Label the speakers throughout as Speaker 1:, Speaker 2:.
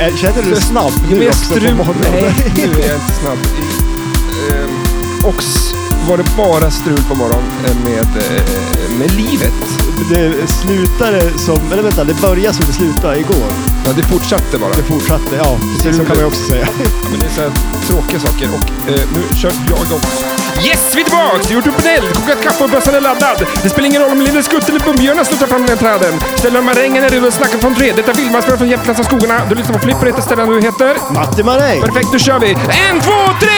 Speaker 1: är- Eh, Känner du dig snabb
Speaker 2: Jo, men
Speaker 1: nu
Speaker 2: jag
Speaker 1: också på
Speaker 2: strul-
Speaker 1: morgonen?
Speaker 2: Nej, nu är jag inte snabb. Ehm, Och s- var det bara strul på morgonen eh, med, eh, med livet.
Speaker 1: Det slutade som... Eller vänta, det började som det slutade igår.
Speaker 2: Ja, det fortsatte bara.
Speaker 1: Det fortsatte, ja.
Speaker 2: Precis
Speaker 1: Precis så
Speaker 2: som
Speaker 1: kan
Speaker 2: det-
Speaker 1: man ju också säga.
Speaker 2: Ja, men det är så här tråkiga saker och eh, nu kör jag igång. Yes, vi är tillbaka! Gjort upp en eld, kokat kaffe och bössan är laddad. Det spelar ingen roll om Lille Skutt eller Bumbibjörnen snuttar fram den träden. Ställer marängen är redo att snacka från träd. Detta filmas från Jämtlands skogarna. Du lyssnar på Flipper, heter Stellan du heter.
Speaker 1: Matti Maräng!
Speaker 2: Perfekt, nu kör vi! En, två, tre!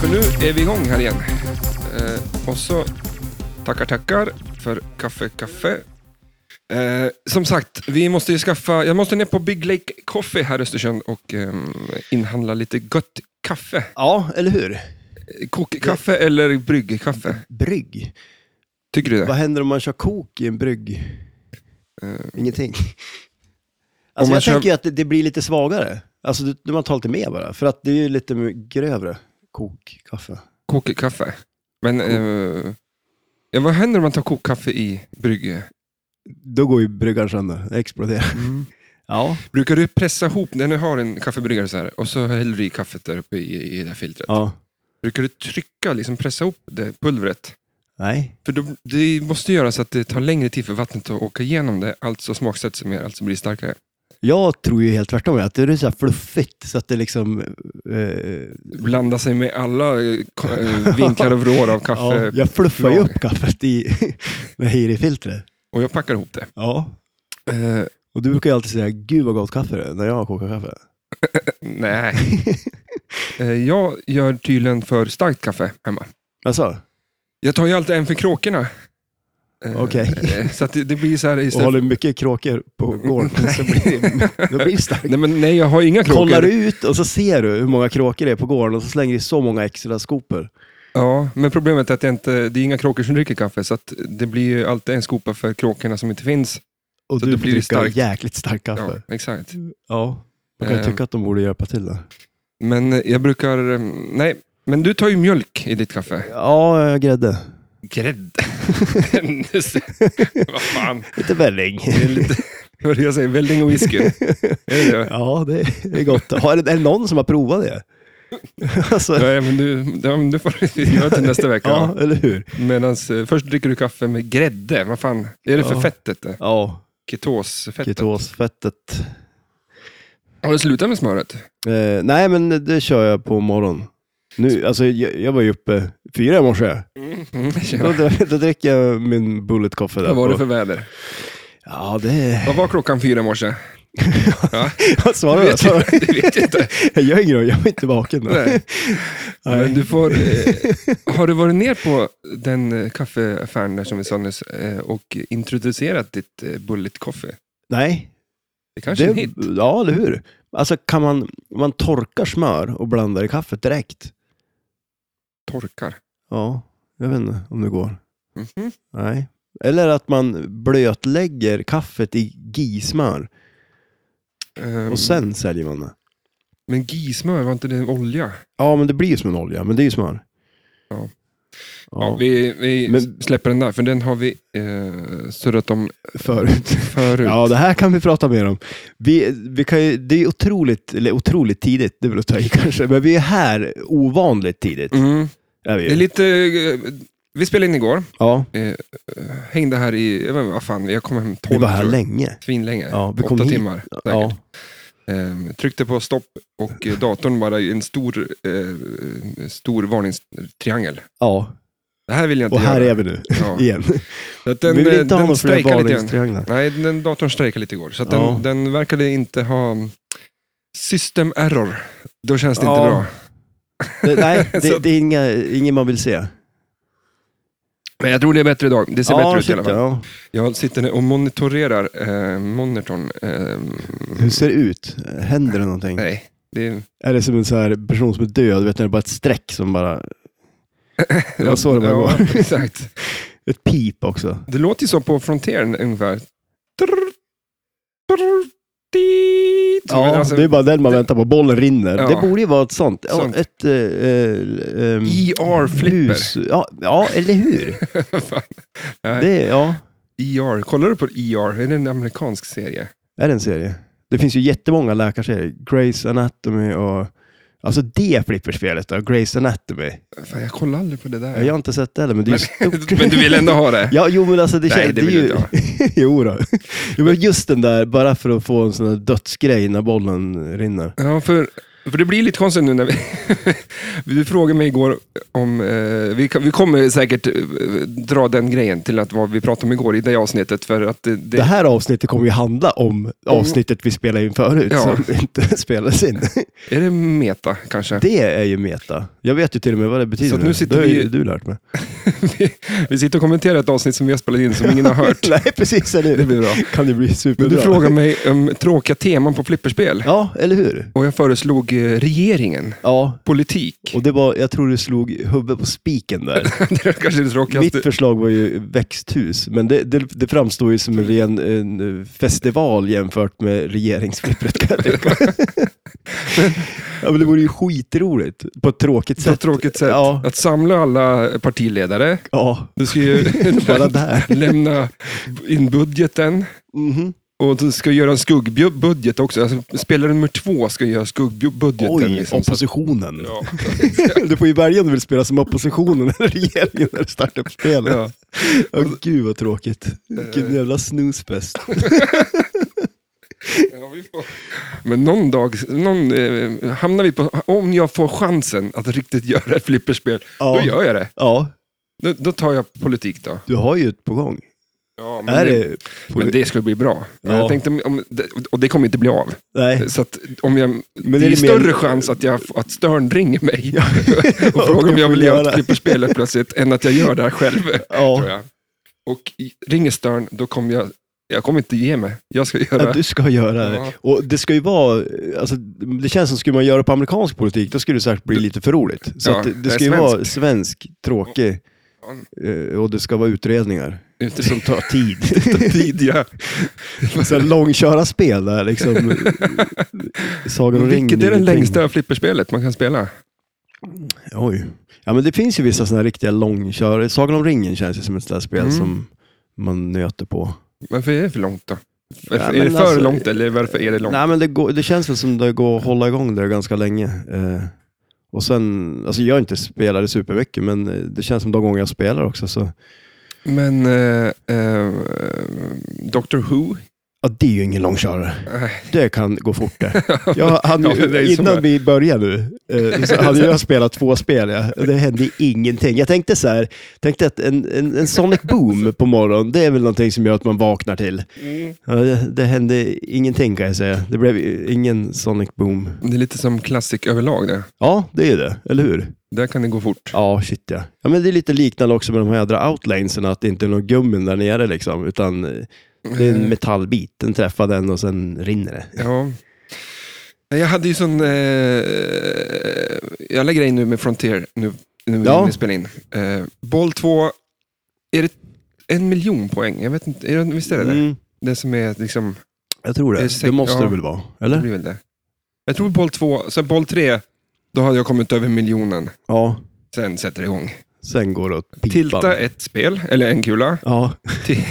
Speaker 2: För nu är vi igång här igen. Eh, och så tackar, tackar för kaffe, kaffe. Eh, som sagt, vi måste ju skaffa... Jag måste ner på Big Lake Coffee här i Östersund och ehm, inhandla lite gött kaffe.
Speaker 1: Ja, eller hur?
Speaker 2: Kokkaffe eller bryggkaffe?
Speaker 1: Brygg.
Speaker 2: Tycker du det?
Speaker 1: Vad händer om man kör kok i en brygg? Eh. Ingenting.
Speaker 2: Om
Speaker 1: Alltså
Speaker 2: man
Speaker 1: jag
Speaker 2: kör-
Speaker 1: tänker ju att det, det blir lite svagare. Alltså du, du man tar lite mer bara. För att det är ju lite grövre kokkaffe.
Speaker 2: Kokkaffe. Men eh, ja, vad händer om man tar kokkaffe i brygge?
Speaker 1: Då går ju bryggan sönder. Det exploderar. Mm. Ja.
Speaker 2: Brukar du pressa ihop, när du har en kaffebryggare så här, och så häller du i kaffet där uppe i, i det här filtret.
Speaker 1: ja.
Speaker 2: Brukar du trycka, liksom pressa ihop det pulvret?
Speaker 1: Nej.
Speaker 2: För då, det måste göra så att det tar längre tid för vattnet att åka igenom det, alltså smaksätts det mer, alltså blir det starkare.
Speaker 1: Jag tror ju helt tvärtom. Att det är så här fluffigt så att det liksom... Eh,
Speaker 2: Blanda sig med alla eh, ko- eh, vinklar och vrår av
Speaker 1: ja,
Speaker 2: kaffe
Speaker 1: jag fluffar ju
Speaker 2: lag.
Speaker 1: upp kaffet i, med i det filtret.
Speaker 2: och jag packar ihop det.
Speaker 1: Ja.
Speaker 2: Eh,
Speaker 1: Och du brukar ju alltid säga, gud vad gott kaffe det är när jag kokar kaffe.
Speaker 2: nej. Eh, jag gör tydligen för starkt kaffe hemma.
Speaker 1: Alltså,
Speaker 2: Jag tar ju alltid en för kråkorna. Eh,
Speaker 1: Okej.
Speaker 2: eh, Så att det, det blir så här
Speaker 1: och
Speaker 2: istället...
Speaker 1: håller mycket kråkor på gården. Så blir det, då blir det starkt.
Speaker 2: Nej, men nej, jag har inga kråkor.
Speaker 1: Kollar ut och så ser du hur många kråkor det är på gården och så slänger du i så många extra skopor.
Speaker 2: Ja, men problemet är att det, inte, det är inga kråkor som dricker kaffe, så att det blir ju alltid en skopa för kråkorna som inte finns.
Speaker 1: Och
Speaker 2: Så
Speaker 1: du
Speaker 2: då blir det
Speaker 1: dricker
Speaker 2: starkt.
Speaker 1: jäkligt stark
Speaker 2: Ja,
Speaker 1: kaffe.
Speaker 2: exakt.
Speaker 1: Ja. Man kan ju
Speaker 2: Ehm.
Speaker 1: tycka att de borde hjälpa till där.
Speaker 2: Men eh, jag brukar... eh, Nej, men du tar ju mjölk i ditt kaffe.
Speaker 1: Ja, jag har grädde.
Speaker 2: Grädde. Vad fan.
Speaker 1: Lite välling.
Speaker 2: Det är lite... Vad är det jag säger? Välling och whisky. Är det det?
Speaker 1: Ja, det är gott. Har, är det någon som har provat det? Alltså,
Speaker 2: Nej, men du, ja, men du får göra till nästa vecka.
Speaker 1: ja, eller hur?
Speaker 2: Medan först dricker du kaffe med grädde. Vad fan är det för
Speaker 1: Ja.
Speaker 2: fettet? det?
Speaker 1: Ja,
Speaker 2: Ketosfettet.
Speaker 1: ketosfettet.
Speaker 2: Har du slutat med smöret?
Speaker 1: Eh, nej, men det kör jag på morgonen. Nu, alltså, jag, jag var ju uppe fyra i morse.
Speaker 2: Mm,
Speaker 1: Då,
Speaker 2: tjena.
Speaker 1: då, då dricker jag min bullet coffee där.
Speaker 2: Vad var
Speaker 1: på-
Speaker 2: det för väder?
Speaker 1: Ja, det...
Speaker 2: Vad var klockan fyra i morse? Ja,
Speaker 1: Vad svarar
Speaker 2: det
Speaker 1: du?
Speaker 2: vet jag,
Speaker 1: Svarar du?
Speaker 2: det vet jag inte.
Speaker 1: Jag har ingen aning, jag var inte vaken då.
Speaker 2: Nej. Men
Speaker 1: Nej.
Speaker 2: du får, eh, har du varit ner på den eh, kaffeaffären där som vi sa nyss eh, och introducerat ditt eh, bullet coffee?
Speaker 1: Nej.
Speaker 2: Det kanske är en
Speaker 1: det-
Speaker 2: hit?
Speaker 1: Ja, eller hur? Alltså, kan man, man torkar smör och blandar i kaffet direkt?
Speaker 2: Torkar.
Speaker 1: Ja, jag vet inte om det går. Mm.
Speaker 2: Mhm.
Speaker 1: Nej. Eller att man blötlägger kaffet i gismör
Speaker 2: Ehm,
Speaker 1: och sen säljer man det.
Speaker 2: Men gismör, var inte det olja?
Speaker 1: Ja, men det blir ju som en olja, men det är ju smör.
Speaker 2: Ja.
Speaker 1: Ja,
Speaker 2: Ja, vi vi
Speaker 1: Men-
Speaker 2: släpper den där, för den har vi eh, surrat om
Speaker 1: förut.
Speaker 2: förut.
Speaker 1: Ja, det här kan vi prata mer om. Vi, vi kan ju, det är otroligt, eller otroligt tidigt, det är väl att ta i kanske, men vi är här ovanligt tidigt.
Speaker 2: Mm.
Speaker 1: Är vi
Speaker 2: Det är
Speaker 1: ju.
Speaker 2: lite... eh, Vi spelade in igår,
Speaker 1: Ja,
Speaker 2: hängde här i... Jag vet inte, vad fan, jag kom hem
Speaker 1: vi
Speaker 2: tolv.
Speaker 1: var här
Speaker 2: tror jag.
Speaker 1: länge.
Speaker 2: Svinlänge.
Speaker 1: Ja, vi kom
Speaker 2: Åtta
Speaker 1: hit.
Speaker 2: timmar.
Speaker 1: Ja,
Speaker 2: Ehm, tryckte på stopp och eh, datorn bara i en stor, eh, stor varningstriangel.
Speaker 1: ja,
Speaker 2: Det här vill jag inte
Speaker 1: och här
Speaker 2: göra.
Speaker 1: är vi nu
Speaker 2: Ja.
Speaker 1: igen.
Speaker 2: Så att den,
Speaker 1: vi vill
Speaker 2: eh,
Speaker 1: inte ha
Speaker 2: den
Speaker 1: några fler
Speaker 2: strejkade lite grann.
Speaker 1: varningstrianglar.
Speaker 2: Nej, den datorn strejkade lite igår. Så att
Speaker 1: Ja.
Speaker 2: den, den verkade inte ha mm, system error. Då känns det
Speaker 1: Ja.
Speaker 2: inte bra.
Speaker 1: Det- Nej,
Speaker 2: Så-
Speaker 1: det, det är inga, ingen man vill se.
Speaker 2: Men jag tror det är bättre idag. Det ser
Speaker 1: ja,
Speaker 2: bättre ut i alla
Speaker 1: ursäkta,
Speaker 2: fall.
Speaker 1: ja.
Speaker 2: Jag sitter nu och monitorerar eh, monitorn. ehm,
Speaker 1: Hur ser det ut? Händer det någonting?
Speaker 2: nej, det är
Speaker 1: Är det som en så här person som är död, vet ni, det är bara ett streck som bara... Det var så det var
Speaker 2: ja,
Speaker 1: igår.
Speaker 2: exakt.
Speaker 1: Ett pip också.
Speaker 2: Det låter ju så på Frontieren ungefär. Trrr, trrr, di- Så,
Speaker 1: Ja,
Speaker 2: alltså,
Speaker 1: det är bara den man väntar på. Bollen rinner.
Speaker 2: Ja.
Speaker 1: Det borde ju vara ett sånt. Ja,
Speaker 2: Sånt.
Speaker 1: Ett... eh, eh, ehm,
Speaker 2: E ER-flipper.
Speaker 1: hus. Ja, ja, eller hur?
Speaker 2: Fan. Nej.
Speaker 1: Det, är- ja,
Speaker 2: ER. Kollar du på ER? Är det en amerikansk serie?
Speaker 1: är det en serie. Det finns ju jättemånga läkarserier. Grey's Anatomy och... Alltså det flipperspelet då, Grey's Anatomy.
Speaker 2: Fan, jag kollar aldrig på det där.
Speaker 1: Jag har inte sett det heller, men det är ju stort.
Speaker 2: Men du vill ändå ha det?
Speaker 1: Ja, jo men alltså det,
Speaker 2: Nej,
Speaker 1: känns-
Speaker 2: det
Speaker 1: det är
Speaker 2: vill
Speaker 1: ju...
Speaker 2: inte jag.
Speaker 1: jo då. Jo, men just den där, bara för att få en sån där dödsgrej när bollen rinner.
Speaker 2: Ja, för, för det blir lite konstigt nu när vi... du frågade mig igår om... Eh, vi, kan- vi kommer säkert eh, dra den grejen till att vad vi pratade om igår i det avsnittet. För att det,
Speaker 1: Det
Speaker 2: det,
Speaker 1: här avsnittet kommer ju handla om avsnittet vi spelade in förut,
Speaker 2: Mm. Ja.
Speaker 1: som inte spelades in.
Speaker 2: är det meta kanske?
Speaker 1: Det är ju meta. Jag vet ju till och med vad det betyder.
Speaker 2: Så att nu sitter
Speaker 1: det har ju
Speaker 2: vi-
Speaker 1: du lärt mig.
Speaker 2: vi, vi sitter och kommenterar ett avsnitt som vi har spelat in som ingen har hört.
Speaker 1: Nej, precis. Eller?
Speaker 2: Det blir bra.
Speaker 1: Kan det bli
Speaker 2: Men
Speaker 1: superbra.
Speaker 2: du frågade mig om tråkiga teman på flipperspel.
Speaker 1: Ja, eller hur?
Speaker 2: Och jag föreslog eh, regeringen.
Speaker 1: Ja,
Speaker 2: Politik.
Speaker 1: och det var, jag tror du slog huvudet på spiken där.
Speaker 2: det är kanske det tråkigaste.
Speaker 1: Mitt förslag var ju växthus, men det, det, det framstår ju som en ren en festival jämfört med regeringsflippret. kan jag tycka. ja, men det vore ju skitroligt på ett tråkigt
Speaker 2: På
Speaker 1: sätt.
Speaker 2: ett tråkigt sätt.
Speaker 1: Ja.
Speaker 2: Att samla alla partiledare.
Speaker 1: Ja,
Speaker 2: Du ska ju
Speaker 1: bara där.
Speaker 2: lämna in budgeten.
Speaker 1: Mhm.
Speaker 2: Och du ska göra en skuggbudget också. Alltså, spelare nummer två ska göra skuggbudgeten.
Speaker 1: Oj,
Speaker 2: liksom. Så att-
Speaker 1: oppositionen.
Speaker 2: Ja,
Speaker 1: Du får ju välja om du vill spela som oppositionen eller regeringen när du startar upp spelet.
Speaker 2: ja. Eh.
Speaker 1: Åh, gud vad tråkigt. Vilken jävla snusfest.
Speaker 2: Ja, vi får. Men någon dag någon, eh, hamnar vi på, om jag får chansen att riktigt göra ett flipperspel,
Speaker 1: Ja.
Speaker 2: då gör jag det.
Speaker 1: Ja,
Speaker 2: Då, då tar jag politik då.
Speaker 1: du har ju ett på gång.
Speaker 2: Ja, men,
Speaker 1: Är
Speaker 2: det,
Speaker 1: det...
Speaker 2: men det skulle bli bra. Men
Speaker 1: Ja.
Speaker 2: Jag tänkte, om- om, det- och det kommer inte bli av.
Speaker 1: Nej.
Speaker 2: Så att, om jag, det,
Speaker 1: är
Speaker 2: är
Speaker 1: det
Speaker 2: större
Speaker 1: mer-
Speaker 2: chans att, jag, att Stern ringer mig och
Speaker 1: Och
Speaker 2: frågar om jag
Speaker 1: får
Speaker 2: vill göra
Speaker 1: göra.
Speaker 2: ett flipperspel helt plötsligt, än att jag gör det här själv. Tror
Speaker 1: Ja,
Speaker 2: jag. Och i- ringer Stern, då kommer jag, jag kommer inte ge mig. Jag ska göra...
Speaker 1: att du ska göra det.
Speaker 2: Ja.
Speaker 1: Och det ska ju vara, alltså, det känns som skulle man göra på amerikansk politik, då skulle det säkert bli lite för roligt. Så
Speaker 2: Ja,
Speaker 1: att det,
Speaker 2: det
Speaker 1: det
Speaker 2: är
Speaker 1: ska ju
Speaker 2: svensk.
Speaker 1: vara svensk, tråkig eh, och det ska vara utredningar
Speaker 2: Inte
Speaker 1: som tar tid.
Speaker 2: tid, ja.
Speaker 1: Så här långköra spel där liksom. Sagan om ringen.
Speaker 2: Vilket är det
Speaker 1: ingenting.
Speaker 2: längsta flipperspelet man kan spela?
Speaker 1: Oj. Ja men det finns ju vissa sådana riktiga långkörare. Sagan om ringen känns ju som ett sånt där spel
Speaker 2: Mm.
Speaker 1: som man nöter på.
Speaker 2: Varför är det för långt då? Varför,
Speaker 1: men
Speaker 2: är det för
Speaker 1: alltså-
Speaker 2: långt eller varför är det långt?
Speaker 1: Nej, men det, går, det känns väl som det går att hålla igång det ganska länge. Eh, och sen, alltså jag har inte spelat det supermycket, men eh, det känns som de gånger jag spelar också. Så.
Speaker 2: Men eh, eh, Doctor Who?
Speaker 1: Ja, det är ju ingen långkörare.
Speaker 2: Nej.
Speaker 1: Det kan gå fort det. Jag, hann,
Speaker 2: Ja, men det är ju så
Speaker 1: innan
Speaker 2: här.
Speaker 1: vi började nu eh, så hade jag spelat två spel. Ja. Det hände ingenting. Jag tänkte så här, tänkte att en, en, en Sonic Boom på morgonen, det är väl någonting som gör att man vaknar till. Ja, det, det hände ingenting kan jag säga. Det blev ingen Sonic Boom.
Speaker 2: Det är lite som klassik överlag det.
Speaker 1: Ja, det är ju det, eller hur?
Speaker 2: Där kan det gå fort.
Speaker 1: Ja, shit ja. ja men det är lite liknande också med de här jädra outlanesen, att det inte är någon gummin där nere liksom, utan eh, det
Speaker 2: Mm.
Speaker 1: är en metallbit. Den träffar den och sen rinner det.
Speaker 2: Ja. Nej, Jag hade ju sån... Eh, jag lägger in nu med Frontier, nu, nu
Speaker 1: Ja.
Speaker 2: när vi spelar in. Eh, boll två, är det en miljon poäng? Jag vet inte, är det, visst är det det?
Speaker 1: Mm,
Speaker 2: Det som är liksom...
Speaker 1: jag tror
Speaker 2: Det är
Speaker 1: det.
Speaker 2: säkert-
Speaker 1: Det måste
Speaker 2: ja.
Speaker 1: det väl vara?
Speaker 2: Det
Speaker 1: Eller?
Speaker 2: blir väl det. Jag tror boll två, sen boll tre, då hade jag kommit över miljonen.
Speaker 1: Ja.
Speaker 2: Sen sätter det igång.
Speaker 1: Sen går det åt pipan.
Speaker 2: Tilta ett spel, eller en kula.
Speaker 1: Ja,
Speaker 2: Ti-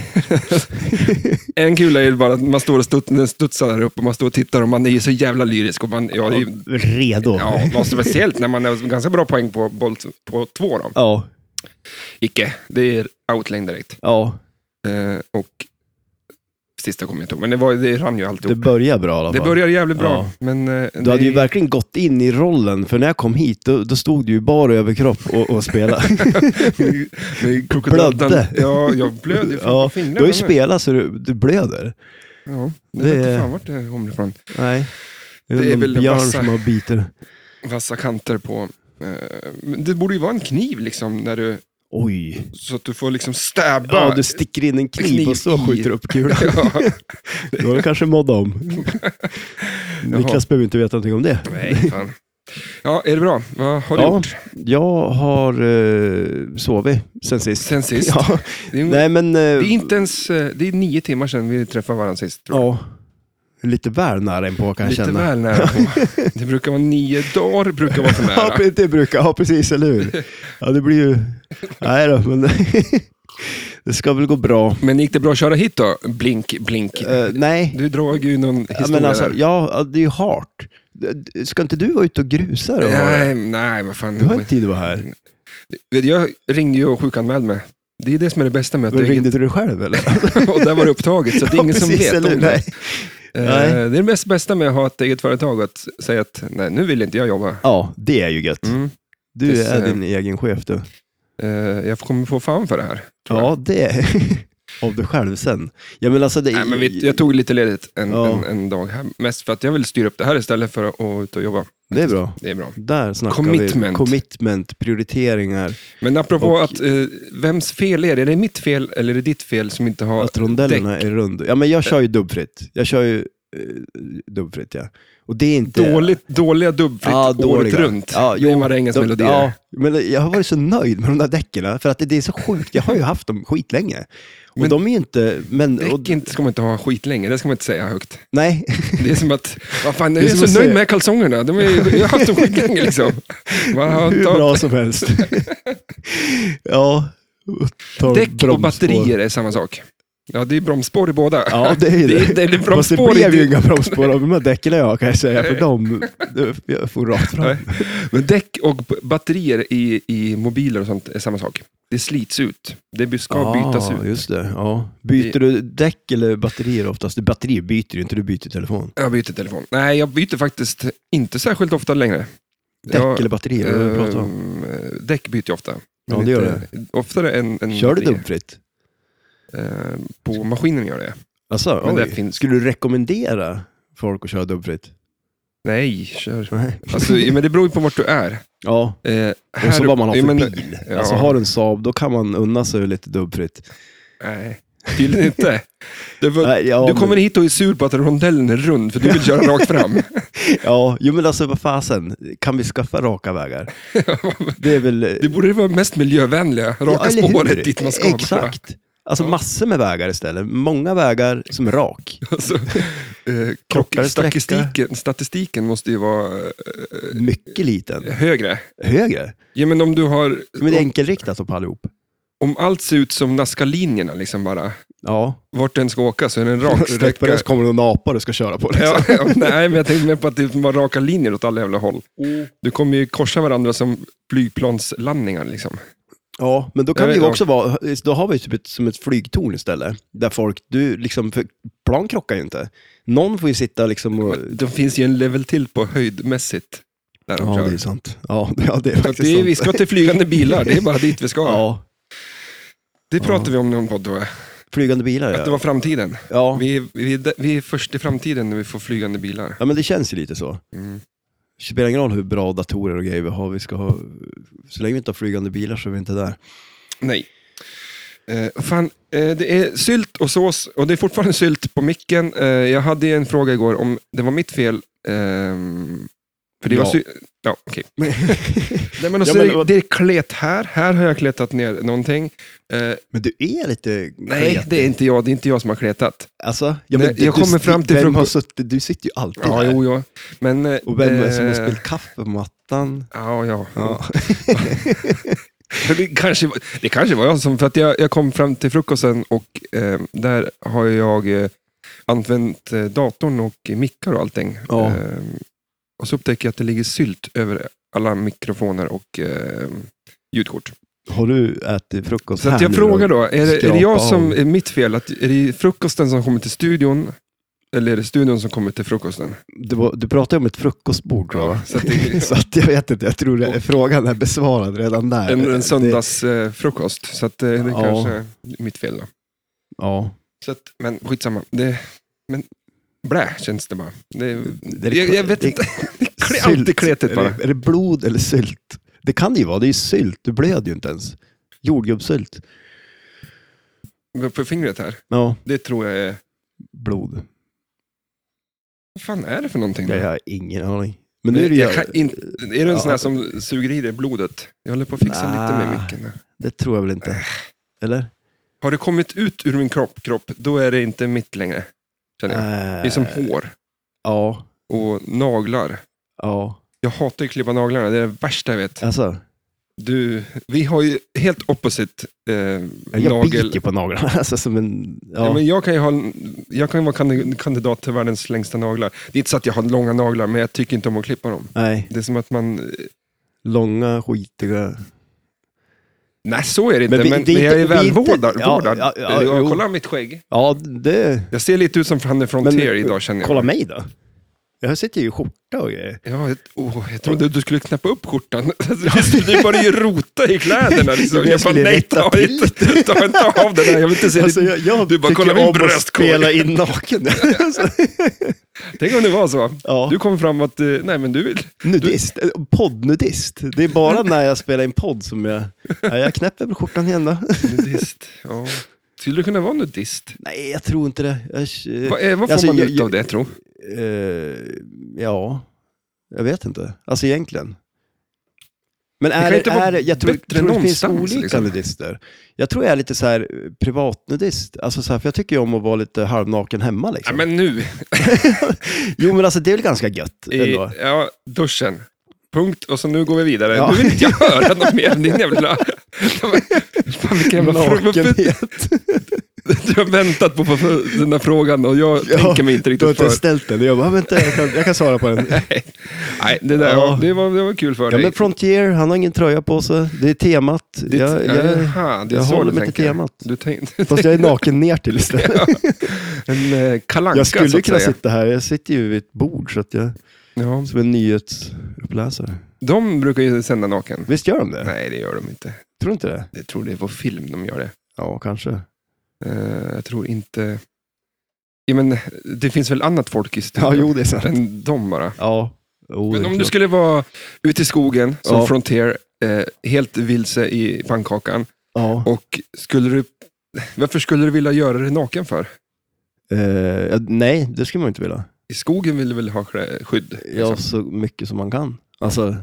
Speaker 2: en kula är ju bara att man står och stut, den studsar där uppe och man står och tittar och man är ju så jävla lyrisk. Och man, ja, det är ju-
Speaker 1: redo.
Speaker 2: ja, vad speciellt när man är ganska bra poäng på boll t- på två. Då.
Speaker 1: ja.
Speaker 2: Icke, det är outline direkt.
Speaker 1: ja.
Speaker 2: Eh, och sista kommer jag inte ihåg, men det, var, det rann ju
Speaker 1: det
Speaker 2: alltihop.
Speaker 1: börjar bra i alla
Speaker 2: Det
Speaker 1: fall.
Speaker 2: börjar jävligt bra,
Speaker 1: Ja.
Speaker 2: men... eh,
Speaker 1: Du
Speaker 2: det
Speaker 1: hade ju
Speaker 2: är-
Speaker 1: verkligen gått in i rollen, för när jag kom hit då, då stod du ju bara över kropp och, och spelade.
Speaker 2: Med- med krokodil-
Speaker 1: Blödde.
Speaker 2: Ja, jag blöd ju fan
Speaker 1: Ja,
Speaker 2: på
Speaker 1: du
Speaker 2: fingrarna.
Speaker 1: har ju spelat så du, du blöder.
Speaker 2: Ja, jag
Speaker 1: Det
Speaker 2: vet inte
Speaker 1: är-
Speaker 2: fan vart det kommer ifrån.
Speaker 1: Nej. Det är,
Speaker 2: Det är
Speaker 1: någon
Speaker 2: väl
Speaker 1: björn
Speaker 2: massa-
Speaker 1: som har biter.
Speaker 2: Vassa kanter på... eh, men det borde ju vara en kniv liksom, när du,
Speaker 1: Oj.
Speaker 2: så att du får liksom stäba.
Speaker 1: Ja, du sticker in en kniv,
Speaker 2: Kniv
Speaker 1: och så
Speaker 2: i.
Speaker 1: skjuter du upp kulan.
Speaker 2: Ja,
Speaker 1: Då har du kanske moddat om. Niklas behöver inte veta någonting om det.
Speaker 2: nej, fan. Ja, är det bra? Vad har du
Speaker 1: Ja,
Speaker 2: gjort?
Speaker 1: jag har eh, sovit sen sist.
Speaker 2: Sen sist?
Speaker 1: Ja.
Speaker 2: Det är,
Speaker 1: Nej, men... eh,
Speaker 2: det är inte ens... eh, Det är nio timmar sedan vi träffade varandra sist. Tror jag.
Speaker 1: Ja. Lite väl nära inpå kan jag
Speaker 2: Lite
Speaker 1: känna.
Speaker 2: väl nära på. Det brukar vara nio dagar, brukar vara för
Speaker 1: Ja,
Speaker 2: nära.
Speaker 1: pre- det brukar, ja, precis, eller hur? Ja, det blir ju... Nej då, men det ska väl gå bra.
Speaker 2: Men gick det bra att köra hit då? Blink, blink.
Speaker 1: Eh, nej,
Speaker 2: Du drar ju någon
Speaker 1: ja,
Speaker 2: historia
Speaker 1: men alltså,
Speaker 2: där.
Speaker 1: ja, ja, det är ju hart. D- Ska inte du vara ute och grusa då?
Speaker 2: Nej, nej, vad fan.
Speaker 1: Du har inte tid att vara här.
Speaker 2: Vet du, Jag ringde ju och sjukanmälde mig. Det är det som är det bästa med att
Speaker 1: Men
Speaker 2: det är
Speaker 1: ringde du dig själv eller?
Speaker 2: eget, och där var det upptaget, så det är ingen
Speaker 1: Ja,
Speaker 2: som
Speaker 1: precis,
Speaker 2: vet
Speaker 1: eller hur?
Speaker 2: om det.
Speaker 1: Nej.
Speaker 2: Eh,
Speaker 1: Nej.
Speaker 2: Det är det mest bästa med att ha ett eget företag, att säga att nej, nu vill inte jag jobba.
Speaker 1: Ja, det är ju gött.
Speaker 2: Mm.
Speaker 1: Du
Speaker 2: Precis,
Speaker 1: är
Speaker 2: eh.
Speaker 1: din egen chef du.
Speaker 2: Eh, Jag kommer få fan för det här. tror jag.
Speaker 1: Ja, det är av dig själv sen. Ja, men alltså det är...
Speaker 2: Nej, men vi, jag tog lite ledigt en,
Speaker 1: Ja.
Speaker 2: en, en dag här, mest för att jag vill styra upp det här istället för att att ut och jobba.
Speaker 1: Det är bra.
Speaker 2: Det är bra.
Speaker 1: Där snackar
Speaker 2: Commitment.
Speaker 1: vi. Commitment. Prioriteringar.
Speaker 2: Men apropå
Speaker 1: Och-
Speaker 2: att, eh, vems fel är det? Är det mitt fel eller är det ditt fel som inte har
Speaker 1: Att rondellerna är runda. Ja, men jag kör ju dubbfritt. Jag kör ju eh, dubbfritt, ja. Och det är inte...
Speaker 2: Dåligt, dåliga dubbfritt året
Speaker 1: dåliga.
Speaker 2: runt?
Speaker 1: Ja,
Speaker 2: det är marängens
Speaker 1: de-
Speaker 2: melodier.
Speaker 1: Ja, men jag har varit så nöjd med de där däcken, för att det, det är så sjukt. Jag har ju haft dem skitlänge. Och
Speaker 2: Men-
Speaker 1: de är ju inte... Men, och,
Speaker 2: Däck inte, ska man inte ha skit länge, det ska man inte säga högt.
Speaker 1: nej,
Speaker 2: Det är som att, vad fan, jag
Speaker 1: Det är
Speaker 2: är
Speaker 1: som
Speaker 2: så
Speaker 1: att
Speaker 2: nöjd
Speaker 1: säga-
Speaker 2: med kalsongerna. De är, ju- jag har haft dem skit länge liksom. Man har
Speaker 1: hur
Speaker 2: tagit-
Speaker 1: bra som helst. ja. och tar
Speaker 2: Däck och
Speaker 1: bromsspår.
Speaker 2: batterier är samma sak. Ja, det är bromsspår i båda.
Speaker 1: Ja, det är ju
Speaker 2: Det
Speaker 1: det.
Speaker 2: är- det är
Speaker 1: Fast det
Speaker 2: bromsspår
Speaker 1: blev
Speaker 2: i-
Speaker 1: ju inga bromsspår av de här däcken jag kan jag säga, för de jag får rakt fram.
Speaker 2: Nej. Men däck och b- batterier i, i mobiler och sånt är samma sak. Det slits ut. Det ska
Speaker 1: Ah.
Speaker 2: bytas ut.
Speaker 1: Just det, ja. Byter du däck eller batterier oftast? Batterier byter du inte, du byter telefon.
Speaker 2: Jag byter telefon. Nej, jag byter faktiskt inte särskilt ofta längre.
Speaker 1: Däck eller batterier, vad är det du pratar om?
Speaker 2: ehm, däck byter jag ofta.
Speaker 1: Ja,
Speaker 2: Men
Speaker 1: det gör
Speaker 2: inte- Oftare än, än
Speaker 1: Kör du
Speaker 2: batterier.
Speaker 1: dubbfritt?
Speaker 2: Ehm, På maskinen gör jag det.
Speaker 1: Alltså,
Speaker 2: Men
Speaker 1: oj.
Speaker 2: det finns-
Speaker 1: Skulle du rekommendera folk att köra dubbfritt?
Speaker 2: Nej, kör.
Speaker 1: Nej.
Speaker 2: Alltså, ja, men det beror ju på vart du är.
Speaker 1: Ja,
Speaker 2: Eh,
Speaker 1: och så
Speaker 2: här-
Speaker 1: vad man har
Speaker 2: ja,
Speaker 1: för
Speaker 2: men-
Speaker 1: bil.
Speaker 2: ja.
Speaker 1: Alltså har du en Saab, då kan man unna sig lite dubbfritt.
Speaker 2: Nej, tydligen inte. Du, får-
Speaker 1: Nej, ja,
Speaker 2: du kommer hit och är sur på att rondellen är rund, för du vill köra rakt fram.
Speaker 1: Ja, jo men alltså vad fasen, kan vi skaffa raka vägar? Det är väl...
Speaker 2: Det borde vara mest miljövänliga, raka
Speaker 1: eller hur?
Speaker 2: spåret dit man ska.
Speaker 1: Exakt. Alltså
Speaker 2: Ja.
Speaker 1: massor med vägar istället. Många vägar som är rak.
Speaker 2: Alltså, eh, krock,
Speaker 1: Kortare sträcka.
Speaker 2: statistiken, statistiken måste ju vara eh,
Speaker 1: Mycket liten.
Speaker 2: högre.
Speaker 1: Högre.
Speaker 2: Ja, men om du har...
Speaker 1: Men det är
Speaker 2: om,
Speaker 1: enkelriktat upp allihop.
Speaker 2: om allt ser ut som Nazca-linjerna, liksom bara,
Speaker 1: Ja.
Speaker 2: vart den ska åka så är det en rak
Speaker 1: Rätt på
Speaker 2: sträcka.
Speaker 1: det så kommer det någon apa du ska köra på. liksom.
Speaker 2: Ja, ja, nej, men jag tänkte mer på att det var raka linjer åt alla jävla håll.
Speaker 1: Mm.
Speaker 2: Du kommer ju korsa varandra som flygplanslandningar. Liksom.
Speaker 1: Ja, men då
Speaker 2: Jag
Speaker 1: kan det ju
Speaker 2: vet
Speaker 1: också vara, då har vi ju typ ett, som ett flygtorn istället. Där folk, du liksom, för plan krockar ju inte. Någon får ju sitta liksom och...
Speaker 2: Det finns ju en level till på höjdmässigt. Där de
Speaker 1: Ja,
Speaker 2: kör.
Speaker 1: det är sant. Ja, det, ja, det är
Speaker 2: Så att
Speaker 1: faktiskt
Speaker 2: det är,
Speaker 1: sant.
Speaker 2: vi ska till flygande bilar, det är bara dit vi ska.
Speaker 1: Ja,
Speaker 2: Det pratar vi om i någon podd, då,
Speaker 1: flygande bilar
Speaker 2: att det
Speaker 1: ja.
Speaker 2: var framtiden.
Speaker 1: Ja.
Speaker 2: Vi, är- vi, är- vi är först i framtiden när vi får flygande bilar.
Speaker 1: ja, men det känns ju lite så.
Speaker 2: Mm.
Speaker 1: Det spelar ingen roll hur bra datorer och grejer vi har. Vi ska ha, så länge vi inte har flygande bilar så är vi inte där.
Speaker 2: Nej. Eh, fan, eh, det är sylt och sås och det är fortfarande sylt på micken. Eh, jag hade ju en fråga igår om det var mitt fel. ehm, för det var
Speaker 1: Ja.
Speaker 2: sylt. Ja, okej. Nej, men och
Speaker 1: Ja,
Speaker 2: så
Speaker 1: men
Speaker 2: är det,
Speaker 1: vad-
Speaker 2: det är klet här. Här har jag kletat ner någonting. Eh,
Speaker 1: Men du är lite
Speaker 2: nej,
Speaker 1: kletig.
Speaker 2: det är inte jag. Det är inte jag som har kletat.
Speaker 1: Alltså, ja,
Speaker 2: Nej,
Speaker 1: men du,
Speaker 2: jag
Speaker 1: du-
Speaker 2: kommer fram till
Speaker 1: vem
Speaker 2: från-
Speaker 1: har suttit, du sitter ju alltid
Speaker 2: Ja,
Speaker 1: där.
Speaker 2: jo, ja. Men, eh,
Speaker 1: Och vem som har
Speaker 2: eh,
Speaker 1: spillt kaffe på mattan.
Speaker 2: Ja, ja.
Speaker 1: Ja.
Speaker 2: För Det, kanske, var- det kanske var jag som, för att jag, jag kom fram till frukosten och eh, där har jag eh, använt eh, datorn och mickar och allting.
Speaker 1: Ja.
Speaker 2: Eh, och så upptäcker jag att det ligger sylt över alla mikrofoner och eh, ljudkort.
Speaker 1: Har du ätit frukost
Speaker 2: Så
Speaker 1: här
Speaker 2: att jag
Speaker 1: nu
Speaker 2: frågar då, är det, är det jag
Speaker 1: skrapa
Speaker 2: som
Speaker 1: av.
Speaker 2: är mitt fel? Att, är det frukosten som kommer till studion? Eller är det studion som kommer till frukosten?
Speaker 1: Du, var- du pratade om ett frukostbord tror jag. va?
Speaker 2: så att det,
Speaker 1: Så att jag vet inte, jag tror det, frågan är besvarad redan där.
Speaker 2: en, en
Speaker 1: Det-
Speaker 2: söndagsfrukost. Så att, eh, det
Speaker 1: Ja.
Speaker 2: kanske är mitt fel då.
Speaker 1: Ja.
Speaker 2: Så att, men skitsamma. Det, men blä känns det bara. Det,
Speaker 1: Det är-
Speaker 2: jag, jag vet
Speaker 1: det-
Speaker 2: inte. Det är
Speaker 1: Sylt.
Speaker 2: alltid kletigt bara.
Speaker 1: Är det, är det blod eller sylt? Det kan det ju vara, det är ju sylt. Du blöder ju inte ens. Jordgubbssylt.
Speaker 2: På fingret här.
Speaker 1: Ja,
Speaker 2: Det tror jag är...
Speaker 1: blod.
Speaker 2: Vad fan är det för någonting? då?
Speaker 1: Jag har ingen aning. Men nu är det
Speaker 2: jag
Speaker 1: jag,
Speaker 2: kan inte, är det en sån här
Speaker 1: Ja.
Speaker 2: som suger i dig blodet? Jag håller på att fixa lite med
Speaker 1: Ah.
Speaker 2: micken. här.
Speaker 1: det tror jag väl inte. Eller?
Speaker 2: Har det kommit ut ur min kropp, kropp, då är det inte mitt längre. Känner jag. Det är som
Speaker 1: Äh.
Speaker 2: hår
Speaker 1: Eh, Ja,
Speaker 2: och naglar.
Speaker 1: ja.
Speaker 2: Jag hatar ju att klippa naglarna, det är det värsta jag vet.
Speaker 1: Alltså,
Speaker 2: Du, vi har ju helt opposite eh,
Speaker 1: jag
Speaker 2: nagel...
Speaker 1: biter på naglarna. Alltså, som en, ja.
Speaker 2: Ja. men jag kan ju ha, jag kan ju vara kandi- kandidat till världens längsta naglar. Det är inte så att jag har långa naglar, men jag tycker inte om att klippa dem.
Speaker 1: Nej,
Speaker 2: Det är som att man...
Speaker 1: långa, skitiga.
Speaker 2: Nej, så är det inte,
Speaker 1: Men vi-
Speaker 2: men, men,
Speaker 1: det är inte-
Speaker 2: jag är
Speaker 1: vi är inte-
Speaker 2: välvårdad.
Speaker 1: ja,
Speaker 2: vårdad.
Speaker 1: ja, ja,
Speaker 2: jag,
Speaker 1: jo.
Speaker 2: kolla mitt skägg.
Speaker 1: Ja, det...
Speaker 2: Jag ser lite ut som Fanny Frontier
Speaker 1: Men-
Speaker 2: idag, känner jag.
Speaker 1: Kolla mig då. Jag sitter ju i skjorta och grejer.
Speaker 2: Ja, jag- åh, jag trodde du skulle knäppa upp skjortan. Alltså, Du du började ju rota i kläderna. Liksom.
Speaker 1: Jag
Speaker 2: Jag bara,
Speaker 1: skulle
Speaker 2: nej,
Speaker 1: rätta
Speaker 2: ta
Speaker 1: till
Speaker 2: inte, ta inte av den här. Jag vill inte se
Speaker 1: Alltså,
Speaker 2: ditt...
Speaker 1: jag, jag
Speaker 2: Du bara,
Speaker 1: tycker
Speaker 2: kolla min
Speaker 1: om att
Speaker 2: bröstkorg.
Speaker 1: spela in naken. Alltså,
Speaker 2: Tänk om det var så.
Speaker 1: ja.
Speaker 2: Du kom fram att, eh, nej men du vill...
Speaker 1: Nudist, Eh, poddnudist. Det är bara när jag spelar in podd som jag... Ja, jag knäpper väl skjortan igen då.
Speaker 2: Nudist, ja. Skulle du kunna vara nudist?
Speaker 1: Nej, jag tror inte det. Jag, eh,
Speaker 2: Vad, är, vad får
Speaker 1: Alltså,
Speaker 2: man
Speaker 1: jag-
Speaker 2: ut av det, tro?
Speaker 1: eh, ja, jag vet inte. Alltså egentligen. Men
Speaker 2: kan
Speaker 1: är,
Speaker 2: inte
Speaker 1: det
Speaker 2: vara
Speaker 1: är, det- jag tror,
Speaker 2: bättre
Speaker 1: tror det finns
Speaker 2: någonstans,
Speaker 1: olika
Speaker 2: liksom.
Speaker 1: nudister. Jag tror jag är lite så här eh, privatnudist. Alltså så här, för jag tycker ju om att vara lite halvnaken hemma.
Speaker 2: Ja,
Speaker 1: Liksom.
Speaker 2: men nu,
Speaker 1: Jo, men alltså det är väl ganska gött
Speaker 2: i
Speaker 1: ändå.
Speaker 2: ja, duschen. Punkt, och så nu går vi vidare.
Speaker 1: Ja.
Speaker 2: Nu vill inte jag höra något mer om din jävla... Fan, vilken jävla fråga.
Speaker 1: Nakenhet.
Speaker 2: Du har väntat på, på den här frågan och jag tänker mig inte
Speaker 1: Du
Speaker 2: riktigt
Speaker 1: har inte
Speaker 2: för.
Speaker 1: ens ställt den. Jag bara, vänta, jag kan, jag kan svara på den.
Speaker 2: Nej, det, där,
Speaker 1: Ja.
Speaker 2: ja. det, var, det var kul för
Speaker 1: Ja,
Speaker 2: dig.
Speaker 1: men Frontier, han har ingen tröja på sig. Det är temat. jag jag,
Speaker 2: Jaha, det är
Speaker 1: jag
Speaker 2: så
Speaker 1: håller
Speaker 2: du
Speaker 1: mig till
Speaker 2: tänker.
Speaker 1: temat.
Speaker 2: Du tänkte,
Speaker 1: Fast jag är naken ner till istället.
Speaker 2: en eh, kalanka
Speaker 1: jag
Speaker 2: så
Speaker 1: skulle
Speaker 2: att
Speaker 1: kunna
Speaker 2: säga.
Speaker 1: sitta här. Jag sitter ju vid ett bord så att jag,
Speaker 2: Ja.
Speaker 1: som en nyhetsuppläsare.
Speaker 2: De brukar ju sända naken.
Speaker 1: Visst gör de det?
Speaker 2: Nej, det gör de inte.
Speaker 1: Tror du inte det?
Speaker 2: Jag tror det är på film de gör det.
Speaker 1: Ja, kanske.
Speaker 2: Eh, jag tror inte... Ja, men, det finns väl annat folk i
Speaker 1: Ja,
Speaker 2: studion
Speaker 1: jo, det är sant.
Speaker 2: än de bara.
Speaker 1: Ja. Jo, det
Speaker 2: Men
Speaker 1: är
Speaker 2: om du
Speaker 1: klart.
Speaker 2: skulle vara ute i skogen som
Speaker 1: Ja.
Speaker 2: Frontier, eh, helt vilse i pannkakan.
Speaker 1: Ja.
Speaker 2: Och skulle du... Varför skulle du vilja göra det naken för?
Speaker 1: Eh, ja, nej, det skulle man inte vilja.
Speaker 2: I skogen vill du väl ha skydd? liksom?
Speaker 1: Ja, så mycket som man kan. Alltså,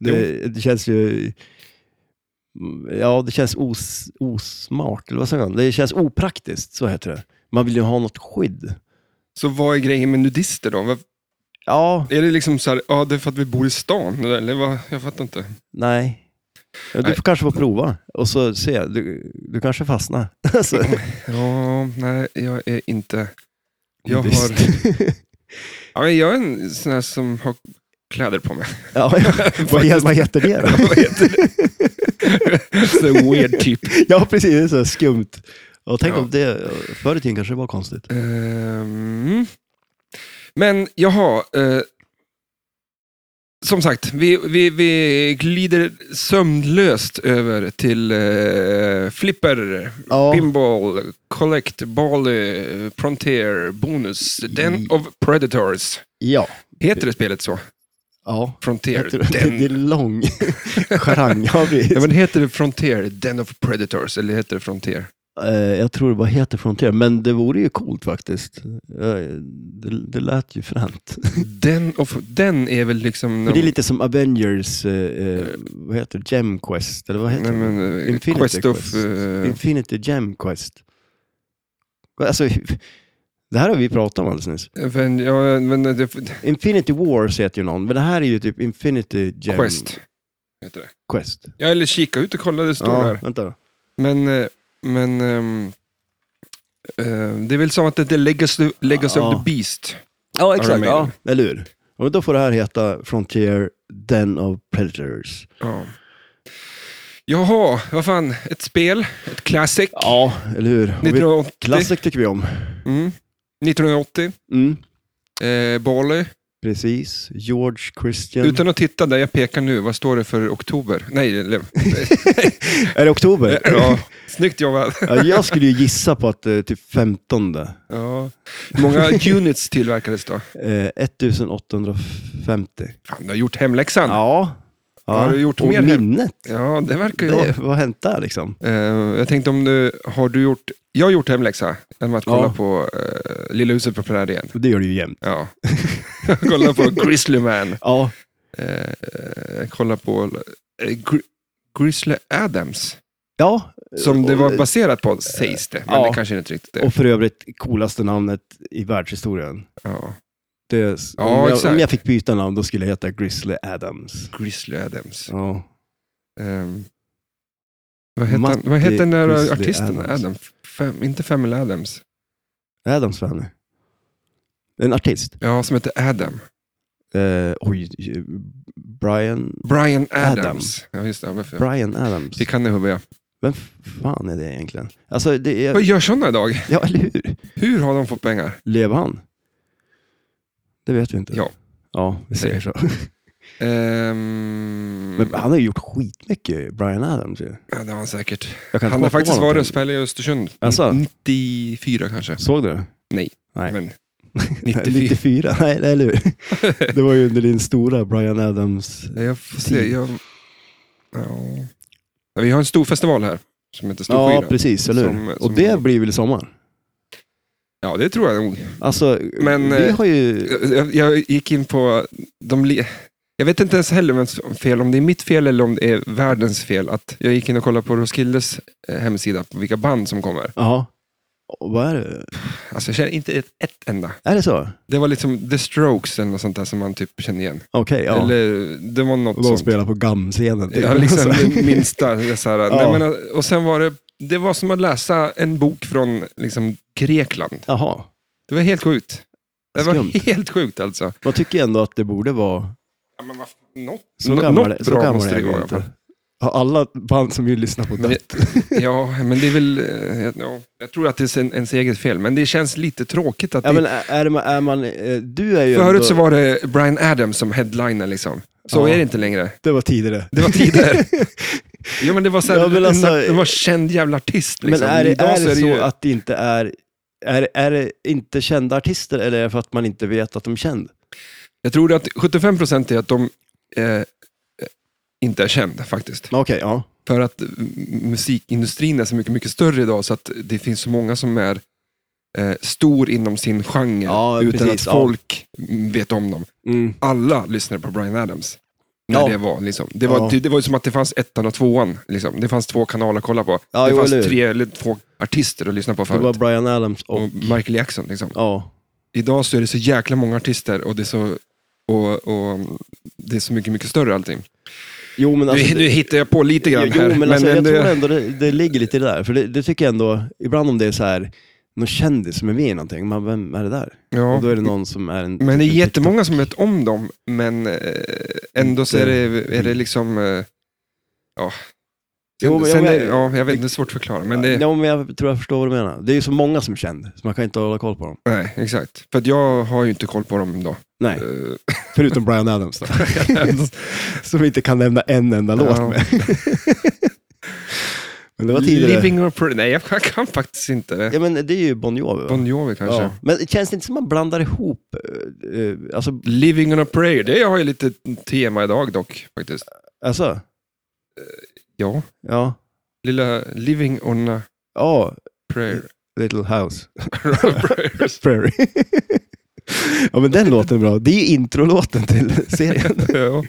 Speaker 1: det, det känns ju... Ja, det känns os, osmart, eller vad säger man? Det känns opraktiskt, så heter det. Man vill ju ha något skydd.
Speaker 2: Så vad är grejen med nudister då? Vad-
Speaker 1: Ja,
Speaker 2: Är det liksom så här, ja det är för att vi bor i stan? Eller vad? Jag fattar inte.
Speaker 1: nej. Ja, Du
Speaker 2: Nej.
Speaker 1: får kanske få prova och så se. Du, du kanske fastnar. Alltså,
Speaker 2: Ja, nej, jag är inte... Jag
Speaker 1: visst.
Speaker 2: har... Ja, men jag är en sån här som har kläder på mig.
Speaker 1: ja, ja. Vad, he- vad heter det då?
Speaker 2: Vad heter det? Så weird typ.
Speaker 1: Ja, precis. Det är så här skumt. Och tänk
Speaker 2: Ja.
Speaker 1: om det, förr i tiden kanske det var konstigt.
Speaker 2: Ehm, Men jaha. Eh, som sagt, vi, vi, vi glider sömnlöst över till eh, Flipper,
Speaker 1: Ja.
Speaker 2: Pinball, Collect, Ball, eh, Frontier, Bonus,
Speaker 1: Mm.
Speaker 2: Den of Predators.
Speaker 1: Ja.
Speaker 2: Heter det spelet så?
Speaker 1: ja.
Speaker 2: Frontier,
Speaker 1: Heter det?
Speaker 2: Den.
Speaker 1: Det är lång charang. Ja, precis.
Speaker 2: Ja, men heter det Frontier, Den of Predators, eller heter det Frontier?
Speaker 1: Eh, jag tror det bara heter Frontier, men det vore ju coolt faktiskt. Eh, det, det lät ju fränt.
Speaker 2: Den of, den är väl liksom...
Speaker 1: För Det är lite som Avengers, eh, eh, vad heter det? Gem Quest, eller vad heter
Speaker 2: nej, men, eh,
Speaker 1: Infinity
Speaker 2: Quest of...
Speaker 1: Quest.
Speaker 2: eh,
Speaker 1: det? Infinity Gem Quest. Alltså, det här har vi pratat om alldeles nyss.
Speaker 2: Men, ja, men det,
Speaker 1: Infinity Wars heter ju någon, men det här är ju typ Infinity Gem
Speaker 2: Quest. Heter det.
Speaker 1: Quest.
Speaker 2: Ja, eller kika ut och kolla, det står
Speaker 1: Ja,
Speaker 2: där.
Speaker 1: vänta då.
Speaker 2: Men, eh, men ehm, eh, det är väl som att det är Legacy, Legacy
Speaker 1: Ja.
Speaker 2: of the Beast.
Speaker 1: Ja,
Speaker 2: exakt,
Speaker 1: exakt. Ja. Eller hur? Och då får det här heta Frontier, Den of Predators.
Speaker 2: Ja. Jaha, vad fan, ett spel, ett classic,
Speaker 1: Ja, eller hur? Och vi-
Speaker 2: 1980.
Speaker 1: Classic tycker vi om.
Speaker 2: Mm. 1980,
Speaker 1: Mm,
Speaker 2: eh, Bali.
Speaker 1: precis. George Christian.
Speaker 2: Utan att titta där jag pekar nu, vad står det för oktober? Nej, eller-
Speaker 1: Är det oktober?
Speaker 2: ja, snyggt jobbat.
Speaker 1: Ja, jag skulle ju gissa på att eh, typ 15. Eh,
Speaker 2: Ja. Hur många units tillverkades då?
Speaker 1: Eh, 1850.
Speaker 2: Fan, du har gjort hemläxan. Ja,
Speaker 1: Ja. ja.
Speaker 2: Har du gjort
Speaker 1: Och
Speaker 2: mer hem-
Speaker 1: minnet.
Speaker 2: det verkar ju vara.
Speaker 1: Det, vad har hänt där liksom?
Speaker 2: Eh, jag tänkte om du, har du gjort, jag har gjort hemläxa genom att kolla
Speaker 1: Ja.
Speaker 2: på eh, Lilla huset på prärien.
Speaker 1: Det gör du ju jämt.
Speaker 2: Ja. Jag kollar på Grizzly Man.
Speaker 1: Ja,
Speaker 2: Eh, jag kollar på eh, Gri- Grizzly Adams.
Speaker 1: ja.
Speaker 2: Som det
Speaker 1: Och-
Speaker 2: var baserat på, sägs det. Men
Speaker 1: Ja.
Speaker 2: det kanske inte riktigt är.
Speaker 1: Och för övrigt, coolaste namnet i världshistorien.
Speaker 2: Ja.
Speaker 1: Det,
Speaker 2: Ja,
Speaker 1: om, jag,
Speaker 2: exakt.
Speaker 1: om jag fick byta namn, då skulle jag heta Grizzly Adams.
Speaker 2: Grizzly Adams.
Speaker 1: Ja.
Speaker 2: Ehm, vad hette han-
Speaker 1: Matti
Speaker 2: vad hette den där
Speaker 1: Grizzly
Speaker 2: artisten?
Speaker 1: Adams.
Speaker 2: Adam. Fem, inte Family Adams.
Speaker 1: Adams var han. En artist.
Speaker 2: Ja, som heter Adam.
Speaker 1: Eh, oj, eh, Brian,
Speaker 2: Brian Adams.
Speaker 1: Adam.
Speaker 2: Ja, just det. Ja, varför?
Speaker 1: Brian Adams.
Speaker 2: Det kan i huvudet.
Speaker 1: Vem fan är det egentligen? Alltså, det
Speaker 2: Vad
Speaker 1: är,
Speaker 2: gör sådana idag?
Speaker 1: ja, eller hur?
Speaker 2: Hur har de fått pengar?
Speaker 1: Lever han? Det vet vi inte.
Speaker 2: Ja. Mm.
Speaker 1: Ja, vi säger så.
Speaker 2: Ehm,
Speaker 1: Men han har ju gjort skitmycket, Brian Adams ju.
Speaker 2: ja, det har han säkert.
Speaker 1: Jag kan inte
Speaker 2: Han
Speaker 1: komma
Speaker 2: har
Speaker 1: på
Speaker 2: faktiskt varit och
Speaker 1: någonting.
Speaker 2: spelat i Östersund.
Speaker 1: Alltså?
Speaker 2: 94 kanske.
Speaker 1: Såg du det? Nej.
Speaker 2: Men 94.
Speaker 1: 94? Nej, eller hur? Det var ju under din stora Brian Adams...
Speaker 2: Jag får se. Jag... Ja. Ja, Vi har en stor festival här som heter Storskyra.
Speaker 1: Ja, precis. Eller
Speaker 2: Som-
Speaker 1: hur? Och
Speaker 2: som-
Speaker 1: det blir väl i sommar?
Speaker 2: ja, det tror jag nog.
Speaker 1: Alltså,
Speaker 2: Men,
Speaker 1: vi
Speaker 2: eh,
Speaker 1: har ju...
Speaker 2: jag, jag gick in på de... Li- jag vet inte ens heller vems fel, om det är mitt fel eller om det är världens fel. Att jag gick in och kollade på Roskildes eh, hemsida, på vilka band som kommer.
Speaker 1: Ja. Och Vad är det?
Speaker 2: Alltså jag känner inte ett, ett enda.
Speaker 1: Är det så?
Speaker 2: Det var liksom The Strokes eller något sånt där som man typ kände igen.
Speaker 1: Okej, ja.
Speaker 2: Eller det var något
Speaker 1: Och de
Speaker 2: sånt.
Speaker 1: spelar på GAM-scenen. typ.
Speaker 2: Ja, liksom det minsta. det är Så här.
Speaker 1: Ja.
Speaker 2: Nej, men, och sen var det, det var som att läsa en bok från liksom, Grekland.
Speaker 1: Jaha.
Speaker 2: Det var helt sjukt. Det var
Speaker 1: Skumt.
Speaker 2: helt sjukt alltså.
Speaker 1: Man tycker ändå att det borde vara...
Speaker 2: Ja, men vad fan, något,
Speaker 1: Så
Speaker 2: nå-
Speaker 1: gammal,
Speaker 2: något
Speaker 1: så
Speaker 2: bra
Speaker 1: gammal
Speaker 2: måste
Speaker 1: är
Speaker 2: det
Speaker 1: jag ju
Speaker 2: vara. i alla fall.
Speaker 1: inte. Har alla band som ju lyssnar på
Speaker 2: Men
Speaker 1: det.
Speaker 2: Ja, men det är väl... eh, Ja, jag tror att det är en, ens eget fel, men det känns lite tråkigt att...
Speaker 1: Ja,
Speaker 2: det,
Speaker 1: men är, är man, är man, eh, du är ju
Speaker 2: förut
Speaker 1: ändå,
Speaker 2: så var det Brian Adams som headliner liksom. Så
Speaker 1: Ja.
Speaker 2: är det inte längre.
Speaker 1: Det var tidigare.
Speaker 2: Det var tidigare. jo, men det var så här,
Speaker 1: Ja, men
Speaker 2: en-
Speaker 1: alltså-
Speaker 2: det var känd jävla artist liksom.
Speaker 1: Men är det,
Speaker 2: Idag
Speaker 1: är
Speaker 2: så
Speaker 1: det så
Speaker 2: ju-
Speaker 1: att det inte är, är, är det inte kända artister eller är det för att man inte vet att de är känd?
Speaker 2: Jag tror att 75 procent är att de eh, eh, inte är kända faktiskt.
Speaker 1: Okej, ja.
Speaker 2: För att mm, musikindustrin är så mycket, mycket större idag så att det finns så många som är eh, stor inom sin genre
Speaker 1: Ja,
Speaker 2: utan
Speaker 1: precis,
Speaker 2: att
Speaker 1: ja.
Speaker 2: folk mm, vet om dem.
Speaker 1: Mm.
Speaker 2: Alla lyssnade på Bryan Adams. När
Speaker 1: Ja.
Speaker 2: det var liksom. Det var,
Speaker 1: Ja.
Speaker 2: det, det var ju som att det fanns ettan och tvåan. Liksom. Det fanns två kanaler att kolla på.
Speaker 1: Ja,
Speaker 2: det
Speaker 1: jo,
Speaker 2: fanns
Speaker 1: eller hur?
Speaker 2: tre eller två artister att lyssna på
Speaker 1: Det
Speaker 2: förut.
Speaker 1: var Brian Adams och...
Speaker 2: Och Michael Jackson liksom
Speaker 1: Ja.
Speaker 2: idag så är det så jäkla många artister och det är så, och, och det är så mycket, mycket större allting.
Speaker 1: Jo, men
Speaker 2: nu,
Speaker 1: alltså...
Speaker 2: nu hittar jag på lite grann
Speaker 1: jo,
Speaker 2: här.
Speaker 1: men, alltså, jag
Speaker 2: ändå-
Speaker 1: tror ändå det, det ligger lite i det där. För det, det tycker jag ändå, ibland om det är så här, någon kändis som är med i någonting, man, vem är det där?
Speaker 2: ja.
Speaker 1: Och då är det någon som är en...
Speaker 2: Men det är
Speaker 1: typ en
Speaker 2: jättemånga som vet om dem, men eh, ändå så är
Speaker 1: Mm.
Speaker 2: det, är det liksom... Eh, ja. Sen,
Speaker 1: Jo, men-
Speaker 2: sen
Speaker 1: ja, men-
Speaker 2: är, ja, jag vet, det är svårt att förklara. Men det,
Speaker 1: Ja, men jag tror jag förstår vad du menar. Det är ju så många som är kända, så man kan inte hålla koll på dem.
Speaker 2: Nej, exakt. För att jag har ju inte koll på dem då.
Speaker 1: Nej,
Speaker 2: Eh,
Speaker 1: förutom Brian Adams då. som vi inte kan nämna en enda låt
Speaker 2: ja.
Speaker 1: med. Men det var tidigare.
Speaker 2: Living on a prayer. Nej, jag kan faktiskt inte.
Speaker 1: Ja, men det är ju Bon Jovi. Va?
Speaker 2: Bon Jovi kanske.
Speaker 1: Ja. Men det känns det inte som man blandar ihop, eh, eh, alltså,
Speaker 2: Living on a prayer, det har ju lite tema idag dock faktiskt.
Speaker 1: alltså,
Speaker 2: Ja,
Speaker 1: ja,
Speaker 2: lilla Living on a
Speaker 1: ja,
Speaker 2: prayer.
Speaker 1: Little House,
Speaker 2: Prayers.
Speaker 1: Prairie. ja, men den låten är bra. Det är ju introlåten till serien.
Speaker 2: ja.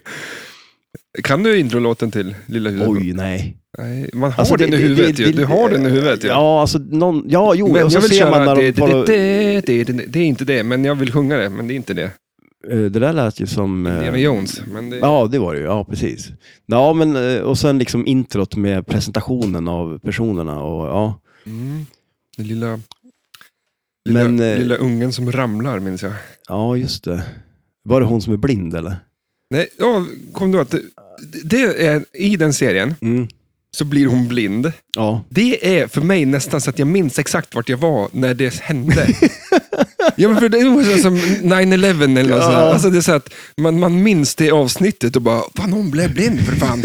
Speaker 2: Kan du introlåten till Lilla huset?
Speaker 1: Oj, nej.
Speaker 2: Nej, man har
Speaker 1: Alltså,
Speaker 2: den i
Speaker 1: det- det-
Speaker 2: huvudet
Speaker 1: det-
Speaker 2: ju.
Speaker 1: det-
Speaker 2: Du har den i huvudet ju.
Speaker 1: Ja, alltså, någon, ja, jo,
Speaker 2: men
Speaker 1: och så
Speaker 2: jag vill
Speaker 1: ser man
Speaker 2: köra
Speaker 1: när
Speaker 2: det,
Speaker 1: de...
Speaker 2: det,
Speaker 1: bara-
Speaker 2: det, det, det, det är inte det, men jag vill sjunga det, men det är inte det.
Speaker 1: Eh, Det där lät ju som... eh,
Speaker 2: Indiana Jones. Men det,
Speaker 1: Ja, det var det ju. Ja, precis. Ja, men eh, och sen liksom introt med presentationen av personerna och ja.
Speaker 2: mm, den lilla, lilla,
Speaker 1: Men, eh,
Speaker 2: lilla ungen som ramlar, minns jag.
Speaker 1: Ja, just det. Var det hon som är blind eller?
Speaker 2: Nej, ja, kom du att det, det är, i den serien
Speaker 1: Mm.
Speaker 2: så blir hon blind.
Speaker 1: Ja.
Speaker 2: Det är för mig nästan så att jag minns exakt vart jag var när det hände. ja, men för det var så som 9-11 eller något sånt. där.
Speaker 1: Ja.
Speaker 2: Alltså det är så att man, man minns det avsnittet och bara, fan hon blev blind för fan.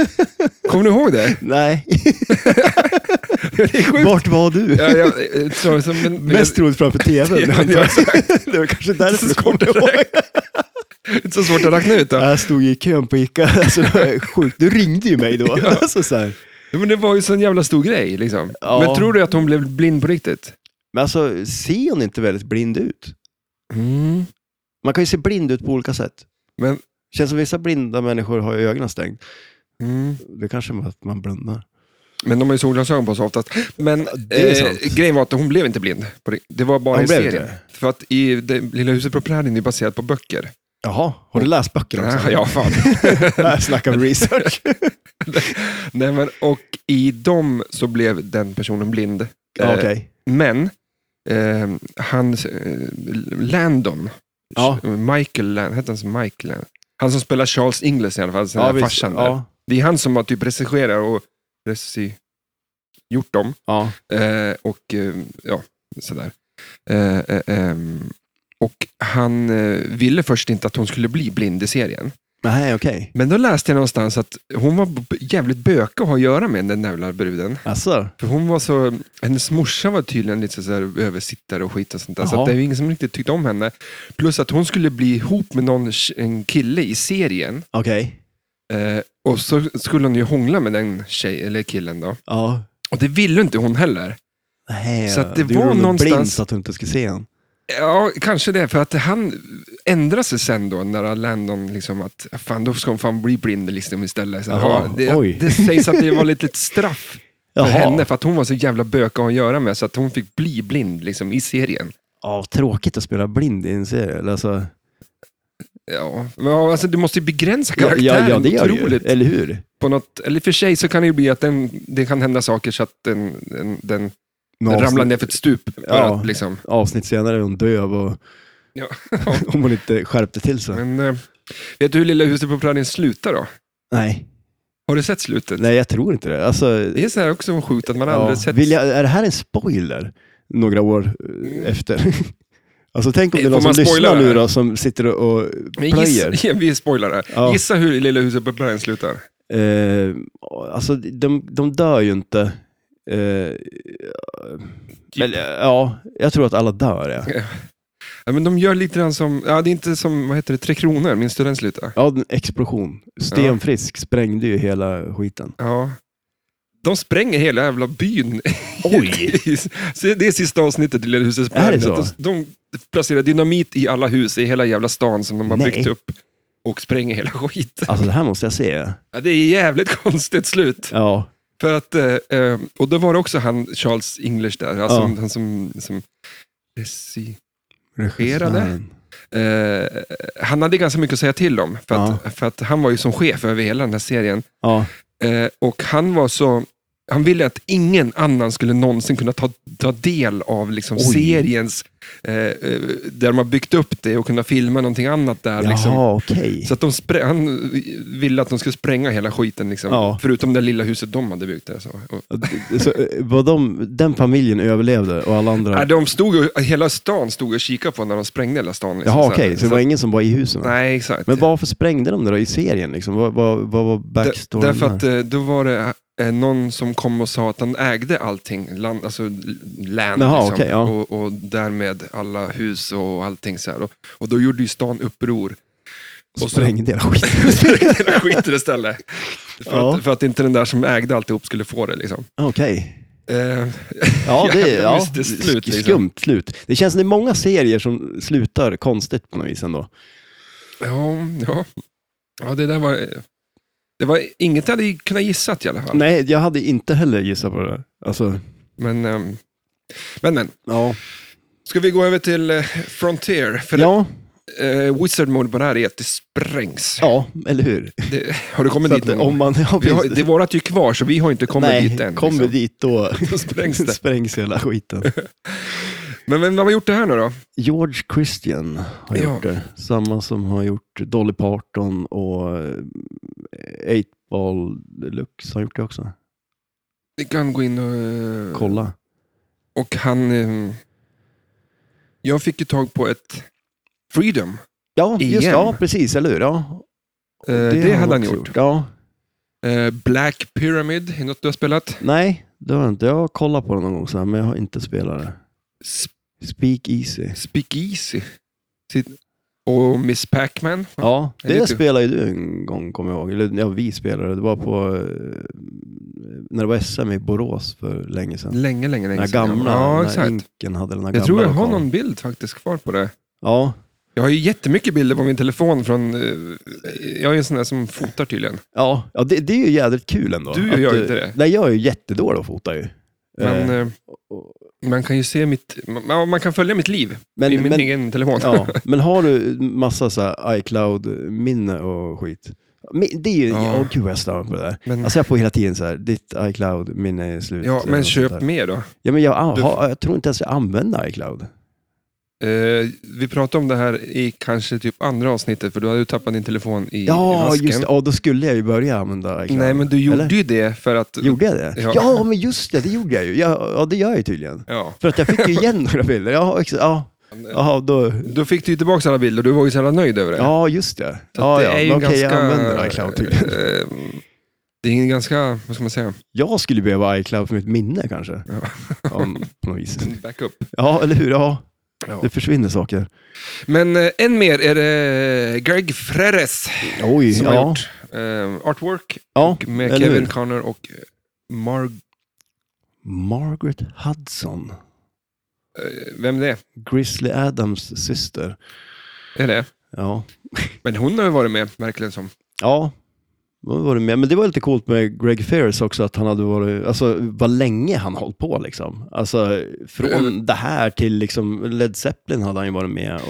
Speaker 2: Kommer du ihåg det?
Speaker 1: Nej,
Speaker 2: det är sjukt.
Speaker 1: vart var du?
Speaker 2: Ja, jag, eh, så, så, men,
Speaker 1: Mest troligt framför tvn. antar
Speaker 2: Ja,
Speaker 1: jag.
Speaker 2: exakt.
Speaker 1: det var kanske därför du
Speaker 2: Så
Speaker 1: kom
Speaker 2: svårt att
Speaker 1: ihåg.
Speaker 2: Det är så svårt att räkna ut. Då.
Speaker 1: Jag stod i kön på Ica. Alltså, det var sjukt. Du ringde ju mig då. Alltså, så här.
Speaker 2: Ja, Men det var ju så en jävla stor grej. Liksom.
Speaker 1: Ja.
Speaker 2: Men tror du att hon blev blind på riktigt? Mm,
Speaker 1: Men alltså, ser hon inte väldigt blind ut? Man kan ju se blind ut på olika sätt.
Speaker 2: Men,
Speaker 1: Känns som vissa blinda människor har ju ögonen stängd.
Speaker 2: mm,
Speaker 1: Det kanske är att man blundar.
Speaker 2: men de har ju solglasögon på sig oftast. Men eh,
Speaker 1: det är sant.
Speaker 2: grejen var att hon blev inte blind. på det- Det var bara
Speaker 1: Hon
Speaker 2: i
Speaker 1: Eh, blev inte
Speaker 2: serien. För att i det Lilla huset på prärien är baserat på böcker.
Speaker 1: Jaha, har du läst böckerna också?
Speaker 2: Ja, fan.
Speaker 1: Där snackar vi research.
Speaker 2: Nej, men, och i dem så blev den personen blind.
Speaker 1: Ja,
Speaker 2: Eh,
Speaker 1: Okej.
Speaker 2: Men eh, han, eh, Landon,
Speaker 1: Ja.
Speaker 2: Michael Landon, hette han så Michael Landon? Han som spelar Charles Ingles i alla fall, sen
Speaker 1: Ja,
Speaker 2: där
Speaker 1: visst.
Speaker 2: farsan där.
Speaker 1: ja,
Speaker 2: Det är han som har typ regisserat och regi, gjort dem.
Speaker 1: ja.
Speaker 2: Eh, och eh, ja, sådär. Eh, eh, ehm, och han eh, ville först inte att hon skulle bli blind i serien.
Speaker 1: Nej, okej.
Speaker 2: Men då läste jag någonstans att hon var b- jävligt bökig att ha att göra med, den där jävla bruden.
Speaker 1: Alltså,
Speaker 2: För hon var så, hennes morsa var tydligen lite så här översittare och skit och sånt där. Så
Speaker 1: Jaha.
Speaker 2: att det var ingen som riktigt tyckte om henne. Plus att hon skulle bli ihop med någon en kille i serien.
Speaker 1: okej.
Speaker 2: Eh, och så skulle hon ju hångla med den tjej, eller killen då.
Speaker 1: Ja.
Speaker 2: Och det ville inte hon heller.
Speaker 1: Nej,
Speaker 2: Så att det
Speaker 1: du
Speaker 2: var
Speaker 1: gjorde honom
Speaker 2: någonstans-
Speaker 1: blind så att du inte skulle se honom.
Speaker 2: Ja, kanske det. För att han ändrade sig sen då när Landon liksom att fan då ska hon fan bli blind liksom istället. Så,
Speaker 1: Jaha,
Speaker 2: ja, det,
Speaker 1: oj.
Speaker 2: det sägs att det var lite ett straff för henne för att hon var så jävla bökig att göra med så att hon fick bli blind liksom i serien.
Speaker 1: Ja, tråkigt att spela blind i en serie. eller Alltså,
Speaker 2: Ja, men ja, alltså, du måste ju begränsa
Speaker 1: ja,
Speaker 2: karaktären
Speaker 1: ja, ja, det gör ju. Eh.
Speaker 2: otroligt.
Speaker 1: Eller hur?
Speaker 2: På något, eller för sig så kan det ju bli att den, det kan hända saker så att den, den, den
Speaker 1: Någon
Speaker 2: ramlar
Speaker 1: avsnitt-
Speaker 2: ner för ett stup. För
Speaker 1: Ja.
Speaker 2: att, liksom.
Speaker 1: Avsnitt senare är hon döv och
Speaker 2: Ja.
Speaker 1: om hon inte skärpte till sig.
Speaker 2: Men, eh, vet du hur Lilla huset på prärien slutar då?
Speaker 1: Nej,
Speaker 2: Har du sett slutet?
Speaker 1: nej jag tror inte det. Alltså,
Speaker 2: Det är så här också sjukt att man aldrig
Speaker 1: ja.
Speaker 2: sett...
Speaker 1: Vill jag, är det här en spoiler? Några år eh, efter. alltså tänk om det är
Speaker 2: Mm. Får
Speaker 1: någon
Speaker 2: man
Speaker 1: som
Speaker 2: spoila
Speaker 1: lyssnar
Speaker 2: det här?
Speaker 1: nu då, som sitter och och
Speaker 2: Men
Speaker 1: plöjer.
Speaker 2: gissa, vi spoilar här.
Speaker 1: Ja.
Speaker 2: Gissa hur Lilla huset på prärien slutar.
Speaker 1: Eh, alltså, de, de dör ju inte. Eh, men, eh, ja, jag tror att alla dör. Ja,
Speaker 2: Ja, men de gör lite grann som, ja, det är inte som, vad heter det, Tre Kronor, minns du den slutar?
Speaker 1: ja en explosion. Stenfrisk sprängde ju hela skiten.
Speaker 2: Ja. De spränger hela jävla byn.
Speaker 1: Oj!
Speaker 2: Så det är sista avsnittet i Lilla huset på
Speaker 1: Är det
Speaker 2: prärien.
Speaker 1: så?
Speaker 2: De, de placerar dynamit i alla hus i hela jävla stan som de har
Speaker 1: Nej.
Speaker 2: byggt upp och spränger hela skiten.
Speaker 1: Alltså det här måste jag se.
Speaker 2: Ja, det är jävligt konstigt slut.
Speaker 1: Ja,
Speaker 2: För att, eh, eh, och då var det också han Charles English där, alltså
Speaker 1: Ja.
Speaker 2: han som, som eh, regi-
Speaker 1: regissören.
Speaker 2: Regisserade. Eh, han hade ganska mycket att säga till om, för att, för att han var ju som chef över hela den här serien.
Speaker 1: Ja,
Speaker 2: Eh, och han var så... Han ville att ingen annan skulle någonsin kunna ta, ta del av liksom
Speaker 1: Oj.
Speaker 2: seriens, eh, eh, där de har byggt upp det och kunna filma någonting annat där. Liksom.
Speaker 1: jaha okej.
Speaker 2: Så att de sprä- han ville att de skulle spränga hela skiten, liksom.
Speaker 1: Ja.
Speaker 2: förutom det lilla huset de hade byggt. Där, så. Och,
Speaker 1: Så, eh, var de, den familjen överlevde och alla andra?
Speaker 2: Nej, de stod, och- hela stan stod och kikade på när de sprängde hela stan. Liksom,
Speaker 1: Jaha
Speaker 2: så här.
Speaker 1: okej, så det var
Speaker 2: att-
Speaker 1: ingen som var i husen?
Speaker 2: Nej, exakt.
Speaker 1: Men varför sprängde de det då i serien? Liksom? Vad, vad, vad var
Speaker 2: Dä-
Speaker 1: backstoryn?
Speaker 2: Därför
Speaker 1: där?
Speaker 2: att eh, då var det eh, någon som kom och sa att han ägde allting, land, alltså l- land
Speaker 1: Jaha,
Speaker 2: liksom,
Speaker 1: okej, ja.
Speaker 2: och, och därmed alla hus och allting. Så här. Och, och då gjorde ju stan uppror.
Speaker 1: Och sprängde hela skiten?
Speaker 2: sprängde hela skiten istället. För,
Speaker 1: Ja.
Speaker 2: att, för att inte den där som ägde alltihop skulle få det. Liksom.
Speaker 1: Okej.
Speaker 2: Eh,
Speaker 1: Ja, det är
Speaker 2: Jävla
Speaker 1: ja,
Speaker 2: mystiskt slut,
Speaker 1: sk-
Speaker 2: liksom.
Speaker 1: skumt slut. Det känns som det är många serier som slutar konstigt på något vis ändå.
Speaker 2: ja, ja. ja, det där var... eh, Det var inget jag hade kunnat gissat i alla fall.
Speaker 1: Nej, jag hade inte heller gissat på det. där. Alltså,
Speaker 2: Men, ehm, men, men.
Speaker 1: ja.
Speaker 2: Ska vi gå över till eh, Frontier? För
Speaker 1: Ja,
Speaker 2: eh, Wizard mode på det här är att det sprängs.
Speaker 1: ja, eller hur?
Speaker 2: Det, har du kommit
Speaker 1: Så
Speaker 2: dit
Speaker 1: att,
Speaker 2: någon
Speaker 1: om
Speaker 2: gång?
Speaker 1: man, ja,
Speaker 2: Vi har,
Speaker 1: precis.
Speaker 2: det vårat är ju kvar, så vi har inte kommit
Speaker 1: Nej,
Speaker 2: dit än.
Speaker 1: kommer
Speaker 2: liksom.
Speaker 1: dit då
Speaker 2: Då sprängs det.
Speaker 1: sprängs hela skiten.
Speaker 2: Men vem har gjort det här nu då?
Speaker 1: George Christian har
Speaker 2: Ja.
Speaker 1: gjort det. Samma som har gjort Dolly Parton och eh, 8-Ball Deluxe har gjort det också.
Speaker 2: Vi kan gå in och... eh,
Speaker 1: Kolla.
Speaker 2: Och han... eh, Jag fick ju tag på ett Freedom.
Speaker 1: Ja, just,
Speaker 2: Igen.
Speaker 1: ja precis, eller hur? Ja,
Speaker 2: Eh, Det,
Speaker 1: har
Speaker 2: hade han
Speaker 1: också
Speaker 2: gjort.
Speaker 1: Ja,
Speaker 2: Eh, Black Pyramid, är något du har spelat?
Speaker 1: Nej, det har jag inte. Jag har kollat på den någon gång, så här, men jag har inte spelat det. Speak Easy.
Speaker 2: Speak Easy. Sitt- Och Miss Pac-Man.
Speaker 1: Ja,
Speaker 2: det är
Speaker 1: det
Speaker 2: du.
Speaker 1: spelade ju du en gång, kommer jag ihåg. Eller ja, vi spelade. Det var på eh, när det var SM i Borås för länge sedan.
Speaker 2: Länge, länge, länge
Speaker 1: Den här gamla,
Speaker 2: Ja,
Speaker 1: när
Speaker 2: exakt.
Speaker 1: Inken hade den här
Speaker 2: Jag
Speaker 1: gamla
Speaker 2: tror jag har
Speaker 1: lokalen.
Speaker 2: någon bild faktiskt kvar på det.
Speaker 1: Ja,
Speaker 2: Jag Jag har ju jättemycket bilder på min telefon från... eh, Jag är en sån där som fotar tydligen.
Speaker 1: Ja, ja det, det är ju jädrigt kul ändå. eh,
Speaker 2: Du gör ju inte det.
Speaker 1: Nej, jag är ju jättedålig på att fota ju. Eh,
Speaker 2: Men eh, man kan ju se mitt... Man, man kan följa mitt liv
Speaker 1: Men-
Speaker 2: i min
Speaker 1: men-
Speaker 2: egen telefon.
Speaker 1: Ja, men har du massa så här iCloud-minne och skit? Men Det är ju,
Speaker 2: Ja.
Speaker 1: åh gud vad jag slarvar på det där.
Speaker 2: Men-
Speaker 1: Alltså jag får hela tiden så här, ditt iCloud-minne är slut.
Speaker 2: Ja,
Speaker 1: eller
Speaker 2: men
Speaker 1: något
Speaker 2: köp
Speaker 1: sånt där.
Speaker 2: mer då.
Speaker 1: Ja, men jag, ah,
Speaker 2: Du-
Speaker 1: har, jag tror inte ens jag använder iCloud.
Speaker 2: Eh, vi pratade om det här i kanske typ andra avsnittet, för du hade ju tappat din telefon i, i
Speaker 1: Ja,
Speaker 2: vasken.
Speaker 1: just det. Ja, då skulle jag ju börja använda iCloud.
Speaker 2: Nej, men du gjorde
Speaker 1: Eller?
Speaker 2: ju det för att...
Speaker 1: Gjorde jag det?
Speaker 2: Ja.
Speaker 1: Ja. men just det, det gjorde jag ju. Ja, ja, det gör jag ju tydligen.
Speaker 2: Ja.
Speaker 1: För att jag fick ju igen några bilder. Ja, exa, ja. Jaha, då...
Speaker 2: Då fick du ju tillbaka alla bilder och du var ju så jävla nöjd över det.
Speaker 1: Ja, just det.
Speaker 2: Så
Speaker 1: Ja,
Speaker 2: att
Speaker 1: ja.
Speaker 2: är ju
Speaker 1: Men Okej, jag
Speaker 2: ganska-
Speaker 1: använder iCloud tydligen.
Speaker 2: eh, Det är en ganska, vad ska man säga,
Speaker 1: Jag skulle behöva iCloud för mitt minne kanske.
Speaker 2: Ja.
Speaker 1: Om, på något vis.
Speaker 2: en backup.
Speaker 1: Ja, eller hur? Ja.
Speaker 2: Ja.
Speaker 1: Det försvinner saker.
Speaker 2: Men eh, än mer är det eh, Greg Freres
Speaker 1: Oj,
Speaker 2: som har
Speaker 1: ja.
Speaker 2: gjort eh, artwork
Speaker 1: ja.
Speaker 2: med
Speaker 1: eller
Speaker 2: Kevin
Speaker 1: hur?
Speaker 2: Connor och eh, Marg...
Speaker 1: Margaret Hudson,
Speaker 2: eh, Vem det är?
Speaker 1: Grizzly Adams syster.
Speaker 2: är det?
Speaker 1: Ja,
Speaker 2: Men hon har ju varit med, verkligen som.
Speaker 1: ja. Vad var det med? Men det var lite coolt med Greg Ferris också, att han hade varit, alltså vad länge han hållit på liksom. Alltså från
Speaker 2: Mm.
Speaker 1: det här till liksom Led Zeppelin hade han ju varit med och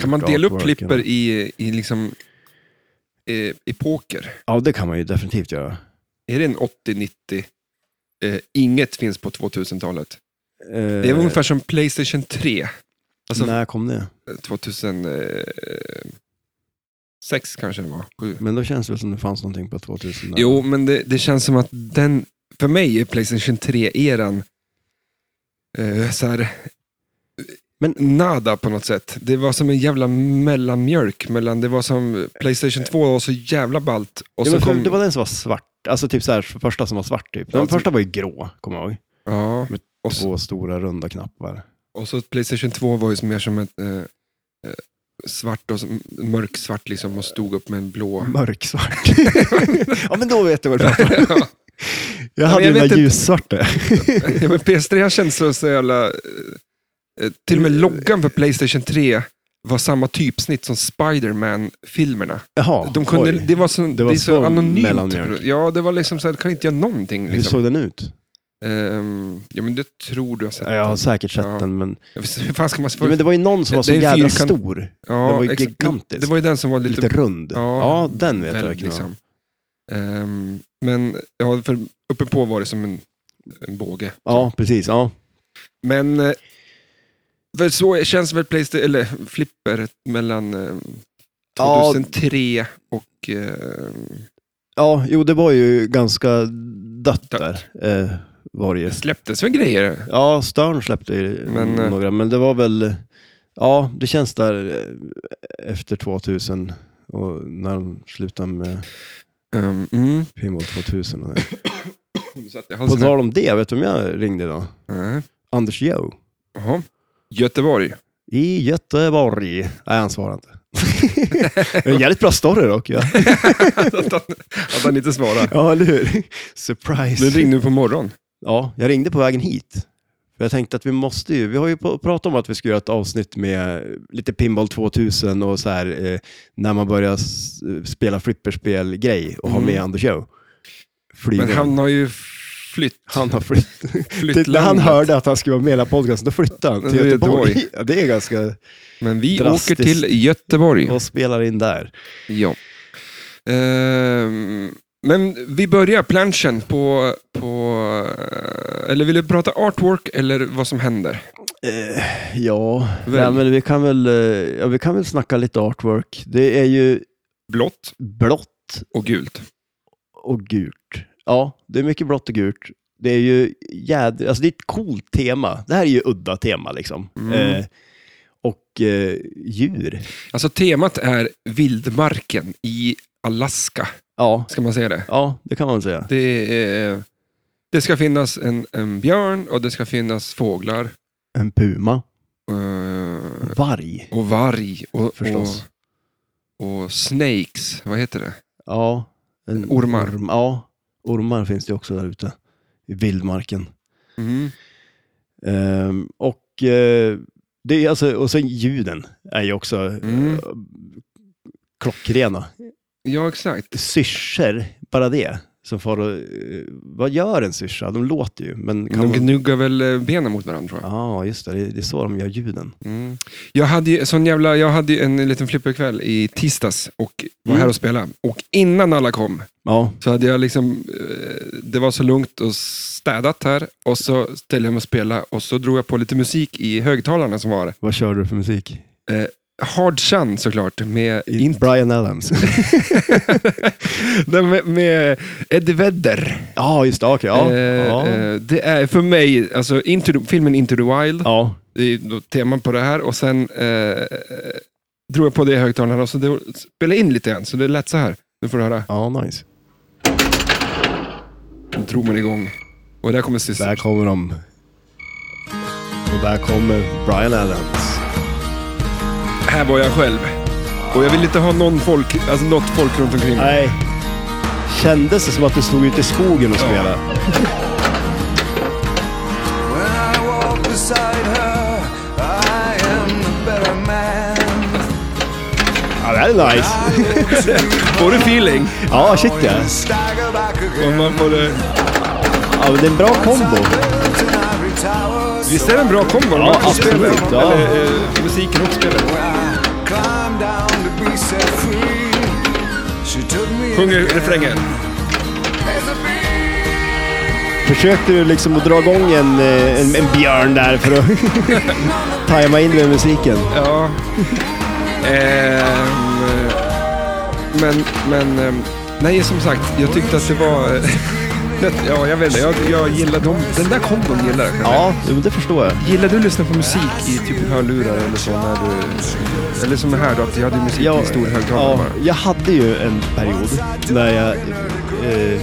Speaker 2: Kan man
Speaker 1: gjort
Speaker 2: dela upp
Speaker 1: artworken.
Speaker 2: klipper i, i liksom eh, epoker?
Speaker 1: Ja, det kan man ju definitivt göra. Eh,
Speaker 2: Är det en 80-90? Eh, inget finns på 2000-talet.
Speaker 1: Eh,
Speaker 2: Det är ungefär som Playstation 3. Alltså
Speaker 1: När kom det?
Speaker 2: 2006 eh, kanske det var. Sju.
Speaker 1: Men då känns det väl som det fanns någonting på 2000? där.
Speaker 2: Jo, men det, det känns som att den, för mig är Playstation 3-eran eh, så här,
Speaker 1: Men-
Speaker 2: nada på något sätt. Det var som en jävla mellanmjölk. Mellan, det var som Playstation 2 var så jävla ballt. Och
Speaker 1: ja,
Speaker 2: så
Speaker 1: men för,
Speaker 2: kom,
Speaker 1: Det var den som var svart. Alltså typ så här, första som var svart typ. Den
Speaker 2: Ja, typ.
Speaker 1: första var ju grå, kommer jag ihåg.
Speaker 2: ja,
Speaker 1: med
Speaker 2: och, så,
Speaker 1: Två stora runda knappar.
Speaker 2: och så Playstation 2 var ju som mer som ett eh, eh, svart och som- mörksvart liksom och stod upp med en blå.
Speaker 1: Mörksvart. ja, men då vet du vad det var.
Speaker 2: ja.
Speaker 1: Jag
Speaker 2: men
Speaker 1: hade
Speaker 2: jag
Speaker 1: ju den
Speaker 2: vet
Speaker 1: där
Speaker 2: inte.
Speaker 1: ljussvarta.
Speaker 2: Ja, men PS3 känns så, så jävla... eh, eh, Till och med loggan för Playstation 3 var samma typsnitt som Spiderman-filmerna.
Speaker 1: Jaha,
Speaker 2: De kunde,
Speaker 1: oj.
Speaker 2: det var så, det
Speaker 1: var
Speaker 2: är så
Speaker 1: så
Speaker 2: anonymt.
Speaker 1: mellanmjölk.
Speaker 2: Ja, det var liksom så här, det kan inte göra någonting.
Speaker 1: Hur
Speaker 2: Liksom.
Speaker 1: såg den ut?
Speaker 2: Ehm, ja, men det tror du har sett.
Speaker 1: Ja, Jag har säkert sett
Speaker 2: Ja.
Speaker 1: den, men...
Speaker 2: Jag vet inte, Hur fan ska man...
Speaker 1: Ja, men det var ju någon som var
Speaker 2: Det
Speaker 1: så
Speaker 2: är en
Speaker 1: jävla
Speaker 2: fyrkant-
Speaker 1: stor.
Speaker 2: ja,
Speaker 1: den var ju
Speaker 2: exakt.
Speaker 1: gigantisk.
Speaker 2: Det var ju den som var lite...
Speaker 1: Lite rund.
Speaker 2: Ja.
Speaker 1: Ja, den vet jag
Speaker 2: väl,
Speaker 1: verkligen.
Speaker 2: liksom. Ehm, men ja, för uppe på var det som en, en båge.
Speaker 1: Ja, precis. Ja.
Speaker 2: Men eh, för så känns väl Playstation, eller Flipper mellan eh,
Speaker 1: Ja.
Speaker 2: 2003 och... eh,
Speaker 1: ja, jo det var ju ganska
Speaker 2: Dött.
Speaker 1: dött där. Eh, var det ju.
Speaker 2: Det släpptes väl grejer?
Speaker 1: Ja, Stern släppte ju
Speaker 2: Men, eh,
Speaker 1: några, men det var väl, ja, det känns där eh, efter 2000 och när de slutade med
Speaker 2: Ehm, mm.
Speaker 1: Pinball 2000. Och det.
Speaker 2: Så att jag
Speaker 1: På
Speaker 2: halsade.
Speaker 1: tal om det, vet du vem jag ringde då?
Speaker 2: Nej.
Speaker 1: Anders Jo
Speaker 2: Jaha. Göteborg.
Speaker 1: i Göteborg. Nej, han svarade inte. Det är en jävligt bra story dock. Ja,
Speaker 2: att, han, att han inte svarar.
Speaker 1: ja eller hur?
Speaker 2: Nu
Speaker 1: Surprise.
Speaker 2: ringde du på morgonen.
Speaker 1: Ja, jag ringde på vägen hit. För jag tänkte att vi måste ju, vi har ju på- pratat om att vi ska göra ett avsnitt med lite Pinball 2000 och så här eh, när man börjar s- spela flipperspel-grej och
Speaker 2: Mm.
Speaker 1: ha med Anders Joe.
Speaker 2: Men han har ju flytt.
Speaker 1: han har flytt.
Speaker 2: flytt
Speaker 1: När han
Speaker 2: landet.
Speaker 1: hörde att han skulle vara med i hela podcasten, då flyttade han till
Speaker 2: Det är
Speaker 1: Göteborg.
Speaker 2: Göteborg.
Speaker 1: Ja, det är ganska...
Speaker 2: Men vi
Speaker 1: Drastiskt.
Speaker 2: åker till Göteborg.
Speaker 1: Och spelar in där.
Speaker 2: Ja. Ehm, men vi börjar planschen på, på... eh, Eller vill du prata artwork eller vad som händer?
Speaker 1: Eh, Ja,
Speaker 2: Väl.
Speaker 1: nej, men vi kan, väl, eh, ja, vi kan väl snacka lite artwork. Det är ju
Speaker 2: Blått
Speaker 1: blått
Speaker 2: och gult.
Speaker 1: och gult. Ja, det är mycket blått och gult. Det är ju jädrigt, alltså det är ett coolt tema. Det här är ju udda tema liksom.
Speaker 2: Mm.
Speaker 1: Eh, och eh, djur.
Speaker 2: Alltså temat är vildmarken i Alaska,
Speaker 1: Ja,
Speaker 2: ska man säga det?
Speaker 1: ja, det kan man väl säga.
Speaker 2: Det, är, det ska finnas en, en björn och det ska finnas fåglar
Speaker 1: En puma.
Speaker 2: eh,
Speaker 1: Varg,
Speaker 2: och varg och,
Speaker 1: förstås.
Speaker 2: och, och snakes, vad heter det?
Speaker 1: Ja. En
Speaker 2: Ormar.
Speaker 1: orm- ja, ormar finns det ju också där ute. I vildmarken.
Speaker 2: Mm.
Speaker 1: Ehm, och eh, Det är alltså, och sen ljuden är ju också
Speaker 2: Mm.
Speaker 1: eh, klockrena.
Speaker 2: Ja, exakt.
Speaker 1: Syrsor, bara det. Som far och, eh, vad gör en syrsa? De låter ju, men kan
Speaker 2: De
Speaker 1: man...
Speaker 2: gnuggar väl eh, benen mot varandra tror jag.
Speaker 1: Ja, just det. det. Det är så de gör ljuden.
Speaker 2: Mm. Jag, hade ju, sån jävla, jag hade ju en liten flipperkväll i tisdags och var
Speaker 1: Mm.
Speaker 2: här och spelade. Och innan alla kom
Speaker 1: Ja,
Speaker 2: så hade jag liksom, eh, det var så lugnt och städat här och så ställde jag mig och spelade och så drog jag på lite musik i högtalarna som var.
Speaker 1: vad kör du för musik?
Speaker 2: Eh, Hard Sun såklart, med, in,
Speaker 1: Brian Adams.
Speaker 2: nej, med, med Eddie Vedder.
Speaker 1: ja, just det. Okej, ja.
Speaker 2: Eh,
Speaker 1: ja.
Speaker 2: eh, det är för mig, alltså into the, filmen Into the Wild,
Speaker 1: ja.
Speaker 2: det är då teman på det här och sen eh, eh, drog jag på det i högtalarna och så det, spelade in lite grann, så det lät så här. Nu får du höra.
Speaker 1: Ja, nice.
Speaker 2: Nu tror man igång. Och där kommer sist.
Speaker 1: Där kommer de. Och där kommer Brian Adams.
Speaker 2: Här var jag själv. Och jag vill inte ha någon folk, alltså något folk runt omkring mig.
Speaker 1: Nej. Kändes det som att du stod ute i skogen och spelade?
Speaker 3: When I walk beside her, I am the better man.
Speaker 1: Ja, det här är nice.
Speaker 3: I go to
Speaker 2: Får du feeling?
Speaker 1: Ja, shit ja.
Speaker 3: and stagger back
Speaker 2: Och
Speaker 3: again.
Speaker 2: man får, eh, det-
Speaker 1: ja men det är en bra kombo.
Speaker 3: Built an ivory tower,
Speaker 2: visst
Speaker 3: so
Speaker 2: är det en bra kombo?
Speaker 1: Ja, absolut, ja.
Speaker 2: Eller, eh, musiken och spelet.
Speaker 3: I climbed down to be set free. She took me
Speaker 2: Sjunger
Speaker 3: in again
Speaker 2: refrängen.
Speaker 3: as a bee.
Speaker 1: Försökte du liksom att dra igång en, eh, en, en björn där för att tajma in med musiken?
Speaker 2: Ja. Ehm, men, men... ehm, Nej, som sagt, jag tyckte att det var... eh, det- Ja, jag vet inte. Jag, jag gillar dem. Den där kombon gillar jag.
Speaker 1: Ja, jo, det förstår jag.
Speaker 2: Gillar du att lyssna på musik i typ hörlurar eller så? När du, eller som här då, att jag hade musik i
Speaker 1: Jag,
Speaker 2: stor högtalare
Speaker 1: ja,
Speaker 2: bara.
Speaker 1: jag hade ju en period när jag... Eh,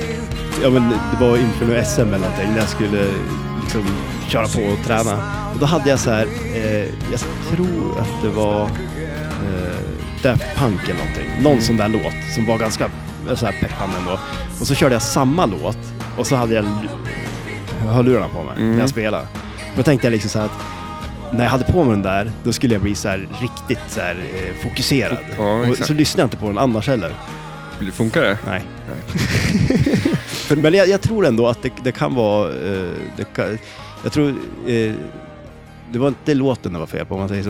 Speaker 1: ja, men det var inför något SM eller någonting, när jag skulle liksom köra på och träna. Och då hade jag så här, eh, jag tror att det var eh, Daft Punk eller någonting. Någon
Speaker 2: Mm.
Speaker 1: sån där låt som var ganska eh, så här peppande ändå. Och så körde jag samma låt och så hade jag l- hörlurarna på mig när
Speaker 2: Mm.
Speaker 1: jag spelade. Då tänkte jag liksom så här att när jag hade på mig den där, då skulle jag bli så här riktigt så här, eh, fokuserad.
Speaker 2: Ja,
Speaker 1: och
Speaker 2: exakt.
Speaker 1: så lyssnade jag inte på den annars heller.
Speaker 2: Funkar det?
Speaker 1: Nej. För- Men jag, jag tror ändå att det, det kan vara... Eh, det kan, jag tror... Eh, det var inte låten det var fel på, om man säger så.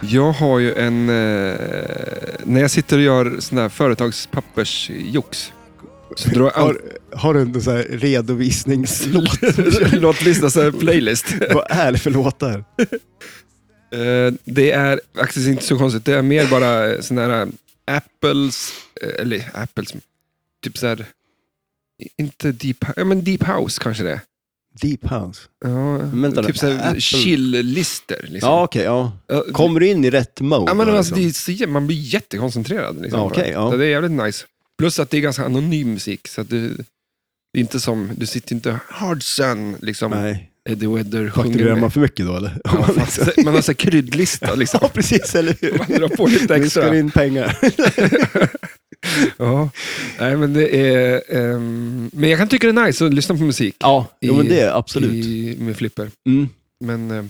Speaker 2: Jag har ju en... Eh, när jag sitter och gör sån där företagspappersjox. Så drar jag all-
Speaker 1: har du en sån här redovisningslåt?
Speaker 2: låtlista, så här playlist.
Speaker 1: Vad är det för låtar?
Speaker 2: Eh, det är faktiskt inte så konstigt. Det är mer bara eh, sån här Apples, eh, eller Apples, typ så här, inte deep, ja, men deep house kanske det är.
Speaker 1: Deep House.
Speaker 2: Ja,
Speaker 1: Vänta nu,
Speaker 2: typ så här
Speaker 1: Apple-
Speaker 2: chill-lister. Liksom.
Speaker 1: Ja, okej. ja.
Speaker 2: Ja,
Speaker 1: Kommer du in i rätt mode?
Speaker 2: ja, men
Speaker 1: då,
Speaker 2: alltså, det
Speaker 1: liksom?
Speaker 2: är, så jä- man blir jättekoncentrerad. Liksom,
Speaker 1: Ja, okej, ja.
Speaker 2: Så det är jävligt nice. Plus att det är ganska anonym musik. Så att du, det är inte som, du sitter inte hard sun, liksom,
Speaker 1: Nej.
Speaker 2: Eddie Weather
Speaker 1: Fakturerar
Speaker 2: med.
Speaker 1: man för mycket då eller?
Speaker 2: Ja, man, har- man har så här kryddlista. Liksom.
Speaker 1: Ja, precis, eller hur?
Speaker 2: Man drar på lite
Speaker 1: Nu ska
Speaker 2: extra.
Speaker 1: det in pengar.
Speaker 2: Ja, nej men det är... ehm, men jag kan tycka det är nice att lyssna på musik
Speaker 1: Ja, jo, men det är absolut.
Speaker 2: i, med flipper.
Speaker 1: Mm.
Speaker 2: Men eh,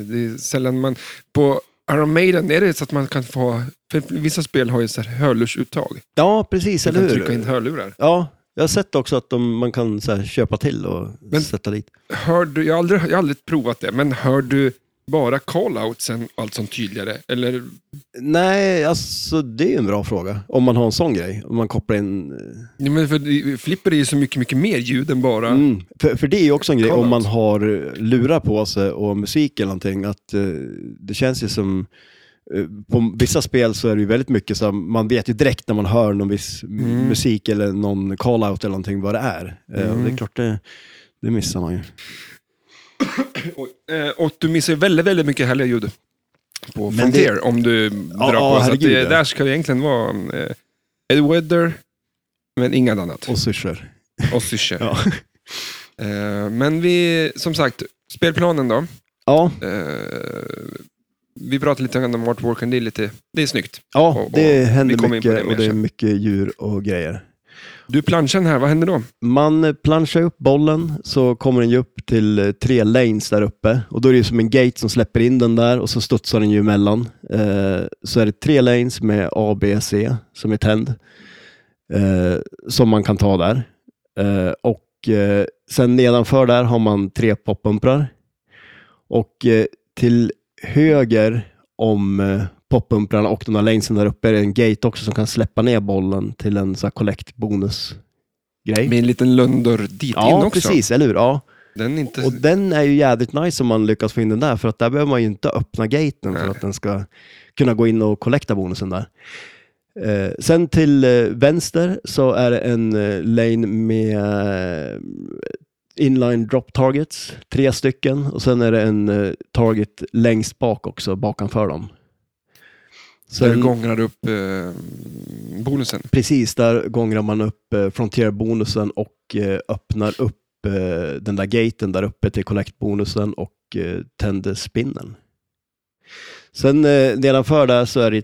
Speaker 2: det är sällan man... På Iron Maiden är det så att man kan få... För vissa spel har ju så här hörlursuttag.
Speaker 1: Ja, precis,
Speaker 2: Man
Speaker 1: eller
Speaker 2: kan
Speaker 1: hur?
Speaker 2: trycka in hörlurar.
Speaker 1: Ja, jag har sett också att de, man kan så här, köpa till och
Speaker 2: Men-
Speaker 1: sätta dit.
Speaker 2: Hör du, jag, har aldrig, jag har aldrig provat det, men hör du bara call-outsen allt som tydligare? Eller,
Speaker 1: Nej, alltså det är ju en bra fråga. Om man har en sån grej. Om man kopplar in... eh,
Speaker 2: Nej, men för det- flipper är ju så mycket, mycket mer ljud än bara...
Speaker 1: Mm. För, för det är ju också en grej
Speaker 2: Kolla
Speaker 1: om man
Speaker 2: också.
Speaker 1: har eh, lurar på sig och musik eller någonting. Att, eh, det känns ju som... eh, På vissa spel så är det ju väldigt mycket så här, man vet ju direkt när man hör någon viss m-
Speaker 2: Mm.
Speaker 1: musik eller någon call-out eller någonting vad det är. Eh, och
Speaker 2: Mm.
Speaker 1: Det är klart, det, det missar man ju.
Speaker 2: Och, eh, och du missar ju väldigt, väldigt mycket härliga ljud på
Speaker 1: Men
Speaker 2: Frontier om du drar
Speaker 1: ja,
Speaker 2: på. Så att
Speaker 1: herregud,
Speaker 2: det,
Speaker 1: ja.
Speaker 2: där ska det egentligen vara eh, Ed Weather, men inget annat.
Speaker 1: Och syrsor.
Speaker 2: Och Sysche.
Speaker 1: Ja.
Speaker 2: Eh, men vi, som sagt, spelplanen då.
Speaker 1: ja,
Speaker 2: Eh, vi pratade lite grann om artworken, det är, lite, det är snyggt.
Speaker 1: ja
Speaker 2: Och- och
Speaker 1: det
Speaker 2: vi
Speaker 1: händer
Speaker 2: kommer in på
Speaker 1: mycket
Speaker 2: det mer
Speaker 1: och det är
Speaker 2: sen.
Speaker 1: mycket djur och grejer.
Speaker 2: Du, planschen här, vad händer då?
Speaker 1: Man planchar upp bollen så kommer den ju upp till eh, tre lanes där uppe och då är det ju som en gate som släpper in den där och så studsar den ju emellan. Eh, så är det tre lanes med A, B, C som är tänd eh, som man kan ta där. Eh, och eh, sen nedanför där har man tre poppumprar och eh, till höger om eh, poppumprarna och de där lanesen där uppe är det en gate också som kan släppa ner bollen till en så här collect bonus grej.
Speaker 2: Med en liten lönndörr dit in
Speaker 1: Ja,
Speaker 2: också.
Speaker 1: precis. Eller hur? Ja.
Speaker 2: Den är inte...
Speaker 1: Och den är ju jädrigt nice om man lyckas få in den där, för att där behöver man ju inte öppna gaten
Speaker 2: Nej.
Speaker 1: för att den ska kunna gå in och kollekta bonusen där. Eh, sen till eh, vänster så är det en eh, lane med eh, inline drop targets, tre stycken, och sen är det en eh, target längst bak också, bakanför dem.
Speaker 2: Där
Speaker 1: Sen,
Speaker 2: gångrar upp eh, bonusen.
Speaker 1: precis, där gångrar man upp eh, frontier-bonusen och eh, öppnar upp eh, den där gaten där uppe till collect-bonusen och eh, tänder spinnen. Sen eh, nedanför där så är det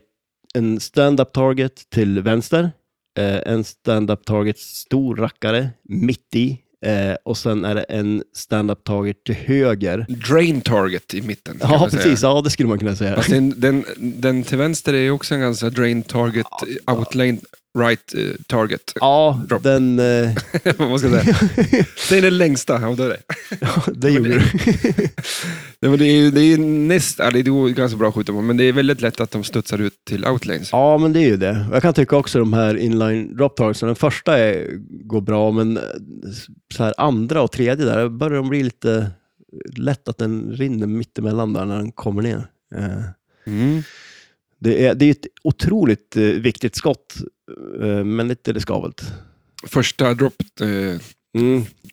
Speaker 1: en stand-up target till vänster, eh, en stand-up target stor rackare mitt i eh, och sen är det en stand-up target till höger.
Speaker 2: Drain target i mitten. kan
Speaker 1: Ja,
Speaker 2: man säga.
Speaker 1: precis. Ja, det skulle man kunna säga.
Speaker 2: Fast den, den, den till vänster är ju också en ganska drain target, outlane right eh, target.
Speaker 1: Ja,
Speaker 2: Drop.
Speaker 1: den... Eh,
Speaker 2: Vad ska jag säga? Det är den längsta. Ja, det, är det.
Speaker 1: det gjorde du.
Speaker 2: Nej, men det är ju det är ju näst, ja, det är ju ganska bra att skjuta på, men det är väldigt lätt att de studsar ut till outlanes.
Speaker 1: Ja, men det är ju det. Jag kan tycka också de här inline drop targetsen, den första är, går bra, men eh, så här andra och tredje där börjar de bli lite lätt att den rinner mittemellan där när den kommer ner. Eh,
Speaker 2: Mm.
Speaker 1: Det är, det är ett otroligt eh, viktigt skott, eh, men lite riskabelt.
Speaker 2: Första drop eh,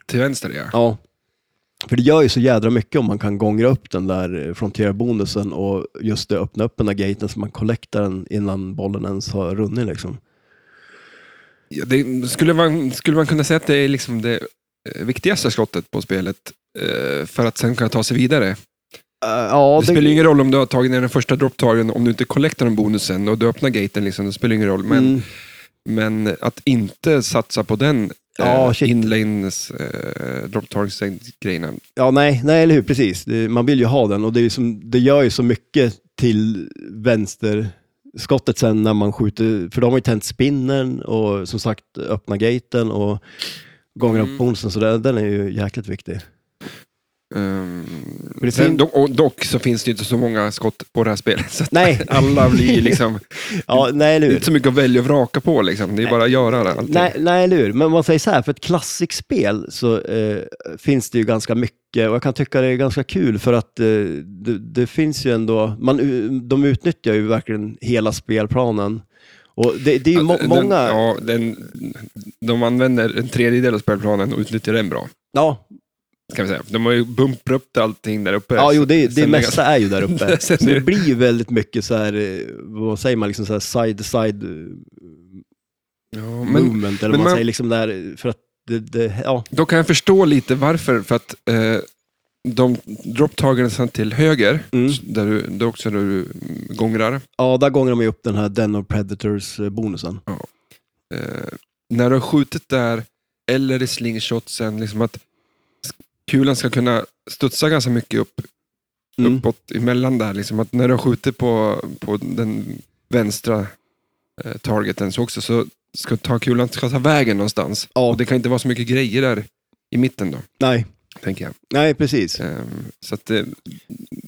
Speaker 2: till vänster, ja.
Speaker 1: Ja. För det gör ju så jädra mycket om man kan gångra upp den där eh, frontier-bonusen och just det, öppna upp den där gaten så man collectar den innan bollen ens har runnit. Liksom.
Speaker 2: Ja, det, skulle, man, skulle man kunna säga att det är liksom det eh, viktigaste skottet på spelet eh, för att sen kunna ta sig vidare?
Speaker 1: Eh, ja,
Speaker 2: det, spelar ju ingen roll om du har tagit ner den första dropptagen, om du inte collectar den bonusen och du öppnar gaten, liksom, det spelar ingen roll. Men,
Speaker 1: Mm.
Speaker 2: men att inte satsa på den
Speaker 1: Ja,
Speaker 2: eh,
Speaker 1: shit.
Speaker 2: inlanes eh, dropptagsgrejerna.
Speaker 1: Ja, nej, nej, eller hur, precis. Det- Man vill ju ha den och det, är ju som, det gör ju så mycket till vänsterskottet sen när man skjuter, för de har ju tänt spinnen och som sagt öppna gaten och gånger
Speaker 2: Mm.
Speaker 1: upp bonusen, så den, den är ju jäkligt viktig.
Speaker 2: Ehm,
Speaker 1: Men det
Speaker 2: sen,
Speaker 1: fin-
Speaker 2: dock, och dock så finns det ju inte så många skott på det här spelet. Så att
Speaker 1: Nej.
Speaker 2: alla blir ju liksom,
Speaker 1: Ja, nej, eller
Speaker 2: det är
Speaker 1: hur.
Speaker 2: inte så mycket att välja och vraka på. Liksom. Det är bara att göra det. allting.
Speaker 1: Nej, nej, eller hur. Men om man säger så här, för ett klassikspel så eh, finns det ju ganska mycket och jag kan tycka det är ganska kul för att eh, det, det finns ju ändå, man, u- de utnyttjar ju verkligen hela spelplanen. Och det, det är ju må-
Speaker 2: Den-
Speaker 1: många...
Speaker 2: Ja, den, de använder en tredjedel av spelplanen och utnyttjar den bra.
Speaker 1: ja,
Speaker 2: Kan vi säga. De har ju bumprat upp allting där uppe.
Speaker 1: Ja, jo, det, det
Speaker 2: Sen-
Speaker 1: mesta är ju där uppe.
Speaker 2: Sen
Speaker 1: Så
Speaker 2: är
Speaker 1: det
Speaker 2: det-
Speaker 1: blir ju väldigt mycket så här, eh, vad säger man, liksom så här side-side
Speaker 2: Ja, men
Speaker 1: movement,
Speaker 2: men
Speaker 1: eller vad man
Speaker 2: man-
Speaker 1: säger, liksom där, för att det, det ja.
Speaker 2: Då kan jag förstå lite varför, för att eh, de dropptagarna till höger,
Speaker 1: Mm.
Speaker 2: där du, där också där du mm, gångrar,
Speaker 1: ja, där gånger de ju upp den här Den of Predators-bonusen.
Speaker 2: eh, när du har skjutit där, eller i slingshotsen, liksom att s- kulan ska kunna studsa ganska mycket upp,
Speaker 1: Mm.
Speaker 2: uppåt emellan där. Liksom att när du har skjutit på, på den vänstra eh, targeten så också, så ska ta kulan ska ta vägen någonstans.
Speaker 1: Ja.
Speaker 2: Och det kan inte vara så mycket grejer där i mitten då,
Speaker 1: Nej,
Speaker 2: tänker jag.
Speaker 1: nej precis.
Speaker 2: Eh, så att, eh,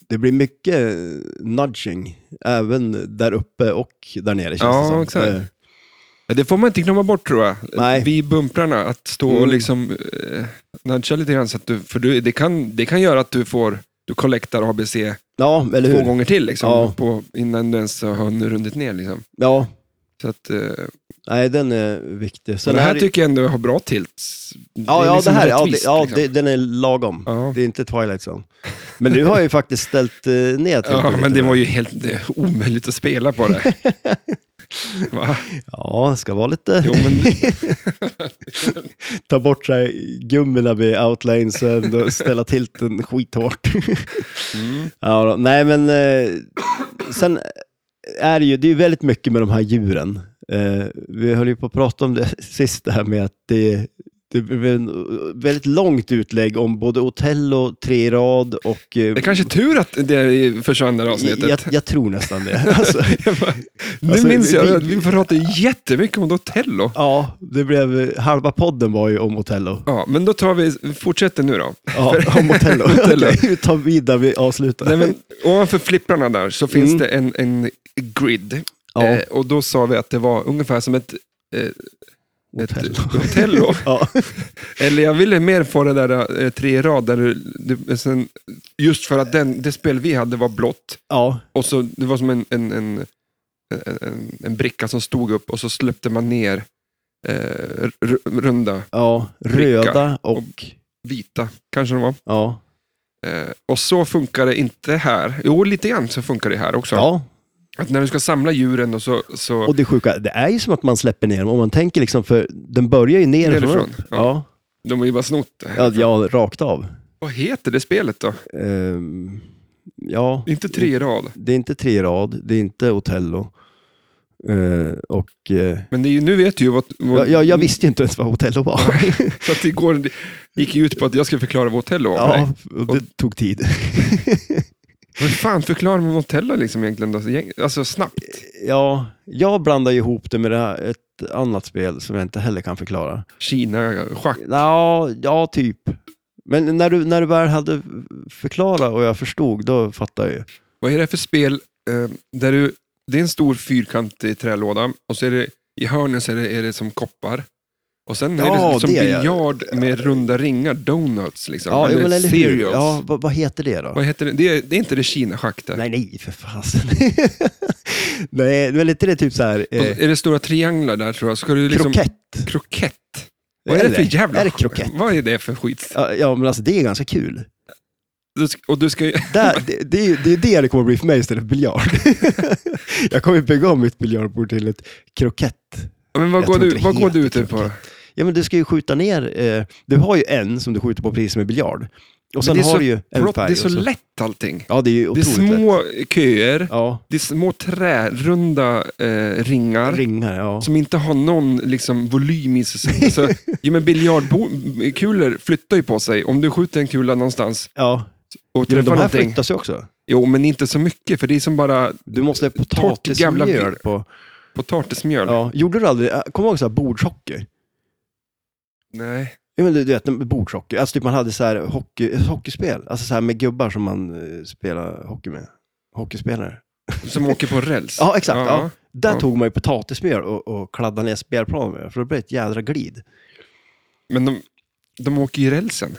Speaker 1: Det blir mycket eh, nudging, även där uppe och där nere känns
Speaker 2: Ja,
Speaker 1: det som.
Speaker 2: exakt.
Speaker 1: Eh,
Speaker 2: Ja, Det får man inte glömma bort tror jag.
Speaker 1: Nej.
Speaker 2: Vi bumprarna, att stå och
Speaker 1: Mm.
Speaker 2: liksom eh, nudga lite grann. Så att du, för du, det, kan, det kan göra att du får du collectar ABC
Speaker 1: Ja, eller
Speaker 2: två
Speaker 1: hur?
Speaker 2: gånger till liksom,
Speaker 1: Ja.
Speaker 2: på, innan du ens har rundit ner. Liksom.
Speaker 1: Ja,
Speaker 2: Så att, eh,
Speaker 1: nej den är viktig.
Speaker 2: men det här
Speaker 1: är-
Speaker 2: tycker jag ändå har bra tilts.
Speaker 1: Ja,
Speaker 2: är
Speaker 1: ja, det
Speaker 2: liksom
Speaker 1: här, ja, det,
Speaker 2: rättvist,
Speaker 1: ja
Speaker 2: liksom.
Speaker 1: det, den är lagom.
Speaker 2: Ja.
Speaker 1: Det är inte Twilight Zone. Men nu har jag ju faktiskt ställt eh, ner till
Speaker 2: Ja,
Speaker 1: lite
Speaker 2: men det
Speaker 1: där.
Speaker 2: var ju helt det, är omöjligt att spela på det. Va?
Speaker 1: Ja, det ska vara lite...
Speaker 2: Jo, men,
Speaker 1: Ta bort så här gummorna vid outlanesen och ställa tilten skithårt.
Speaker 2: mm.
Speaker 1: ja, då. Nej, men eh, sen är det ju, det är ju väldigt mycket med de här djuren. Eh, vi höll ju på att prata om det sist, det här med att det, det blev en väldigt långt utlägg om både Otello, tre i rad och... eh,
Speaker 2: Det är kanske är tur att det försvann det här avsnittet.
Speaker 1: jag, jag tror nästan det. Alltså,
Speaker 2: Jag bara, nu
Speaker 1: Alltså,
Speaker 2: minns jag
Speaker 1: vi-
Speaker 2: att vi pratade jättemycket om Otello.
Speaker 1: ja, det blev, halva podden var ju om Otello.
Speaker 2: Ja, men då tar vi, fortsätter nu då.
Speaker 1: Ja, om Otello.
Speaker 2: Otello.
Speaker 1: Okej, vi tar vid där vi avslutar.
Speaker 2: Nej, men, ovanför flipprarna där så finns
Speaker 1: Mm.
Speaker 2: det en, en grid.
Speaker 1: Ja.
Speaker 2: Eh, och då sa vi att det var ungefär som ett eh,
Speaker 1: Otello.
Speaker 2: Ett Otello.
Speaker 1: Ja,
Speaker 2: Eller jag ville mer få det där eh, tre i rad, där du, du, sen, just för att den, det spel vi hade var blått.
Speaker 1: ja,
Speaker 2: Och så, det var som en, en, en, en, en, en bricka som stod upp och så släppte man ner eh, r- runda,
Speaker 1: ja. Röda och...
Speaker 2: vita kanske de var.
Speaker 1: Ja,
Speaker 2: Eh, och så funkar det inte här. Jo, lite grann så funkar det här också.
Speaker 1: ja.
Speaker 2: Att när du ska samla djuren och så... så
Speaker 1: Och det sjuka, det är ju som att man släpper ner dem. Om man tänker liksom, för den börjar ju nerifrån.
Speaker 2: Nerifrån,
Speaker 1: Ja.
Speaker 2: de har ju bara snott det här.
Speaker 1: Ja, ja, rakt av.
Speaker 2: Vad heter det spelet då?
Speaker 1: Ehm, ja,
Speaker 2: Inte tre i rad.
Speaker 1: det är inte tre i rad, det är inte Otello. Eh, och, eh,
Speaker 2: Men det är ju, nu vet du ju vad... vad
Speaker 1: jag, jag, jag visste ju inte ens vad Otello var.
Speaker 2: Så att igår det gick ju ut på att jag skulle förklara vad Otello var för dig.
Speaker 1: ja, och det tog tid.
Speaker 2: Hur fan förklarar man Otello liksom egentligen? Då? Gäng- Alltså snabbt.
Speaker 1: ja, jag blandar ju ihop det med det här, ett annat spel som jag inte heller kan förklara.
Speaker 2: Kina, schack.
Speaker 1: Ja, ja typ. Men när du, när du väl hade förklarat och jag förstod, då fattade jag ju.
Speaker 2: Vad är det för spel eh, där du... Det är en stor fyrkantig trälåda och så är det i hörnen så är det, är det som koppar. Och sen är
Speaker 1: Ja,
Speaker 2: det som
Speaker 1: det är jag.
Speaker 2: biljard med runda ringar, donuts liksom.
Speaker 1: Ja, ja, men eller hur?
Speaker 2: cereals.
Speaker 1: Ja, vad, vad heter det då?
Speaker 2: Vad heter det? Det är, det är inte det Kina-schack där.
Speaker 1: Nej, nej, för fasen. nej, men inte det typ så här...
Speaker 2: Och
Speaker 1: Eh,
Speaker 2: Är det stora trianglar där tror jag? Ska du liksom...
Speaker 1: krokett?
Speaker 2: Krokett. Vad är det, för jävla...
Speaker 1: Är det krokett?
Speaker 2: Vad är det för skit?
Speaker 1: Ja, ja, men alltså det är ganska kul.
Speaker 2: Du ska, och du ska ju...
Speaker 1: Där, det, det, är ju- det är det det kommer bli för mig istället för biljard. jag kommer ju bygga om mitt biljardbord till ett krokett.
Speaker 2: Ja, Men vad
Speaker 1: Jag
Speaker 2: går,
Speaker 1: tror
Speaker 2: du,
Speaker 1: inte det
Speaker 2: vad går
Speaker 1: heter
Speaker 2: du ut på?
Speaker 1: krokett. Ja, men du ska ju skjuta ner... Eh, du har ju en som du skjuter på precis med biljard. Och sen
Speaker 2: Men det är
Speaker 1: har
Speaker 2: så
Speaker 1: du ju en
Speaker 2: Plott,
Speaker 1: färg.
Speaker 2: det är så
Speaker 1: och
Speaker 2: lätt allting.
Speaker 1: Ja, det är ju
Speaker 2: Det är
Speaker 1: otroligt lätt.
Speaker 2: små köer,
Speaker 1: Ja,
Speaker 2: det är små trärunda eh, ringar
Speaker 1: ringar, ja.
Speaker 2: som inte har någon liksom, volym i sig. Så, ja, men biljardkulor flyttar ju på sig. Om du skjuter en kula någonstans
Speaker 1: ja.
Speaker 2: och
Speaker 1: Jo, men
Speaker 2: träffar
Speaker 1: de här
Speaker 2: någonting.
Speaker 1: flyttas ju också.
Speaker 2: Jo, men inte så mycket, för det är som bara
Speaker 1: Du måste ha
Speaker 2: jävla
Speaker 1: potatismjöl
Speaker 2: mjöl.
Speaker 1: på...
Speaker 2: potatismjöl.
Speaker 1: Ja, gjorde du aldrig, äh, kommer du ihåg så här bordshockey?
Speaker 2: Nej.
Speaker 1: Ja, men du, du vet, bordshockey. Alltså typ man hade så här hockey, ett hockeyspel, alltså så här med gubbar som man eh, spelar hockey med. Hockeyspelare.
Speaker 2: Som åker på räls.
Speaker 1: Ja, exakt. Ja. Där
Speaker 2: Ja.
Speaker 1: tog man ju potatismjöl och, och kladdade ner spelplanen med, för det blev ett jädra glid.
Speaker 2: Men de, de åker ju rälsen.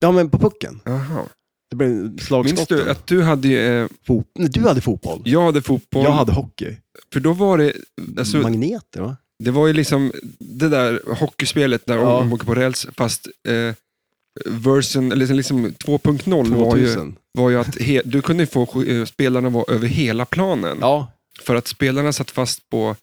Speaker 1: Ja, men på pucken.
Speaker 2: Jaha.
Speaker 1: Det blev
Speaker 2: Minns
Speaker 1: slagskotten.
Speaker 2: du att du hade ju, eh,
Speaker 1: Fot... Nej, du hade fotboll.
Speaker 2: jag hade fotboll,
Speaker 1: Jag hade hockey.
Speaker 2: för då var det, alltså,
Speaker 1: Magneter, va?
Speaker 2: Det var ju liksom det där hockeyspelet där
Speaker 1: Ja.
Speaker 2: de åker på räls, fast eh, versen, eller liksom, liksom 2.0 var ju,
Speaker 1: 2000.
Speaker 2: var ju att he, du kunde ju få eh, spelarna vara över hela planen.
Speaker 1: Ja.
Speaker 2: För att spelarna satt fast på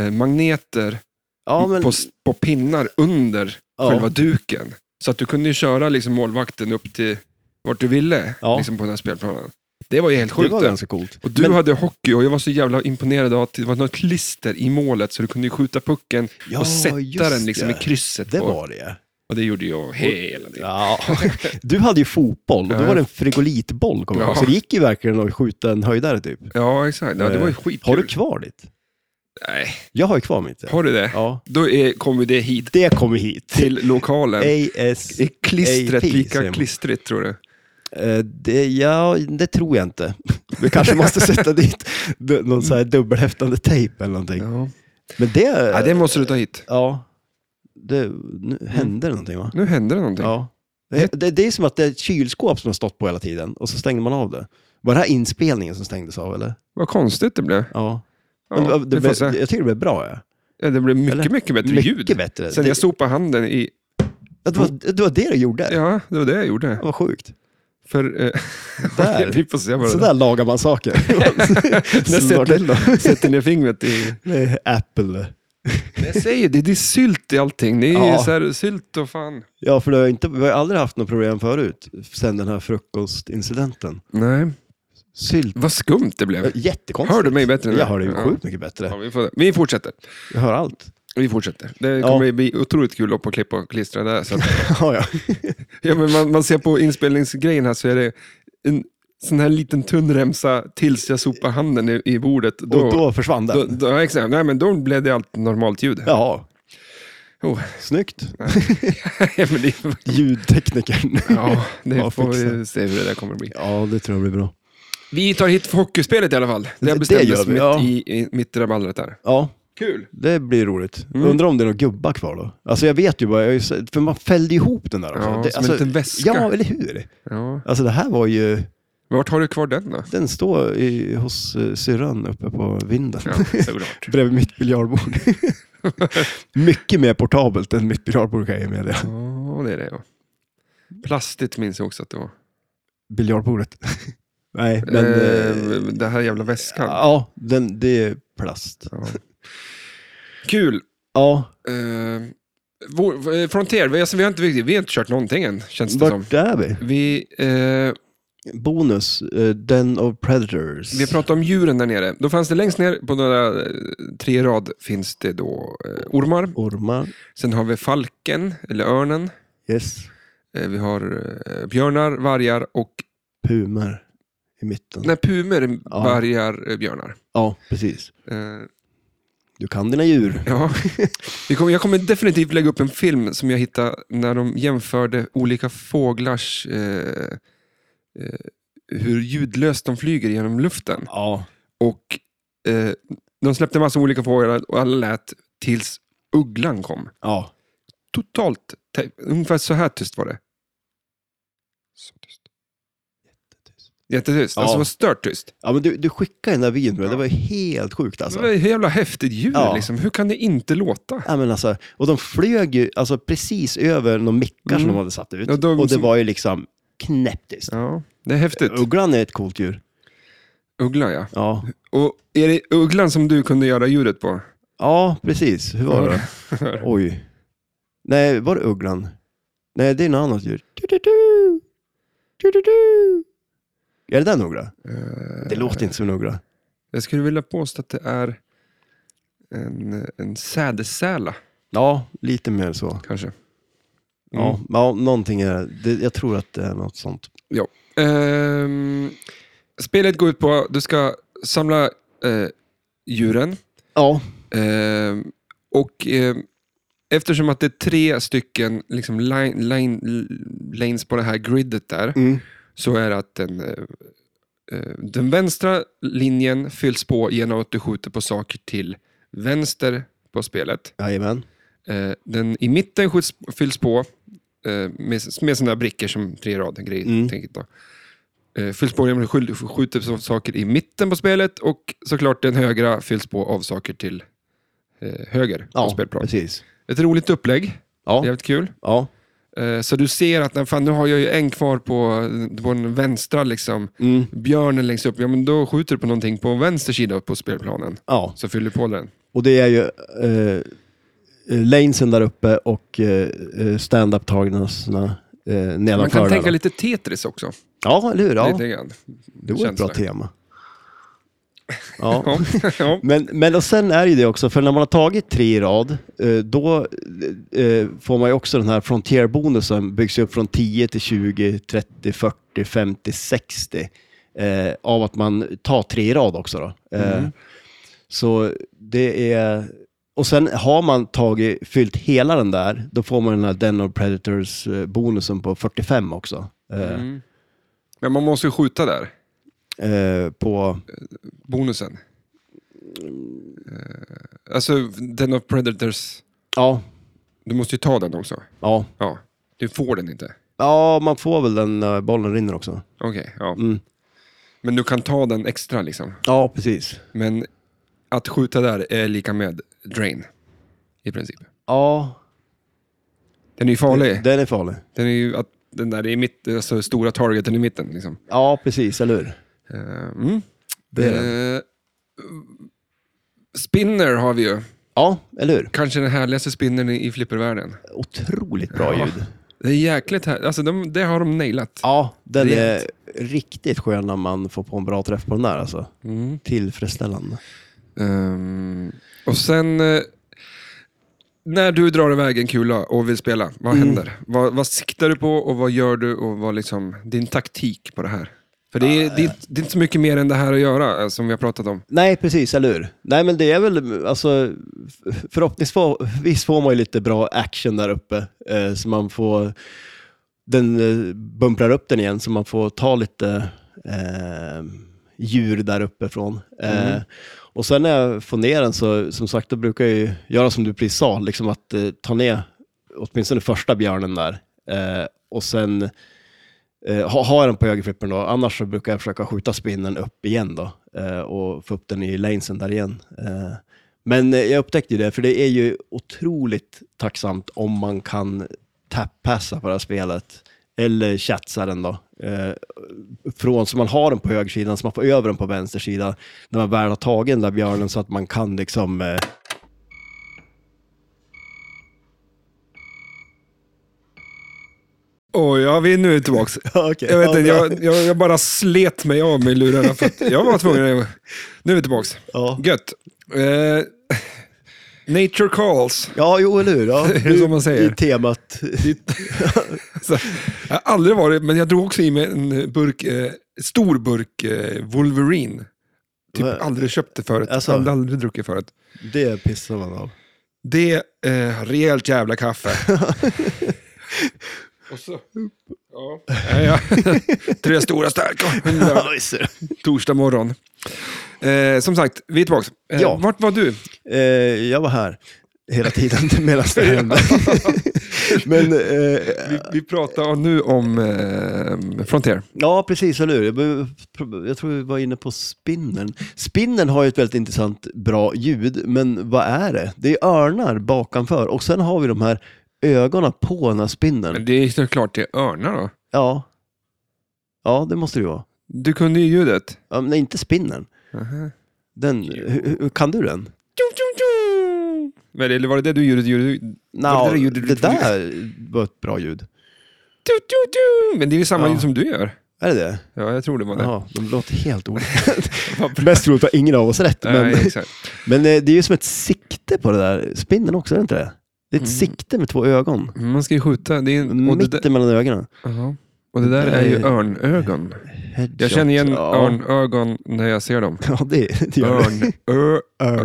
Speaker 2: eh, magneter
Speaker 1: Ja, men...
Speaker 2: på, s- på pinnar under själva
Speaker 1: ja.
Speaker 2: duken. Så att du kunde ju köra liksom, målvakten upp till vart du ville
Speaker 1: Ja.
Speaker 2: liksom, på den här spelplanen. Det var ju helt
Speaker 1: Det
Speaker 2: sjukt.
Speaker 1: var
Speaker 2: det.
Speaker 1: ganska coolt.
Speaker 2: Och du
Speaker 1: Men-
Speaker 2: hade hockey och jag var så jävla imponerad av att det var något klister i målet så du kunde ju skjuta pucken
Speaker 1: Ja,
Speaker 2: och sätta
Speaker 1: just
Speaker 2: den liksom i
Speaker 1: det.
Speaker 2: krysset.
Speaker 1: Det
Speaker 2: på-
Speaker 1: var det.
Speaker 2: Och det gjorde jag hela tiden.
Speaker 1: Ja. Du hade ju fotboll och då
Speaker 2: Ja.
Speaker 1: var det en frigolitboll, kommer jag ihåg.
Speaker 2: Ja.
Speaker 1: Så det gick ju verkligen att skjuta en höjdare typ.
Speaker 2: Ja, exakt. Ja, det var ju
Speaker 1: Eh,
Speaker 2: skitkul.
Speaker 1: Har du kvar ditt?
Speaker 2: Nej,
Speaker 1: Jag har ju kvar mitt. ja.
Speaker 2: har du det?
Speaker 1: Ja.
Speaker 2: Då är, kommer det hit
Speaker 1: Det kommer hit.
Speaker 2: till eh, lokalen.
Speaker 1: AS...
Speaker 2: Är klistret
Speaker 1: AP, säger
Speaker 2: lika
Speaker 1: man.
Speaker 2: klistrigt tror du?
Speaker 1: eh, Det, ja, det tror jag inte. Vi kanske måste sätta dit d- någon så här dubbelhäftande tejp eller någonting.
Speaker 2: Ja.
Speaker 1: Men det...
Speaker 2: ja, det måste du ta hit.
Speaker 1: ja. Det, nu hände det någonting va?
Speaker 2: Nu händer det någonting.
Speaker 1: Ja. Det, det, det är som att det är ett kylskåp som har stått på hela tiden och så stängde man av det. Var det här inspelningen som stängdes av eller?
Speaker 2: Vad konstigt det blev.
Speaker 1: Ja.
Speaker 2: Ja,
Speaker 1: Men det,
Speaker 2: det,
Speaker 1: blev-
Speaker 2: får jag säga.
Speaker 1: jag tycker det blev bra. Ja.
Speaker 2: ja, det blev mycket,
Speaker 1: eller?
Speaker 2: mycket bättre
Speaker 1: Mycket
Speaker 2: ljud.
Speaker 1: bättre.
Speaker 2: Sen
Speaker 1: det,
Speaker 2: jag sopade handen i...
Speaker 1: ja, det, var, det var det du gjorde.
Speaker 2: Ja, det var det jag gjorde.
Speaker 1: Det var sjukt.
Speaker 2: För... Eh,
Speaker 1: Där.
Speaker 2: vi får se vad det
Speaker 1: Så där lagar man saker.
Speaker 2: Där
Speaker 1: Snart till då.
Speaker 2: sätter, sätter ner fingret i...
Speaker 1: Med Apple.
Speaker 2: Jag säger det, det är sylt i allting. Det är
Speaker 1: Ja.
Speaker 2: så här, sylt och fan.
Speaker 1: Ja, för det har ju inte, vi har ju aldrig haft något problem förut, sen den här frukostincidenten.
Speaker 2: Nej.
Speaker 1: Sylt.
Speaker 2: Vad skumt det blev.
Speaker 1: Jättekonstigt.
Speaker 2: Hör du mig bättre nu?
Speaker 1: Jag hör dig
Speaker 2: Ja.
Speaker 1: sjukt mycket bättre.
Speaker 2: Ja, vi, får, vi fortsätter.
Speaker 1: Jag hör allt.
Speaker 2: Vi fortsätter. Det kommer
Speaker 1: Ja.
Speaker 2: bli otroligt kul att på klippa och klistra det här. sen.
Speaker 1: Ja, ja.
Speaker 2: ja, men man, man ser på inspelningsgrejen här så är det en sån här liten tunn remsa tills jag sopar handen i, i bordet. Då,
Speaker 1: Och då försvann den.
Speaker 2: då, då, ja, exakt. Nej, men då blev det allt normalt ljud.
Speaker 1: Ja.
Speaker 2: Oh.
Speaker 1: Snyggt.
Speaker 2: Ja, men det,
Speaker 1: Ljudteknikern.
Speaker 2: ja, det
Speaker 1: Ja,
Speaker 2: får
Speaker 1: fixa.
Speaker 2: vi se hur det där kommer att bli.
Speaker 1: Ja, det tror jag blir bra.
Speaker 2: Vi tar hit för hockeyspelet i alla fall. Det,
Speaker 1: Det- det
Speaker 2: bestämdes
Speaker 1: gör vi,
Speaker 2: mitt,
Speaker 1: ja.
Speaker 2: i, i, mitt i raballret där.
Speaker 1: Ja,
Speaker 2: Kul!
Speaker 1: det blir roligt.
Speaker 2: Mm.
Speaker 1: Undrar om det är några gubbar kvar då? Alltså jag vet ju bara, jag har ju sett- för man fällde ihop den där också.
Speaker 2: Ja,
Speaker 1: det,
Speaker 2: som en
Speaker 1: alltså,
Speaker 2: liten väska.
Speaker 1: Ja, eller hur?
Speaker 2: Ja.
Speaker 1: Alltså det här var ju,
Speaker 2: Vart har du kvar den då?
Speaker 1: den står i, hos uh, syrran uppe på vinden.
Speaker 2: Ja, såklart.
Speaker 1: Bredvid mitt biljardbord. Mycket mer portabelt än mitt biljardbord kan jag med det.
Speaker 2: Ja, det är det. Ja. Plastigt minns jag också att det var.
Speaker 1: Biljardbordet. Nej, men... eh,
Speaker 2: eh, det här jävla väskan.
Speaker 1: ja, den, det är plast.
Speaker 2: Ja. Kul!
Speaker 1: Ja,
Speaker 2: Eh, vår, eh, Frontier, vi, alltså, vi, har inte, riktigt- vi har inte kört någonting än, känns det som.
Speaker 1: vart är vi?
Speaker 2: Vi, eh,
Speaker 1: Bonus, eh, Den of Predators.
Speaker 2: vi pratade om djuren där nere. Då fanns det längst ner på några eh, tre rad finns det då eh, ormar.
Speaker 1: Ormar.
Speaker 2: Sen har vi falken, eller örnen.
Speaker 1: Yes.
Speaker 2: Eh, Vi har eh, björnar, vargar och...
Speaker 1: Pumor i mitten.
Speaker 2: Nej, pumer,
Speaker 1: Ja.
Speaker 2: vargar, eh, björnar.
Speaker 1: Ja, precis.
Speaker 2: Eh,
Speaker 1: Du kan dina djur.
Speaker 2: ja. Vi kommer, jag kommer definitivt lägga upp en film som jag hittade när de jämförde olika fåglars... Eh, eh, hur ljudlöst de flyger genom luften.
Speaker 1: Ja.
Speaker 2: Och eh, De släppte massa olika fåglar och alla lät tills ugglan kom.
Speaker 1: Ja.
Speaker 2: Totalt, te- ungefär så här tyst var det. Så tyst. Jättetyst. Alltså
Speaker 1: Ja.
Speaker 2: det var stört tyst.
Speaker 1: Ja, men du, du skickade den där videon,
Speaker 2: Ja.
Speaker 1: det var ju helt sjukt
Speaker 2: Det
Speaker 1: alltså.
Speaker 2: var ett jävla häftigt djur.
Speaker 1: Ja.
Speaker 2: Liksom. Hur kan det inte låta?
Speaker 1: Ja, men alltså, och de flög ju alltså, precis över några mickar som
Speaker 2: Mm.
Speaker 1: de hade satt ut.
Speaker 2: Ja, de
Speaker 1: och det
Speaker 2: som-
Speaker 1: var ju liksom knäpptyst.
Speaker 2: Ja, det är häftigt.
Speaker 1: Ugglan är ett coolt djur.
Speaker 2: Ugglan ja.
Speaker 1: Ja,
Speaker 2: Och är det ugglan som du kunde göra ljudet på?
Speaker 1: ja precis. Hur var det? Oj. Nej, var det ugglan? Nej, det är något annat djur. Du-du-du. Du-du-du. Är det den uggla?
Speaker 2: Eh,
Speaker 1: Det låter inte som en uggla.
Speaker 2: Jag skulle vilja påstå att det är en, en sädessäla
Speaker 1: Ja, lite mer så.
Speaker 2: kanske.
Speaker 1: Ja,
Speaker 2: Mm.
Speaker 1: ja någonting är det. det. Jag tror att det är något sånt.
Speaker 2: Ehm, spelet går ut på att du ska samla eh, djuren.
Speaker 1: Ja,
Speaker 2: Ehm, och ehm, eftersom att det är tre stycken liksom line, line, lanes på det här gridet där,
Speaker 1: mm.
Speaker 2: så är det att den, eh, eh, den vänstra linjen fylls på genom att du skjuter på saker till vänster på spelet.
Speaker 1: jajamän.
Speaker 2: Eh, den i mitten skjuts, fylls på eh, med, med sådana här brickor som tre rader grejer.
Speaker 1: Mm.
Speaker 2: tänker jag då. Eh, fylls på genom att skjul- skjuter på saker i mitten på spelet och såklart den högra fylls på av saker till eh, höger på
Speaker 1: Ja,
Speaker 2: spelplanen.
Speaker 1: precis.
Speaker 2: Ett roligt upplägg,
Speaker 1: Ja,
Speaker 2: jävligt kul.
Speaker 1: ja.
Speaker 2: Eh, så du ser att "Nej, fan, nu har jag ju en kvar på, på den vänstra liksom.
Speaker 1: Mm.
Speaker 2: Björnen längst upp, ja men då skjuter du på någonting på vänster sida på spelplanen.
Speaker 1: ja.
Speaker 2: Så fyller du på den.
Speaker 1: Och det är ju eh, lanesen där uppe och eh, eh, stand-up-tagningarna eh,
Speaker 2: Man
Speaker 1: nedanför.
Speaker 2: kan
Speaker 1: där
Speaker 2: tänka
Speaker 1: då.
Speaker 2: lite Tetris också.
Speaker 1: Ja, eller hur? Ja,
Speaker 2: Lite grann.
Speaker 1: det var ett bra
Speaker 2: känsla.
Speaker 1: tema. Ja.
Speaker 2: Ja, ja.
Speaker 1: Men, men och sen är det ju det också, för när man har tagit tre i rad, eh, då eh, får man ju också den här frontier-bonusen, byggs ju upp från 10 till 20, 30, 40, 50, 60 eh, av att man tar tre i rad också. Då. Eh,
Speaker 2: Mm.
Speaker 1: Så det är... Och sen har man tagit, fyllt hela den där, då får man den här Den of Predators-bonusen på 45 också. Eh,
Speaker 2: Mm. Men man måste ju skjuta där,
Speaker 1: eh, på...
Speaker 2: bonusen. Eh, Alltså, den av Predators,
Speaker 1: Ja,
Speaker 2: du måste ju ta den också.
Speaker 1: ja.
Speaker 2: Ja, du får den inte.
Speaker 1: Ja, man får väl den när bollen rinner också.
Speaker 2: Okej, ja.
Speaker 1: Mm.
Speaker 2: Men du kan ta den extra liksom.
Speaker 1: Ja, precis.
Speaker 2: Men att skjuta där är lika med drain, i princip.
Speaker 1: Ja,
Speaker 2: Den är ju farlig.
Speaker 1: den är farlig.
Speaker 2: Den är ju att, den där i mitt, alltså stora targeten i mitten liksom.
Speaker 1: Ja, precis, eller hur?
Speaker 2: Eh, Mm.
Speaker 1: Det är den.
Speaker 2: Eh, Spinner har vi ju.
Speaker 1: Ja, eller hur?
Speaker 2: Kanske den härligaste spinnern i i flippervärlden.
Speaker 1: Otroligt bra
Speaker 2: Ja.
Speaker 1: ljud.
Speaker 2: Det är jäkligt här. Alltså, de, det har de nailat.
Speaker 1: Ja, den
Speaker 2: Rent.
Speaker 1: är riktigt skön när man får på en bra träff på den där alltså.
Speaker 2: Mm.
Speaker 1: Tillfredsställande.
Speaker 2: Ehm, och sen... eh, När du drar iväg en kula och vill spela, vad händer? Vad, vad siktar du på och vad gör du och vad liksom, din taktik på det här? För det är, det, är, det är inte så mycket mer än det här att göra, eh, som vi har pratat om.
Speaker 1: Nej, precis, eller hur? Nej, men det är väl, alltså, f- förhoppningsvis får man ju lite bra action där uppe, eh, så man får, den eh, bumprar upp den igen, så man får ta lite eh, djur där uppifrån. Eh, Och sen när jag får ner den så, som sagt, då brukar jag ju göra som du precis sa, liksom att eh, ta ner åtminstone första björnen där, eh, och sen Eh, ha, ha den på högerflippen då, annars så brukar jag försöka skjuta spinnen upp igen då eh, och få upp den i lanesen där igen. Eh, men eh, jag upptäckte ju det, för det är ju otroligt tacksamt om man kan tappassa på det här spelet, eller chatsa den då. Eh, från så man har den på högersidan, så man får över den på vänster sida när man väl har tagit den där björnen så att man kan liksom eh,
Speaker 2: Åh, ja, vi är nu tillbaks.
Speaker 1: Ja, okej.
Speaker 2: jag, vet
Speaker 1: Ja,
Speaker 2: inte,
Speaker 1: bra.
Speaker 2: jag, jag, jag bara slet mig av mig lurarna för att jag var tvungen. att- Nu är vi tillbaks.
Speaker 1: Ja.
Speaker 2: Gött. Eh, nature calls.
Speaker 1: Ja, jo, eller hur? Ja,
Speaker 2: är som man säger.
Speaker 1: I temat.
Speaker 2: Så, jag har aldrig varit, men jag drog också i mig en burk, eh, stor burk eh, Wolverine. Typ
Speaker 1: Va?
Speaker 2: aldrig köpt det förut,
Speaker 1: Alltså.
Speaker 2: aldrig, aldrig druckit förut.
Speaker 1: Det pissar man av.
Speaker 2: Det är eh, rejält jävla kaffe. Och så, ja, ja, ja. Tre stora starka.
Speaker 1: Ja, visst är det.
Speaker 2: Torsdag morgon. Eh, som sagt, vi är tillbaka. Eh,
Speaker 1: Ja.
Speaker 2: Vart var du?
Speaker 1: Eh, jag var här hela tiden medan det hände. Men, eh,
Speaker 2: Vi, vi pratar nu om eh, Frontier.
Speaker 1: ja precis, eller hur? Jag behöver- Jag tror vi var inne på spinnen. Spinnen har ju ett väldigt intressant, bra ljud, men vad är det? Det är örnar bakanför och sen har vi de här ögonen på den här
Speaker 2: Men
Speaker 1: spinnen.
Speaker 2: det är såklart det är örnar då.
Speaker 1: Ja, ja det måste det ju vara.
Speaker 2: Du kunde ju ljudet.
Speaker 1: Ja, men nej, inte spinnen.
Speaker 2: Aha.
Speaker 1: Den, hur, hur- kan du den?
Speaker 2: Men eller var det det du gjorde? gjorde du-
Speaker 1: Nå,
Speaker 2: det
Speaker 1: det,
Speaker 2: gjorde du-
Speaker 1: där var ett bra ljud.
Speaker 2: tu, tu, tu. Men det är ju samma
Speaker 1: Ja.
Speaker 2: ljud som du gör.
Speaker 1: Är det det?
Speaker 2: Ja, jag tror det var det.
Speaker 1: Ja, de låter helt olika.
Speaker 2: Vad bra.
Speaker 1: Mest troligt har ingen av oss rätt.
Speaker 2: Nej,
Speaker 1: Men...
Speaker 2: exakt.
Speaker 1: Men eh, det är ju som ett sikte på det där. Spinnen också, är det inte det? Det är ett sikte med två ögon.
Speaker 2: Man ska ju skjuta. Det är, en- och, Mm. det, där-
Speaker 1: Mitt mellan ögonen.
Speaker 2: Jaha. och det där är ju örnögon.
Speaker 1: Headshot.
Speaker 2: Jag känner igen
Speaker 1: ja.
Speaker 2: örnögon när jag ser dem.
Speaker 1: Ja, det, det gör
Speaker 2: Örn. Ö,
Speaker 1: det. Örn.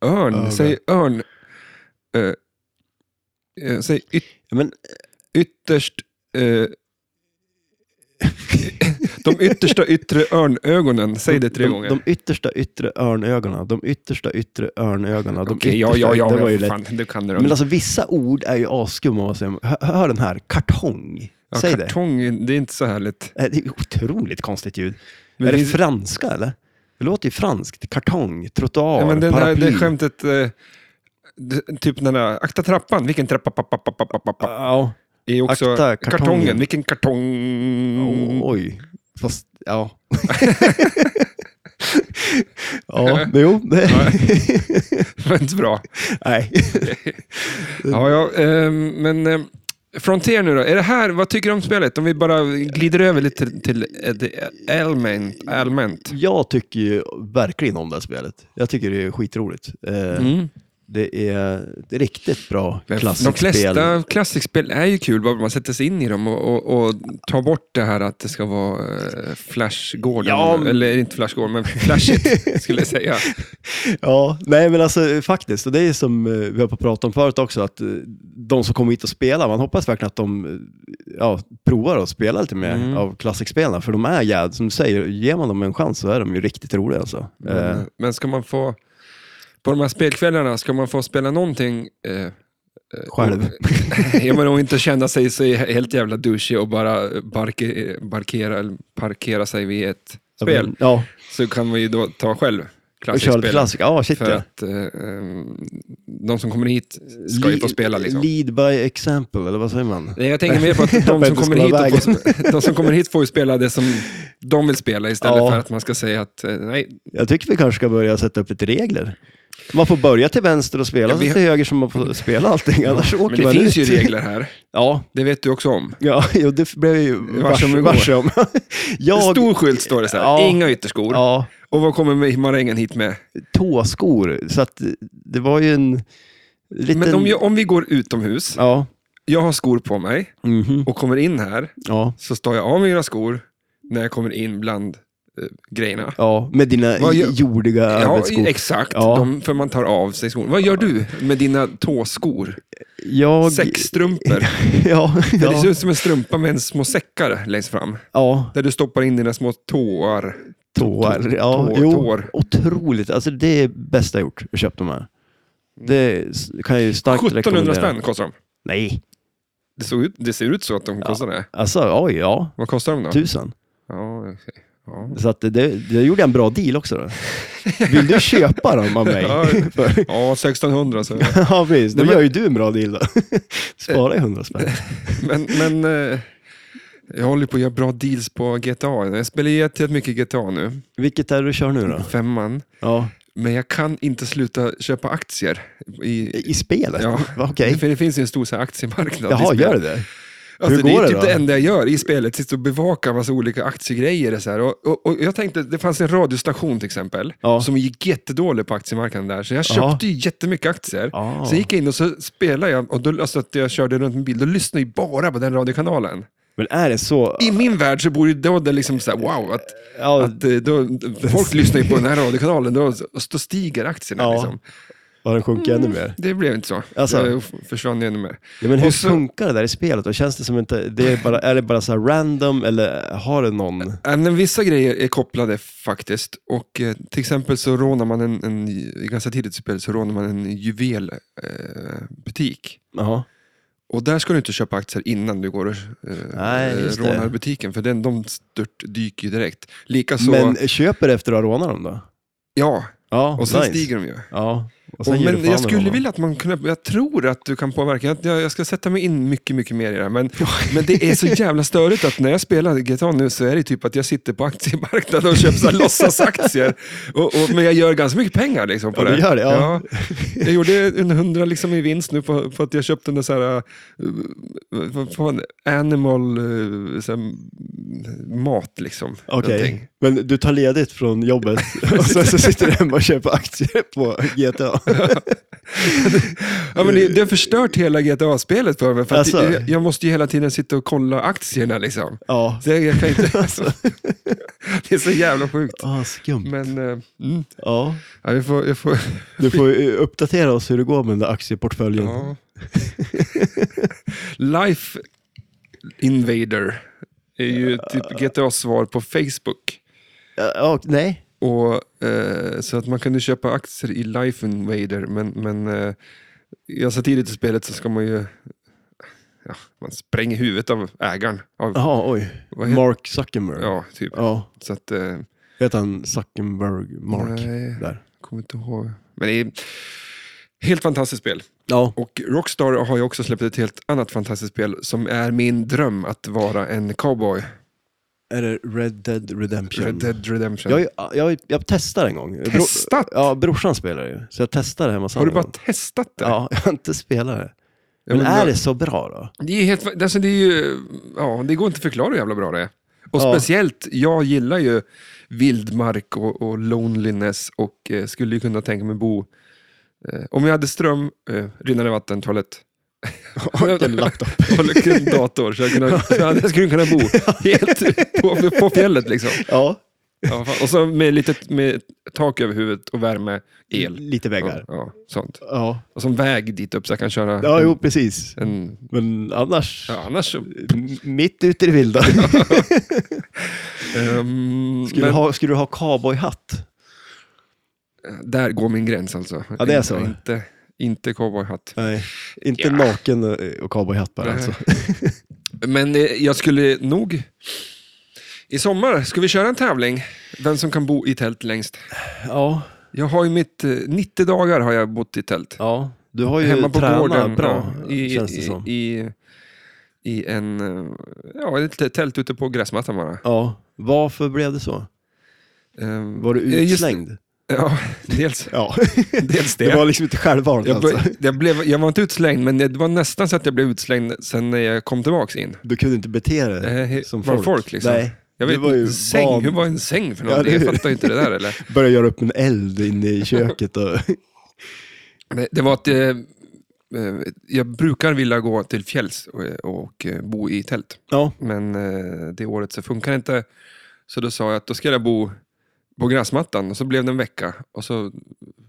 Speaker 2: örn.
Speaker 1: Ögon.
Speaker 2: Säg örn. Ö, eh, säg yt,
Speaker 1: Ja, Men,
Speaker 2: ytterst... eh, de yttersta yttre örnögonen. Säg det tre
Speaker 1: de,
Speaker 2: gånger.
Speaker 1: De yttersta yttre örnögonen. De yttersta yttre örnögonen. De
Speaker 2: Okej, ja, ja,
Speaker 1: yttersta,
Speaker 2: ja.
Speaker 1: det var ju
Speaker 2: ja
Speaker 1: lätt.
Speaker 2: fan, du kan det. då.
Speaker 1: Men alltså vissa ord är ju asskumma. om man säger. Hör, hör den här, kartong.
Speaker 2: Ja,
Speaker 1: Säg det.
Speaker 2: kartong, det. är inte så härligt.
Speaker 1: Eh, Det är otroligt konstigt ljud.
Speaker 2: Men
Speaker 1: är det
Speaker 2: vi-
Speaker 1: franska eller? Det låter ju franskt. Kartong, trottoar,
Speaker 2: Ja, men den här,
Speaker 1: paraply.
Speaker 2: det skämtet, eh, d- typ den där, akta trappan, vilken trappa, pappa, pappa, pappa, pappa,
Speaker 1: Ja.
Speaker 2: är också
Speaker 1: akta
Speaker 2: kartongen.
Speaker 1: kartongen.
Speaker 2: vilken kartong. Mm.
Speaker 1: O- Oj, fast ja. ja, men jo. Det...
Speaker 2: Det var inte så bra.
Speaker 1: Nej.
Speaker 2: Ja, ja, eh, men eh, Frontier nu då, är det här, vad tycker du om spelet? Om vi bara glider över lite till, till eh, det allmänt. allmänt.
Speaker 1: Jag tycker ju verkligen om det här spelet. Jag tycker det är skitroligt. Eh,
Speaker 2: Mm.
Speaker 1: det, är, det är riktigt bra
Speaker 2: De
Speaker 1: klassiskt spel.
Speaker 2: flesta klassikspel är ju kul, bara man sätter sig in i dem och, och, och tar bort det här att det ska vara eh, Flash Gordon.
Speaker 1: Ja, men-
Speaker 2: Eller inte Flash Gordon, men Flashigt skulle jag säga.
Speaker 1: Eh. Ja, nej men alltså faktiskt, och det är som eh, vi har på pratat om förut också, att eh, de som kommer hit och spelar, man hoppas verkligen att de eh, ja, provar och spelar lite mer
Speaker 2: Mm.
Speaker 1: av klassikspelarna, för de är jävligt, som du säger, ger man dem en chans så är de ju riktigt roliga alltså. Eh,
Speaker 2: Men, men ska man få, på de här spelkvällarna, ska man få spela någonting eh,
Speaker 1: själv.
Speaker 2: ja, men och inte känna sig så helt jävla douchig och bara barke, barkera, eller parkera sig vid ett spel,
Speaker 1: Ja,
Speaker 2: så kan man ju då ta själv
Speaker 1: och köra lite
Speaker 2: klassikspel.
Speaker 1: klassik. Ja, shit
Speaker 2: För
Speaker 1: ja.
Speaker 2: att eh, ehm, de som kommer hit ska ju få
Speaker 1: Li-
Speaker 2: spela. Liksom.
Speaker 1: Lead by example, eller vad säger man?
Speaker 2: Nej, jag tänker mer på att de
Speaker 1: Jag
Speaker 2: som,
Speaker 1: vet inte,
Speaker 2: kommer
Speaker 1: ska
Speaker 2: hit
Speaker 1: vara
Speaker 2: och får, sp- de som kommer hit får ju spela det som de vill spela istället
Speaker 1: Ja.
Speaker 2: för att man ska säga att eh, nej,
Speaker 1: Jag tycker vi kanske ska börja sätta upp lite regler. Man får börja till vänster och spela
Speaker 2: Ja, vi-
Speaker 1: så till höger som man får spela allting, annars åker
Speaker 2: Men det
Speaker 1: man
Speaker 2: finns ju
Speaker 1: ut.
Speaker 2: regler här.
Speaker 1: Ja,
Speaker 2: Det vet du också om.
Speaker 1: ja jo, det blev jag ju
Speaker 2: Varse om
Speaker 1: varse,
Speaker 2: igår.
Speaker 1: varse om. Jag,
Speaker 2: Stor skylt står det så här.
Speaker 1: Ja.
Speaker 2: Inga ytterskor.
Speaker 1: ja,
Speaker 2: Och vad kommer marängen hit med?
Speaker 1: tåskor, så att det var ju en liten...
Speaker 2: Men om, jag, om vi går utomhus,
Speaker 1: Ja,
Speaker 2: jag har skor på mig
Speaker 1: mhm,
Speaker 2: och kommer in här,
Speaker 1: ja,
Speaker 2: så står jag av mina skor när jag kommer in bland eh, grejerna.
Speaker 1: ja, med dina
Speaker 2: Vad gör-
Speaker 1: jordiga
Speaker 2: Ja,
Speaker 1: arbetsskor.
Speaker 2: exakt.
Speaker 1: Ja.
Speaker 2: De, för man tar av sig skorna. Vad gör du med dina tåskor?
Speaker 1: Jag...
Speaker 2: Säckstrumpor.
Speaker 1: Ja,
Speaker 2: Det ser
Speaker 1: ja,
Speaker 2: ut som en strumpa med en små säckar längst fram.
Speaker 1: ja,
Speaker 2: Där du stoppar in dina små tår.
Speaker 1: tår. Ja,
Speaker 2: Tår,
Speaker 1: jo,
Speaker 2: tår.
Speaker 1: Otroligt, alltså det är bästa jag gjort, att köpa de här. Det s- kan jag ju starkt
Speaker 2: 1700
Speaker 1: rekommendera.
Speaker 2: Mm. spänn kostar de.
Speaker 1: Nej,
Speaker 2: Det, såg ut, det ser ut så att de kostar det.
Speaker 1: alltså oj, ja,
Speaker 2: Vad kostar de då?
Speaker 1: tusen.
Speaker 2: Ja, okej. ja.
Speaker 1: Så att det, det, jag gjorde en bra deal också då. Vill du köpa dem av mig?
Speaker 2: Ja.
Speaker 1: För-
Speaker 2: ja, 1600. Så.
Speaker 1: ja, precis. Då
Speaker 2: Nej, men-
Speaker 1: gör ju du en bra deal då. Spara ju hundra spänn.
Speaker 2: Men, men eh, jag håller på att göra bra deals på GTA. Jag spelar jättemycket mycket GTA nu.
Speaker 1: Vilket är det du kör nu då?
Speaker 2: Femman.
Speaker 1: Ja.
Speaker 2: Men jag kan inte sluta köpa aktier. I,
Speaker 1: I spelet?
Speaker 2: Ja.
Speaker 1: Va, Okej.
Speaker 2: För det finns ju en stor så här, aktiemarknad. i
Speaker 1: Jaha,
Speaker 2: spel.
Speaker 1: gör det det?
Speaker 2: Alltså,
Speaker 1: Hur
Speaker 2: det
Speaker 1: går
Speaker 2: är
Speaker 1: det
Speaker 2: typ
Speaker 1: då?
Speaker 2: det enda jag gör i spelet, sitter och bevakar massa olika aktiegrejer. Och så här. Och, och, och jag tänkte, det fanns en radiostation till exempel,
Speaker 1: Ja.
Speaker 2: som gick jättedålig på aktiemarknaden där, så jag köpte
Speaker 1: Ja.
Speaker 2: ju jättemycket aktier.
Speaker 1: Ja.
Speaker 2: Så gick jag in och så spelade jag, och då, alltså att jag körde runt med bil, då lyssnade jag bara på den radiokanalen.
Speaker 1: Men är det så?
Speaker 2: I min värld så borde då det liksom så här, wow, att,
Speaker 1: Ja,
Speaker 2: att eh, då, folk lyssnar ju på den här radiokanalen, då, då stiger aktierna.
Speaker 1: Ja.
Speaker 2: Liksom.
Speaker 1: har den sjunkit ännu mer?
Speaker 2: Det blev inte så.
Speaker 1: Alltså.
Speaker 2: Det f- försvann ju ännu mer.
Speaker 1: Ja, men hur
Speaker 2: Och så-
Speaker 1: funkar det där i spelet då? Känns det som inte, det är, bara, är det bara så här random eller har det någon?
Speaker 2: Ja, Äh, men vissa grejer är kopplade faktiskt. Och eh, Till exempel så rånar man en, en i ganska tidigt spel så rånar man en juvelbutik. Eh, butik.
Speaker 1: Jaha.
Speaker 2: och där ska du inte köpa aktier innan du går och eh,
Speaker 1: Nej, just det.
Speaker 2: rånar butiken, för den, de stört dyker ju direkt. Likaså,
Speaker 1: Men köper du efter att ha rånat dem då?
Speaker 2: ja,
Speaker 1: Ja,
Speaker 2: och sen
Speaker 1: nice.
Speaker 2: stiger de ju.
Speaker 1: Ja, och sen
Speaker 2: Och,
Speaker 1: ger du
Speaker 2: men
Speaker 1: fan i
Speaker 2: jag skulle
Speaker 1: honom.
Speaker 2: vilja att man kunde, jag tror att du kan påverka, jag, jag jag ska sätta mig in mycket, mycket mer i det här. Men, men det är så jävla störigt att när jag spelar GTA nu så är det typ att jag sitter på aktiemarknaden och köper så här låtsasaktier. Och, och, men jag gör ganska mycket pengar liksom på
Speaker 1: Ja,
Speaker 2: det.
Speaker 1: du gör det, ja.
Speaker 2: Jag gjorde en hundra liksom i vinst nu på, på att jag köpte en så här, eh, vad fan, animal eh, så här, mat liksom.
Speaker 1: Okej,
Speaker 2: Någonting.
Speaker 1: men du tar ledigt från jobbet och sen så sitter du hemma och köper aktier på GTA.
Speaker 2: Ja, men det, det har förstört hela GTA-spelet för mig. För att
Speaker 1: Alltså.
Speaker 2: jag, jag måste ju hela tiden sitta och kolla aktierna. Liksom.
Speaker 1: Ja,
Speaker 2: Så jag, jag kan inte... det är så jävla sjukt.
Speaker 1: ah, skumt.
Speaker 2: Men eh, mm,
Speaker 1: Ja.
Speaker 2: ja, jag får... Jag får
Speaker 1: Du får eh, uppdatera oss hur det går med den där aktieportföljen.
Speaker 2: ja. Life Invader är ju typ GTAs svar på Facebook.
Speaker 1: Ja, ja, nej,
Speaker 2: Och, eh, så att man kunde köpa aktier i Life Invader, men, men eh, ganska tidigt i spelet så ska man ju... Ja, man spränger huvudet av ägaren. Av,
Speaker 1: jaha, oj.
Speaker 2: Vad heter-
Speaker 1: Mark Zuckerberg. Ja.
Speaker 2: Ja, typ. Så att, eh,
Speaker 1: Heter han Zuckerberg Mark?
Speaker 2: Nej.
Speaker 1: Där.
Speaker 2: kommer inte ihåg. Men det är helt fantastiskt spel.
Speaker 1: Ja.
Speaker 2: Och Rockstar har ju också släppt ett helt annat fantastiskt spel som är min dröm att vara en cowboy.
Speaker 1: Är det Red Dead Redemption?
Speaker 2: Red Dead Redemption.
Speaker 1: Jag, har ju- jag, har ju- jag testar en gång. Bro-
Speaker 2: Testat?
Speaker 1: Ja, brorsan spelar ju. Så jag testade hemma hos
Speaker 2: Har du
Speaker 1: honom.
Speaker 2: bara testat det?
Speaker 1: Ja, jag har inte spelat det.
Speaker 2: Jag
Speaker 1: Men
Speaker 2: menar,
Speaker 1: är det så bra då?
Speaker 2: det är helt, alltså det är ju, ja, det går inte att förklara hur jävla bra det är. Och
Speaker 1: Ja.
Speaker 2: speciellt, jag gillar ju vildmark och, och loneliness och eh, skulle ju kunna tänka mig bo, eh, om jag hade ström, eh, rinnande vatten, toalett.
Speaker 1: Och en laptop.
Speaker 2: och en dator så jag, kunde, så jag skulle kunna bo helt på, på fjället. Liksom.
Speaker 1: Ja,
Speaker 2: Ja, fan. och så med lite med tak över huvudet och värme, el.
Speaker 1: lite
Speaker 2: Ja,
Speaker 1: väggar.
Speaker 2: ja, sånt.
Speaker 1: Ja,
Speaker 2: Och så en väg dit upp så jag kan köra.
Speaker 1: ja
Speaker 2: en,
Speaker 1: jo precis.
Speaker 2: en,
Speaker 1: Men annars,
Speaker 2: ja, annars så...
Speaker 1: m- mitt ute i det vilda.
Speaker 2: Ehm,
Speaker 1: Skulle,
Speaker 2: men
Speaker 1: du ha, skulle du ha cowboyhatt?
Speaker 2: Där går min gräns alltså.
Speaker 1: Ja, det är så.
Speaker 2: Inte, inte cowboyhatt.
Speaker 1: Nej, inte
Speaker 2: Ja.
Speaker 1: naken och- och cowboyhatt
Speaker 2: Nej.
Speaker 1: bara alltså.
Speaker 2: Men eh, jag skulle nog... I sommar ska vi köra en tävling. Vem som kan bo i tält längst.
Speaker 1: Ja,
Speaker 2: Jag har ju mitt... eh, 90 dagar har jag bott i tält.
Speaker 1: ja. Du har ju
Speaker 2: hemma på
Speaker 1: tränat
Speaker 2: gården.
Speaker 1: bra,
Speaker 2: ja, i,
Speaker 1: känns det som.
Speaker 2: i, i, i en, eh, ja, ett litet tält ute på gräsmattan bara.
Speaker 1: Ja, varför blev det så?
Speaker 2: Ehm,
Speaker 1: Var du
Speaker 2: eh, just-
Speaker 1: utslängd?
Speaker 2: Ja, dels,
Speaker 1: Ja.
Speaker 2: dels det.
Speaker 1: Det var liksom inte självvalt
Speaker 2: jag,
Speaker 1: alltså.
Speaker 2: be- jag, blev, jag var inte utslängd, men det var nästan så att jag blev utslängd sen när jag kom tillbaka in.
Speaker 1: Du kunde inte bete dig
Speaker 2: Eh,
Speaker 1: som
Speaker 2: var
Speaker 1: folk.
Speaker 2: folk, liksom.
Speaker 1: Nej.
Speaker 2: Jag
Speaker 1: Du
Speaker 2: vet,
Speaker 1: var ju
Speaker 2: en säng,
Speaker 1: van-
Speaker 2: hur var en säng för
Speaker 1: Ja,
Speaker 2: någonting?
Speaker 1: det-
Speaker 2: Jag fattar ju inte det där eller?
Speaker 1: Började göra upp en eld inne i köket. Och...
Speaker 2: Nej, Det var att eh, eh, jag brukar vilja gå till fjälls och, och eh, bo i tält.
Speaker 1: ja.
Speaker 2: Men eh, det året så funkar det inte. Så då sa jag att då ska jag bo på gräsmattan och så blev det en vecka. Och så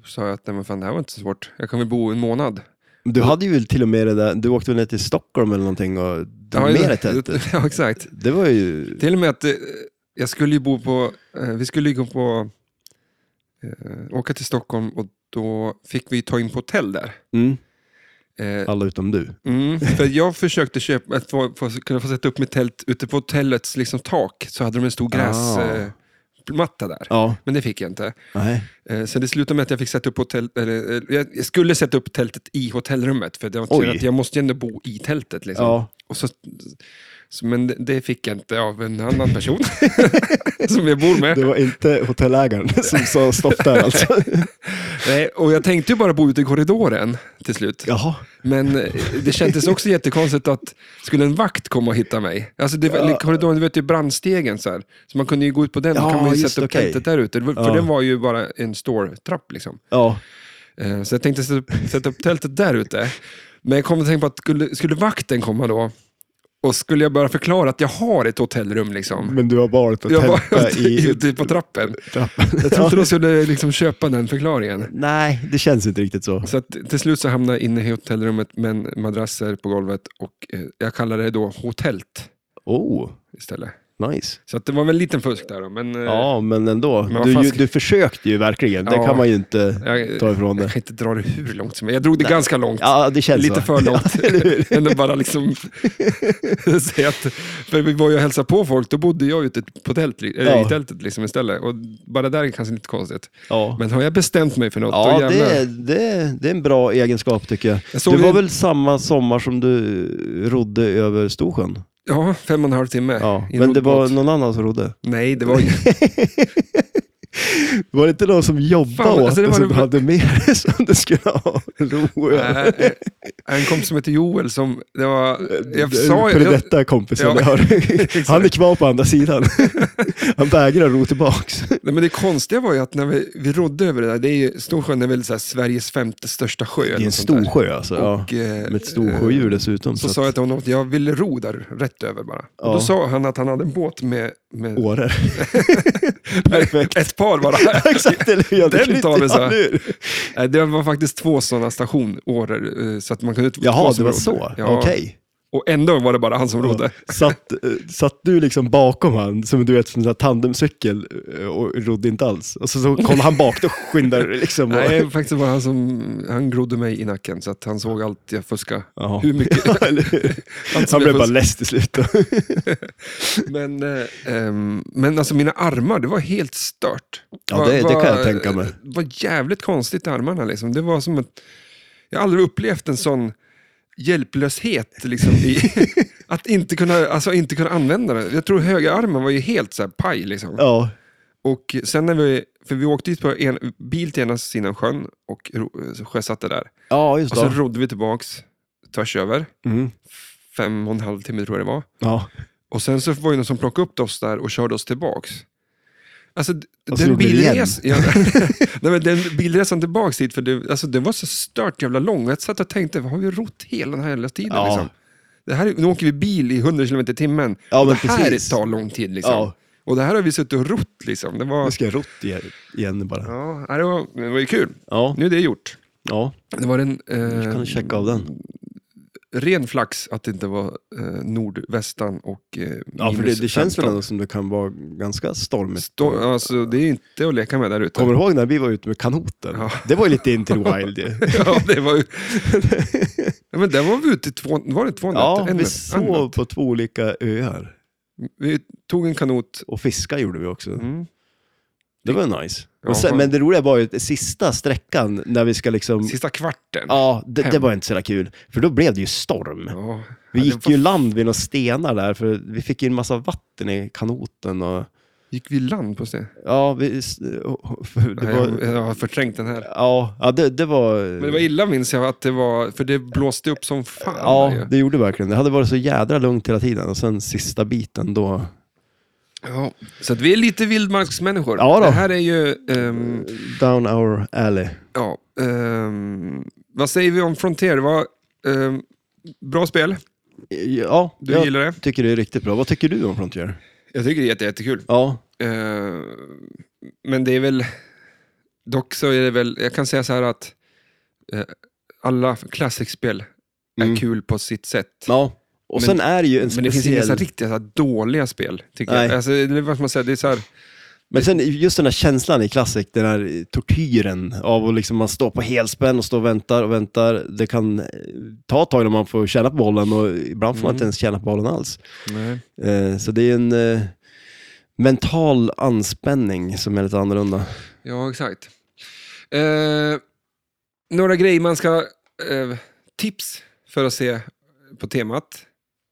Speaker 2: sa jag att nej, men fan, det här var inte så svårt. Jag kan väl bo en månad.
Speaker 1: Du hade ju väl till och med det där, du åkte väl ner till Stockholm eller någonting och drog med dig tältet.
Speaker 2: Ja, exakt.
Speaker 1: Det var ju...
Speaker 2: Till och med att eh, jag skulle ju bo på, eh, vi skulle ju gå på, eh, åka till Stockholm och då fick vi ta in på hotell där.
Speaker 1: Mm,
Speaker 2: Eh,
Speaker 1: alla utom du.
Speaker 2: mm, för jag försökte köpa, att få, få, kunna få sätta upp mitt tält ute på hotellets liksom, tak, så hade de en stor
Speaker 1: Ah.
Speaker 2: gräsmatta eh, matta där.
Speaker 1: Ja,
Speaker 2: Men det fick jag inte.
Speaker 1: nej.
Speaker 2: Eh, Så det slutade med att jag fick sätta upp hotell, eller, eh, jag jag skulle sätta upp tältet i hotellrummet, för det var
Speaker 1: Oj.
Speaker 2: till att jag måste ju ändå bo i tältet. Liksom.
Speaker 1: Ja.
Speaker 2: Och så, så, men det- det fick jag inte av en annan person som jag bor med.
Speaker 1: Det var inte hotellägaren som sa stopp där alltså.
Speaker 2: Nej, och jag tänkte ju bara bo ute i korridoren till slut.
Speaker 1: Jaha.
Speaker 2: Men eh, det kändes också jättekonstigt att skulle en vakt komma och hitta mig? Alltså det, var- korridoren, du vet ju brandstegen så här. Så man kunde ju gå ut på den och
Speaker 1: Ja,
Speaker 2: kan man ju
Speaker 1: just
Speaker 2: sätta upp
Speaker 1: okej.
Speaker 2: tältet där ute. Det var- För
Speaker 1: Ja.
Speaker 2: den var ju bara en store-trapp liksom.
Speaker 1: Ja.
Speaker 2: Eh, Så jag tänkte sätta upp, sätta upp tältet där ute. Men jag kom att tänka på att skulle, skulle vakten komma då och skulle jag bara förklara att jag har ett hotellrum liksom.
Speaker 1: Men du har varit och
Speaker 2: Jag var
Speaker 1: tältat i
Speaker 2: ute på trappen.
Speaker 1: trappan.
Speaker 2: Jag tror inte de skulle liksom köpa den förklaringen.
Speaker 1: Nej, det känns inte riktigt så.
Speaker 2: Så att till slut så hamnade jag inne i hotellrummet med en madrasser på golvet och eh, jag kallade det då hotellt
Speaker 1: Oh,
Speaker 2: istället.
Speaker 1: nice.
Speaker 2: Så att det var väl en liten fusk där då, men eh,
Speaker 1: Ja, men ändå.
Speaker 2: vad
Speaker 1: Du,
Speaker 2: fan
Speaker 1: ju,
Speaker 2: ska-
Speaker 1: du försökte ju verkligen. Det
Speaker 2: Ja.
Speaker 1: kan man ju inte
Speaker 2: jag,
Speaker 1: ta
Speaker 2: jag
Speaker 1: ifrån dig.
Speaker 2: kan inte dra det hur långt som helst. Jag drog det ganska långt.
Speaker 1: Ja, det känns
Speaker 2: Lite
Speaker 1: så.
Speaker 2: för långt. Men det bara liksom... säga att, för vi var ju och hälsade på folk, då bodde jag ute på tält, eller
Speaker 1: Ja.
Speaker 2: i tältet liksom istället. Och bara där är det kanske inte konstigt.
Speaker 1: Ja.
Speaker 2: Men har jag bestämt mig för något, då
Speaker 1: Ja,
Speaker 2: jävlar.
Speaker 1: det, det, det är en bra egenskap tycker jag.
Speaker 2: Jag såg
Speaker 1: Det var
Speaker 2: en-
Speaker 1: väl samma sommar som du rodde över Storsjön?
Speaker 2: Ja, fem och en halv timme.
Speaker 1: Ja,
Speaker 2: i en
Speaker 1: men det var
Speaker 2: roddbåt.
Speaker 1: någon annan som rodde.
Speaker 2: Nej, det var ju...
Speaker 1: Var det inte någon som jobbade
Speaker 2: Fan,
Speaker 1: åt
Speaker 2: alltså, det
Speaker 1: det
Speaker 2: var
Speaker 1: som
Speaker 2: det-
Speaker 1: hade med det som du skulle ha en ro över?
Speaker 2: Äh, en kompis som heter Joel som... Det
Speaker 1: Eh,
Speaker 2: var... Jag sa
Speaker 1: För
Speaker 2: ju... Jag,
Speaker 1: detta kompisen
Speaker 2: Ja,
Speaker 1: jag har. Han är kvar på andra sidan. Han vägrar ro tillbaks.
Speaker 2: nej, men det konstiga var ju att när vi, vi rodde över det där, det är ju, Storsjön är väl så här Sveriges femte största sjö.
Speaker 1: Det
Speaker 2: eller
Speaker 1: är en
Speaker 2: något sånt där.
Speaker 1: stor sjö alltså. ja.
Speaker 2: Och, eh,
Speaker 1: Med ett storsjödjur dessutom.
Speaker 2: Så
Speaker 1: Så,
Speaker 2: sa jag
Speaker 1: att...
Speaker 2: till honom att jag ville ro där rätt över bara.
Speaker 1: Ja.
Speaker 2: Och då sa han att han hade en båt med, med
Speaker 1: Åre. perfekt.
Speaker 2: ett par bara.
Speaker 1: Exakt, eller hur? Ja, det
Speaker 2: Den
Speaker 1: kan
Speaker 2: tar
Speaker 1: inte
Speaker 2: vi så här.
Speaker 1: jag nu.
Speaker 2: Nej, det var faktiskt två sådana stationårer, eh, så att man kunde...
Speaker 1: Jaha,
Speaker 2: två
Speaker 1: det
Speaker 2: som
Speaker 1: var
Speaker 2: rodde.
Speaker 1: så?
Speaker 2: Ja.
Speaker 1: Okej.
Speaker 2: Och ändå var det bara han som rodde.
Speaker 1: Satt, eh, satt du liksom bakom han, som du vet, som en sån här tandemcykel eh, och rodde inte alls? Och så, så kom han bak, då skyndade du liksom. Och...
Speaker 2: Nej, faktiskt var han som... Han grodde mig i nacken, så att han såg allt jag fuskade.
Speaker 1: Jaha.
Speaker 2: Hur mycket...
Speaker 1: Ja, eller hur?
Speaker 2: Allt som jag
Speaker 1: han blev bara
Speaker 2: fuskade.
Speaker 1: less till slut. då.
Speaker 2: Men, eh, ehm, men alltså mina armar, det var helt stört.
Speaker 1: Ja,
Speaker 2: Va-
Speaker 1: det- det
Speaker 2: va-
Speaker 1: kan jag tänka mig.
Speaker 2: Det var jävligt konstigt i armarna. Liksom. Det var som att, jag har aldrig upplevt en sån hjälplöshet. Liksom, i, att inte kunna, alltså, inte kunna använda den. Jag tror höga armen var ju helt så här, paj. Liksom.
Speaker 1: Ja,
Speaker 2: Och sen när vi, för vi åkte dit på en bil till ena sidan sjön och ro- sjösatte där.
Speaker 1: ja just
Speaker 2: Och så
Speaker 1: det.
Speaker 2: rodde vi tillbaks tvärs över.
Speaker 1: Mm.
Speaker 2: Fem och en halv timme tror jag det var.
Speaker 1: Ja.
Speaker 2: Och sen så var det någon som plockade upp oss där och körde oss tillbaks. Alltså, d-
Speaker 1: Och så
Speaker 2: den,
Speaker 1: gjorde vi det igen.
Speaker 2: bilres... ja, Nej, men den bilresan tillbaks dit, för det, alltså, det var så stört jävla lång. Jag satt och tänkte, vad har vi rott hela den här jävla tiden?
Speaker 1: Ja.
Speaker 2: Liksom? Det här, är- nu åker vi bil i 100 km i timmen.
Speaker 1: Ja,
Speaker 2: och
Speaker 1: men
Speaker 2: det här
Speaker 1: precis.
Speaker 2: tar lång tid. Liksom.
Speaker 1: Ja. Mm.
Speaker 2: Och det här har vi suttit och rott. Liksom. Det,
Speaker 1: Nu
Speaker 2: var,
Speaker 1: ska jag rott igen- igen bara.
Speaker 2: ja, nej, det, var, det var ju kul.
Speaker 1: Ja,
Speaker 2: Nu är det gjort.
Speaker 1: ja.
Speaker 2: Det var en
Speaker 1: kan
Speaker 2: eh,
Speaker 1: du checka av den.
Speaker 2: ren flax att det inte var eh, nordvästan och eh,
Speaker 1: Ja, för det, det känns väl
Speaker 2: 15.
Speaker 1: ändå som det kan vara ganska stormigt.
Speaker 2: Stå, alltså, det är inte att leka med där ute.
Speaker 1: Kommer du ihåg när vi var ute med kanoten?
Speaker 2: Ja.
Speaker 1: Det var ju lite in till wild ju.
Speaker 2: ja, det var ju... ja, men där var vi ute i två, var det två
Speaker 1: Ja,
Speaker 2: nätter? En
Speaker 1: vi
Speaker 2: natt, en
Speaker 1: sov
Speaker 2: natt.
Speaker 1: på två olika öar.
Speaker 2: Vi tog en kanot.
Speaker 1: Och fiska gjorde vi också.
Speaker 2: Mm.
Speaker 1: Det var nice.
Speaker 2: Ja.
Speaker 1: Men, sen, men det roliga var ju att sista sträckan när vi ska liksom...
Speaker 2: Sista kvarten.
Speaker 1: Ja, det, det
Speaker 2: Hem.
Speaker 1: var inte så jävla kul. För då blev det ju storm.
Speaker 2: Ja. Ja, det
Speaker 1: Vi gick
Speaker 2: var-
Speaker 1: ju land vid några stenar där, för vi fick ju en massa vatten i kanoten. Och...
Speaker 2: Gick vi i land på det?
Speaker 1: Ja, vi, s- det
Speaker 2: Jag,
Speaker 1: var...
Speaker 2: jag har förträngt den här.
Speaker 1: Ja, ja det, det var...
Speaker 2: Men det var illa minns jag att det var, för det blåste upp som fan. där
Speaker 1: Ja,
Speaker 2: ju.
Speaker 1: det gjorde verkligen det. hade varit så jädra lugnt hela tiden och sen sista biten då...
Speaker 2: ja. Så att vi är lite vildmarksmänniskor.
Speaker 1: Ja då.
Speaker 2: Det här är ju, ehm,
Speaker 1: Down our alley.
Speaker 2: ja, ehm, vad säger vi om Frontier? Det var, ehm, bra spel,
Speaker 1: Ja,
Speaker 2: du
Speaker 1: jag
Speaker 2: gillar det.
Speaker 1: tycker det är riktigt bra. Vad tycker du om Frontier?
Speaker 2: Jag tycker det är jätte, jättekul.
Speaker 1: Ja,
Speaker 2: Eh, men det är väl, dock så är det väl, jag kan säga så här att eh, alla klassikspel
Speaker 1: Mm.
Speaker 2: är kul på sitt sätt.
Speaker 1: ja. Och
Speaker 2: Men-
Speaker 1: sen är det ju en
Speaker 2: Men det finns inga
Speaker 1: speciell...
Speaker 2: så här riktiga så här dåliga spel, tycker
Speaker 1: Nej.
Speaker 2: jag. Alltså, det är vad ska man säger, det är så här,
Speaker 1: Men sen just den här känslan i Classic, den här tortyren av att liksom man står på helspänn och står och väntar och väntar. Det kan eh, ta ett tag när man får känna på bollen och ibland får man
Speaker 2: Mm.
Speaker 1: inte ens känna på bollen alls. Eh, Så det är en eh, mental anspänning som är lite annorlunda.
Speaker 2: ja exakt. Eh, några grejer man ska, eh, tips för att se på temat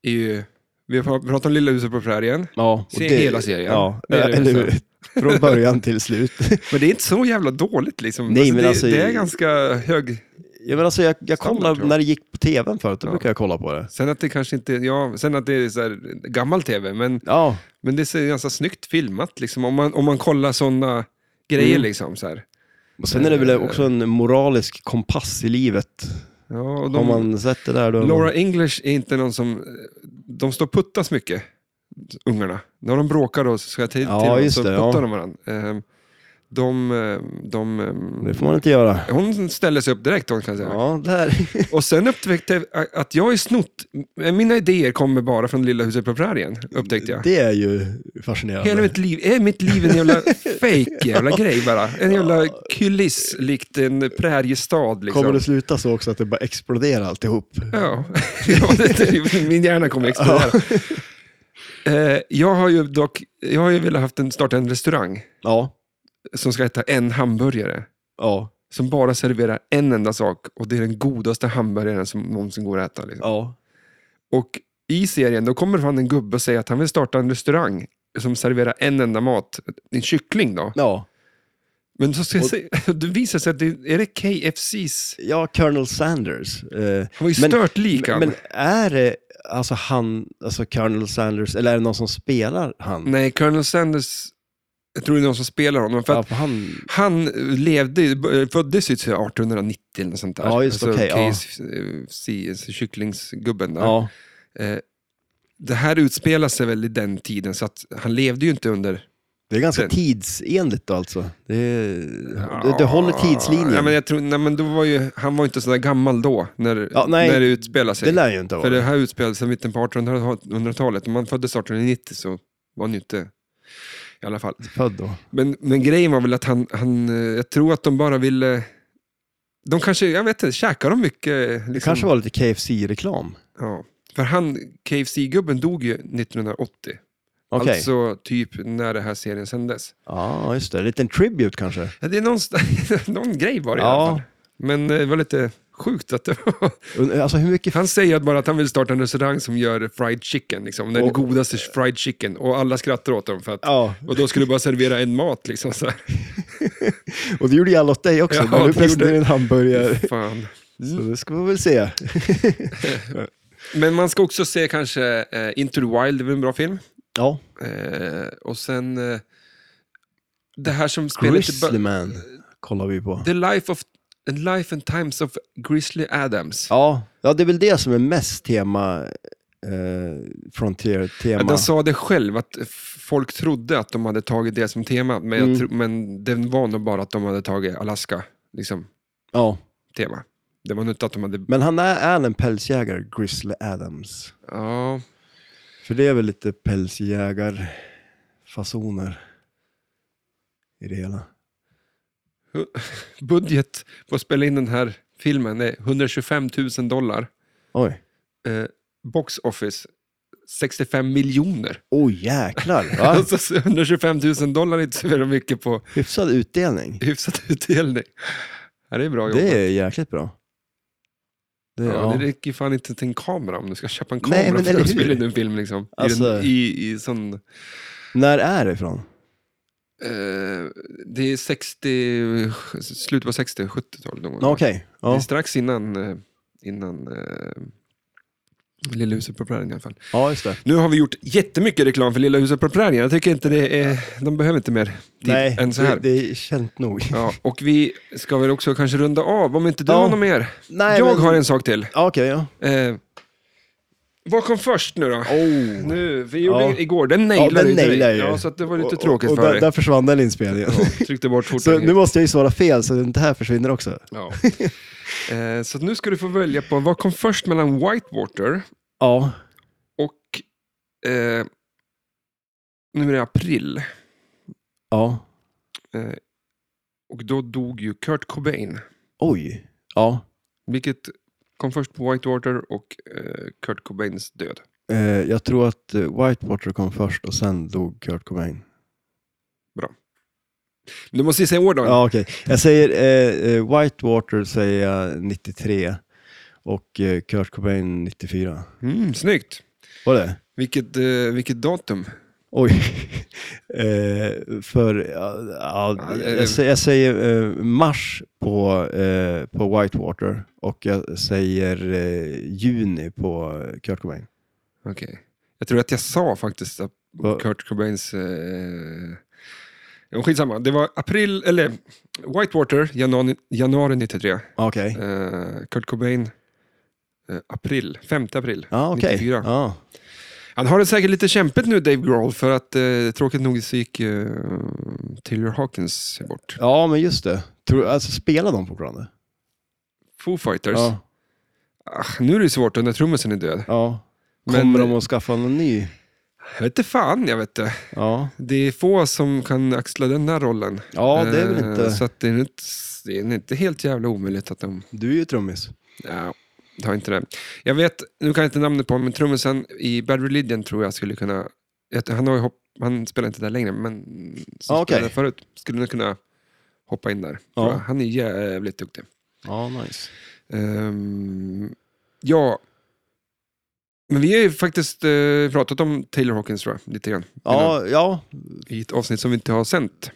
Speaker 2: är ju, vi har pratat om Lilla huset på prärien,
Speaker 1: Ja,
Speaker 2: Se hela serien.
Speaker 1: Ja,
Speaker 2: Det är det
Speaker 1: eller
Speaker 2: bästa.
Speaker 1: Från början till slut.
Speaker 2: men det är inte så jävla dåligt liksom.
Speaker 1: Nej,
Speaker 2: alltså,
Speaker 1: men
Speaker 2: det,
Speaker 1: alltså-
Speaker 2: det är ganska hög
Speaker 1: Ja, men alltså jag, jag
Speaker 2: Standard,
Speaker 1: kollade
Speaker 2: tror jag.
Speaker 1: när det gick på tvn förut, då
Speaker 2: Ja.
Speaker 1: brukar jag kolla på det.
Speaker 2: Sen att det kanske inte, ja, sen att det är så här gammal tv, men,
Speaker 1: Ja,
Speaker 2: men det är ganska snyggt filmat liksom, om, man, om man kollar sådana grejer.
Speaker 1: Mm.
Speaker 2: Liksom, så här.
Speaker 1: och sen är det
Speaker 2: Eh,
Speaker 1: väl också en moralisk kompass i livet.
Speaker 2: Ja, och
Speaker 1: Har
Speaker 2: de,
Speaker 1: man sett det där då...
Speaker 2: Laura English är inte någon som, de står och puttas mycket, ungarna. När de bråkar då så ska jag till,
Speaker 1: Ja,
Speaker 2: till dem,
Speaker 1: just
Speaker 2: så
Speaker 1: det,
Speaker 2: puttar
Speaker 1: ja.
Speaker 2: de varandra. Ehm, De, ehm, de, ehm,
Speaker 1: Det får man inte göra.
Speaker 2: hon ställer sig upp direkt hon kan jag säga.
Speaker 1: Ja, där.
Speaker 2: Och sen upptäckte jag att jag är snott, mina idéer kommer bara från Lilla huset på prärien, upptäckte jag.
Speaker 1: Det är ju fascinerande.
Speaker 2: Hela mitt liv, är mitt liv en jävla fake jävla grej bara? En jävla kuliss likt en präriestad liksom.
Speaker 1: Kommer det sluta så också att det bara exploderar alltihop?
Speaker 2: Ja, Ja, det- min hjärna kommer explodera. Eh, Jag har ju dock, jag har ju velat haft en, starta en restaurang
Speaker 1: Ja.
Speaker 2: som ska heta En hamburgare.
Speaker 1: Ja.
Speaker 2: Som bara serverar en enda sak och det är den godaste hamburgaren som någonsin går att äta. Liksom.
Speaker 1: Ja.
Speaker 2: Och i serien då kommer fan en gubbe och säger att han vill starta en restaurang som serverar en enda mat, en kyckling då.
Speaker 1: Ja.
Speaker 2: Men så ska jag
Speaker 1: Och-
Speaker 2: säga, det visar sig att det, är det KFCs?
Speaker 1: Ja, Colonel Sanders. Eh,
Speaker 2: Han var ju
Speaker 1: Men-
Speaker 2: stört lik han.
Speaker 1: men är det alltså han, alltså Colonel Sanders, eller är det någon som spelar han?
Speaker 2: Nej, Colonel Sanders, jag tror det är någon som spelar honom. För
Speaker 1: ja,
Speaker 2: att
Speaker 1: för han,
Speaker 2: han eh, levde, föddes ju till 1890 eller något sånt där. Alltså,
Speaker 1: Ja, just okej, ja.
Speaker 2: KFC, alltså kycklingsgubben där.
Speaker 1: ja.
Speaker 2: Eh, det här utspelar sig väl i den tiden, så att han levde ju inte under...
Speaker 1: Det är ganska
Speaker 2: Den-
Speaker 1: tidsenligt då, alltså. Det, det, det håller tidslinjen.
Speaker 2: Ah. Ja, men jag tror, nej, men då var ju, han var ju inte så där gammal då, när,
Speaker 1: Ja, nej.
Speaker 2: när det utspelar sig.
Speaker 1: det lär ju inte vara.
Speaker 2: För det här utspelade sig i mitten på 1800-talet. Om man föddes 1890 så var han ju inte... I alla fall.
Speaker 1: Född då.
Speaker 2: Men, men grejen var väl att han, han... eh, Jag tror att de bara ville... De kanske, jag vet inte, käkar de mycket? Liksom,
Speaker 1: Det kanske var lite KFC-reklam.
Speaker 2: Ja. För han, KFC-gubben dog ju 1980.
Speaker 1: Okej.
Speaker 2: Alltså typ när den här serien sändes.
Speaker 1: Ja, just det. En liten tribute kanske.
Speaker 2: Ja, Det är någon, någon grej var det i
Speaker 1: Ja.
Speaker 2: alla fall. Men eh, det var lite sjukt att det var...
Speaker 1: Alltså hur mycket
Speaker 2: Han säger att bara att han vill starta en restaurang som gör fried chicken, liksom, den
Speaker 1: Och-
Speaker 2: godaste fried chicken. Och alla skrattar åt dem för att...
Speaker 1: Ja,
Speaker 2: Och då skulle du bara servera en mat liksom. Så här.
Speaker 1: och det gjorde ju alla åt dig också.
Speaker 2: Ja,
Speaker 1: men
Speaker 2: det
Speaker 1: du pressade
Speaker 2: gjorde- Mm.
Speaker 1: ner en hamburgare.
Speaker 2: Fan.
Speaker 1: Så det ska vi väl se.
Speaker 2: Men man ska också se kanske eh, Into the Wild, det är väl en bra film.
Speaker 1: Ja,
Speaker 2: Eh, och sen eh, det här som spelar
Speaker 1: Grizzly
Speaker 2: lite...
Speaker 1: Man kollar vi på.
Speaker 2: The Life of The Life and Times of Grizzly Adams.
Speaker 1: Ja, ja, det är väl det som är mest tema, eh,
Speaker 2: Ja,
Speaker 1: Frontier-tema.
Speaker 2: Den sa det själv, att f- folk trodde att de hade tagit det som tema, men, jag
Speaker 1: Mm.
Speaker 2: tro, men det var nog bara att de hade tagit Alaska, liksom,
Speaker 1: Ja,
Speaker 2: tema. Det var nog inte att de hade...
Speaker 1: men han är, är en pälsjägare, Grizzly Adams.
Speaker 2: Ja,
Speaker 1: För det är väl lite pälsjägarfasoner i det hela.
Speaker 2: budget på att spela in den här filmen är 125 000 dollar.
Speaker 1: Oj,
Speaker 2: Eh, box office, 65 miljoner.
Speaker 1: oj jäklar. Va?
Speaker 2: Alltså 125 000 dollar är inte så väldigt mycket på
Speaker 1: Hyfsad utdelning.
Speaker 2: hyfsad utdelning. Ja, det är bra jobbat.
Speaker 1: Det är jäkligt bra. Det,
Speaker 2: Ja,
Speaker 1: ja.
Speaker 2: Det räcker ju fan inte till en kamera om du ska köpa en
Speaker 1: Nej,
Speaker 2: kamera
Speaker 1: men
Speaker 2: för
Speaker 1: eller
Speaker 2: att spela
Speaker 1: hur?
Speaker 2: in en film. Liksom. I,
Speaker 1: Alltså-
Speaker 2: den, i, i sån,
Speaker 1: När är det ifrån?
Speaker 2: Eh, det är 60, slutet på 60, 70-talet någon gång.
Speaker 1: Ja, Okej.
Speaker 2: Det är
Speaker 1: Ja.
Speaker 2: strax innan, eh, innan eh, Lilla huset på prärien i alla fall.
Speaker 1: ja, just det.
Speaker 2: Nu har vi gjort jättemycket reklam för Lilla huset på prärien. Jag tycker inte det är, de behöver inte mer tid
Speaker 1: Nej,
Speaker 2: än så här.
Speaker 1: det, det är känt nog.
Speaker 2: Ja, och vi ska väl också kanske runda av, om inte du
Speaker 1: Ja.
Speaker 2: har något mer.
Speaker 1: Nej,
Speaker 2: jag
Speaker 1: men-
Speaker 2: har en sak till.
Speaker 1: Ja, Okej, ja.
Speaker 2: Eh, vad kom först nu då?
Speaker 1: Oh.
Speaker 2: Nu, vi gjorde
Speaker 1: Ja.
Speaker 2: igår, den
Speaker 1: Ja,
Speaker 2: nailade
Speaker 1: den
Speaker 2: ju direkt.
Speaker 1: nailade ju.
Speaker 2: Ja, så att det var lite
Speaker 1: Och-
Speaker 2: tråkigt
Speaker 1: och,
Speaker 2: för
Speaker 1: där,
Speaker 2: dig.
Speaker 1: Där försvann den inspelningen.
Speaker 2: Ja, tryckte bort
Speaker 1: Så nu
Speaker 2: skjortan.
Speaker 1: måste jag ju svara fel så det här försvinner också.
Speaker 2: Ja. Eh, så att nu ska du få välja på, vad kom först mellan Whitewater
Speaker 1: Ja.
Speaker 2: och... Eh, nu är det april.
Speaker 1: Ja.
Speaker 2: Eh, och då dog ju Kurt Cobain.
Speaker 1: Oj. Ja.
Speaker 2: Vilket kom först på Whitewater och eh, Kurt Cobains död.
Speaker 1: Eh, jag tror att eh, Whitewater kom först och sen dog Kurt Cobain.
Speaker 2: Du måste ju säga år då.
Speaker 1: Ja, okej. Jag säger eh, eh, Whitewater säger jag 93 och eh, Kurt Cobain 94.
Speaker 2: Mm, snyggt.
Speaker 1: Var det?
Speaker 2: Vilket, eh, vilket datum?
Speaker 1: Oj. eh, för, ja, ja,
Speaker 2: det-
Speaker 1: jag, sä- jag säger eh, mars på, eh, på Whitewater och jag säger eh, juni på Kurt Cobain.
Speaker 2: Okej. Jag tror att jag sa faktiskt att
Speaker 1: Va-
Speaker 2: Kurt Cobains... Eh... ja, Skitsamma, det var april, eller Whitewater, januari, januari 93.
Speaker 1: Okej.
Speaker 2: Eh, Kurt Cobain, eh, april, 5 april
Speaker 1: Ja, okej.
Speaker 2: 94.
Speaker 1: Ja.
Speaker 2: Han har det säkert lite kämpigt nu Dave Grohl för att eh, tråkigt nog så gick eh, Taylor Hawkins bort.
Speaker 1: ja, men just det. Tror, alltså, spelar de fortfarande?
Speaker 2: Foo Fighters.
Speaker 1: Ja.
Speaker 2: Ah, nu är det svårt när trummisen är död.
Speaker 1: ja. Kommer
Speaker 2: Men-
Speaker 1: de att skaffa någon ny?
Speaker 2: Jag vet inte fan, jag vet inte.
Speaker 1: Ja,
Speaker 2: Det är få som kan axla den där rollen.
Speaker 1: ja det är väl
Speaker 2: Eh,
Speaker 1: inte...
Speaker 2: Så att det, är inte, det är inte helt jävla omöjligt att de...
Speaker 1: Du är ju trummis.
Speaker 2: Ja, ta inte det. Jag vet, nu kan jag inte namnet på honom, men trummisen i Bad Religion tror jag skulle kunna... jag tror- Han, har ju hopp, han spelar inte där längre, men som
Speaker 1: Ah, okej.
Speaker 2: spelade förut skulle nog kunna hoppa in där. tror
Speaker 1: Ja.
Speaker 2: jag. Han är jävligt duktig.
Speaker 1: Ja, nice.
Speaker 2: Ehm, ja, men vi har ju faktiskt eh, pratat om Taylor Hawkins tror jag, lite grann.
Speaker 1: Ja, ja,
Speaker 2: I ett avsnitt som vi inte har sänt.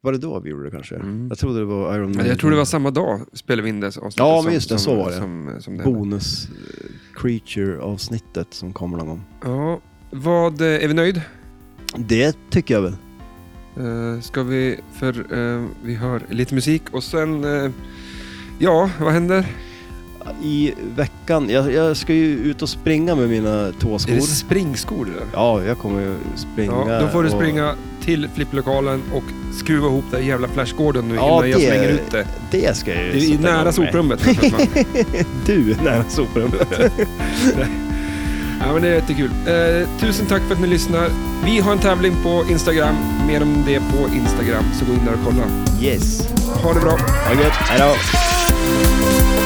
Speaker 1: var det då vi gjorde det kanske?
Speaker 2: Mm.
Speaker 1: Jag trodde det var Iron Man.
Speaker 2: Men jag tror det var samma dag spelade vi in det avsnittet.
Speaker 1: Ja,
Speaker 2: som-
Speaker 1: men just det,
Speaker 2: som-
Speaker 1: så var det.
Speaker 2: Som, som det här.
Speaker 1: bonus eh, creature-avsnittet som kommer någon gång.
Speaker 2: Ja, vad, eh, är vi nöjd?
Speaker 1: Det tycker jag väl.
Speaker 2: Eh, Ska vi, för eh, vi hör lite musik och sen, eh, ja, vad händer?
Speaker 1: I veckan, jag, jag ska ju ut och springa med mina
Speaker 2: Är
Speaker 1: tåskor.
Speaker 2: det springskor där?
Speaker 1: Ja, jag kommer ju springa.
Speaker 2: Ja, då får du
Speaker 1: och-
Speaker 2: springa till flipplokalen och skruva ihop den jävla flashgården nu
Speaker 1: Ja,
Speaker 2: innan jag
Speaker 1: det-
Speaker 2: slänger ut det.
Speaker 1: Det ska jag ju
Speaker 2: Det är
Speaker 1: sätta igång
Speaker 2: nära
Speaker 1: med.
Speaker 2: soprummet. för fan.
Speaker 1: Du är nära soprummet.
Speaker 2: ja, men det är jättekul. Eh, tusen tack för att ni lyssnar. Vi har en tävling på Instagram. Mer om det på Instagram, så gå in där och kolla.
Speaker 1: Yes.
Speaker 2: Ha det bra.
Speaker 1: Ha det gött. Hej då.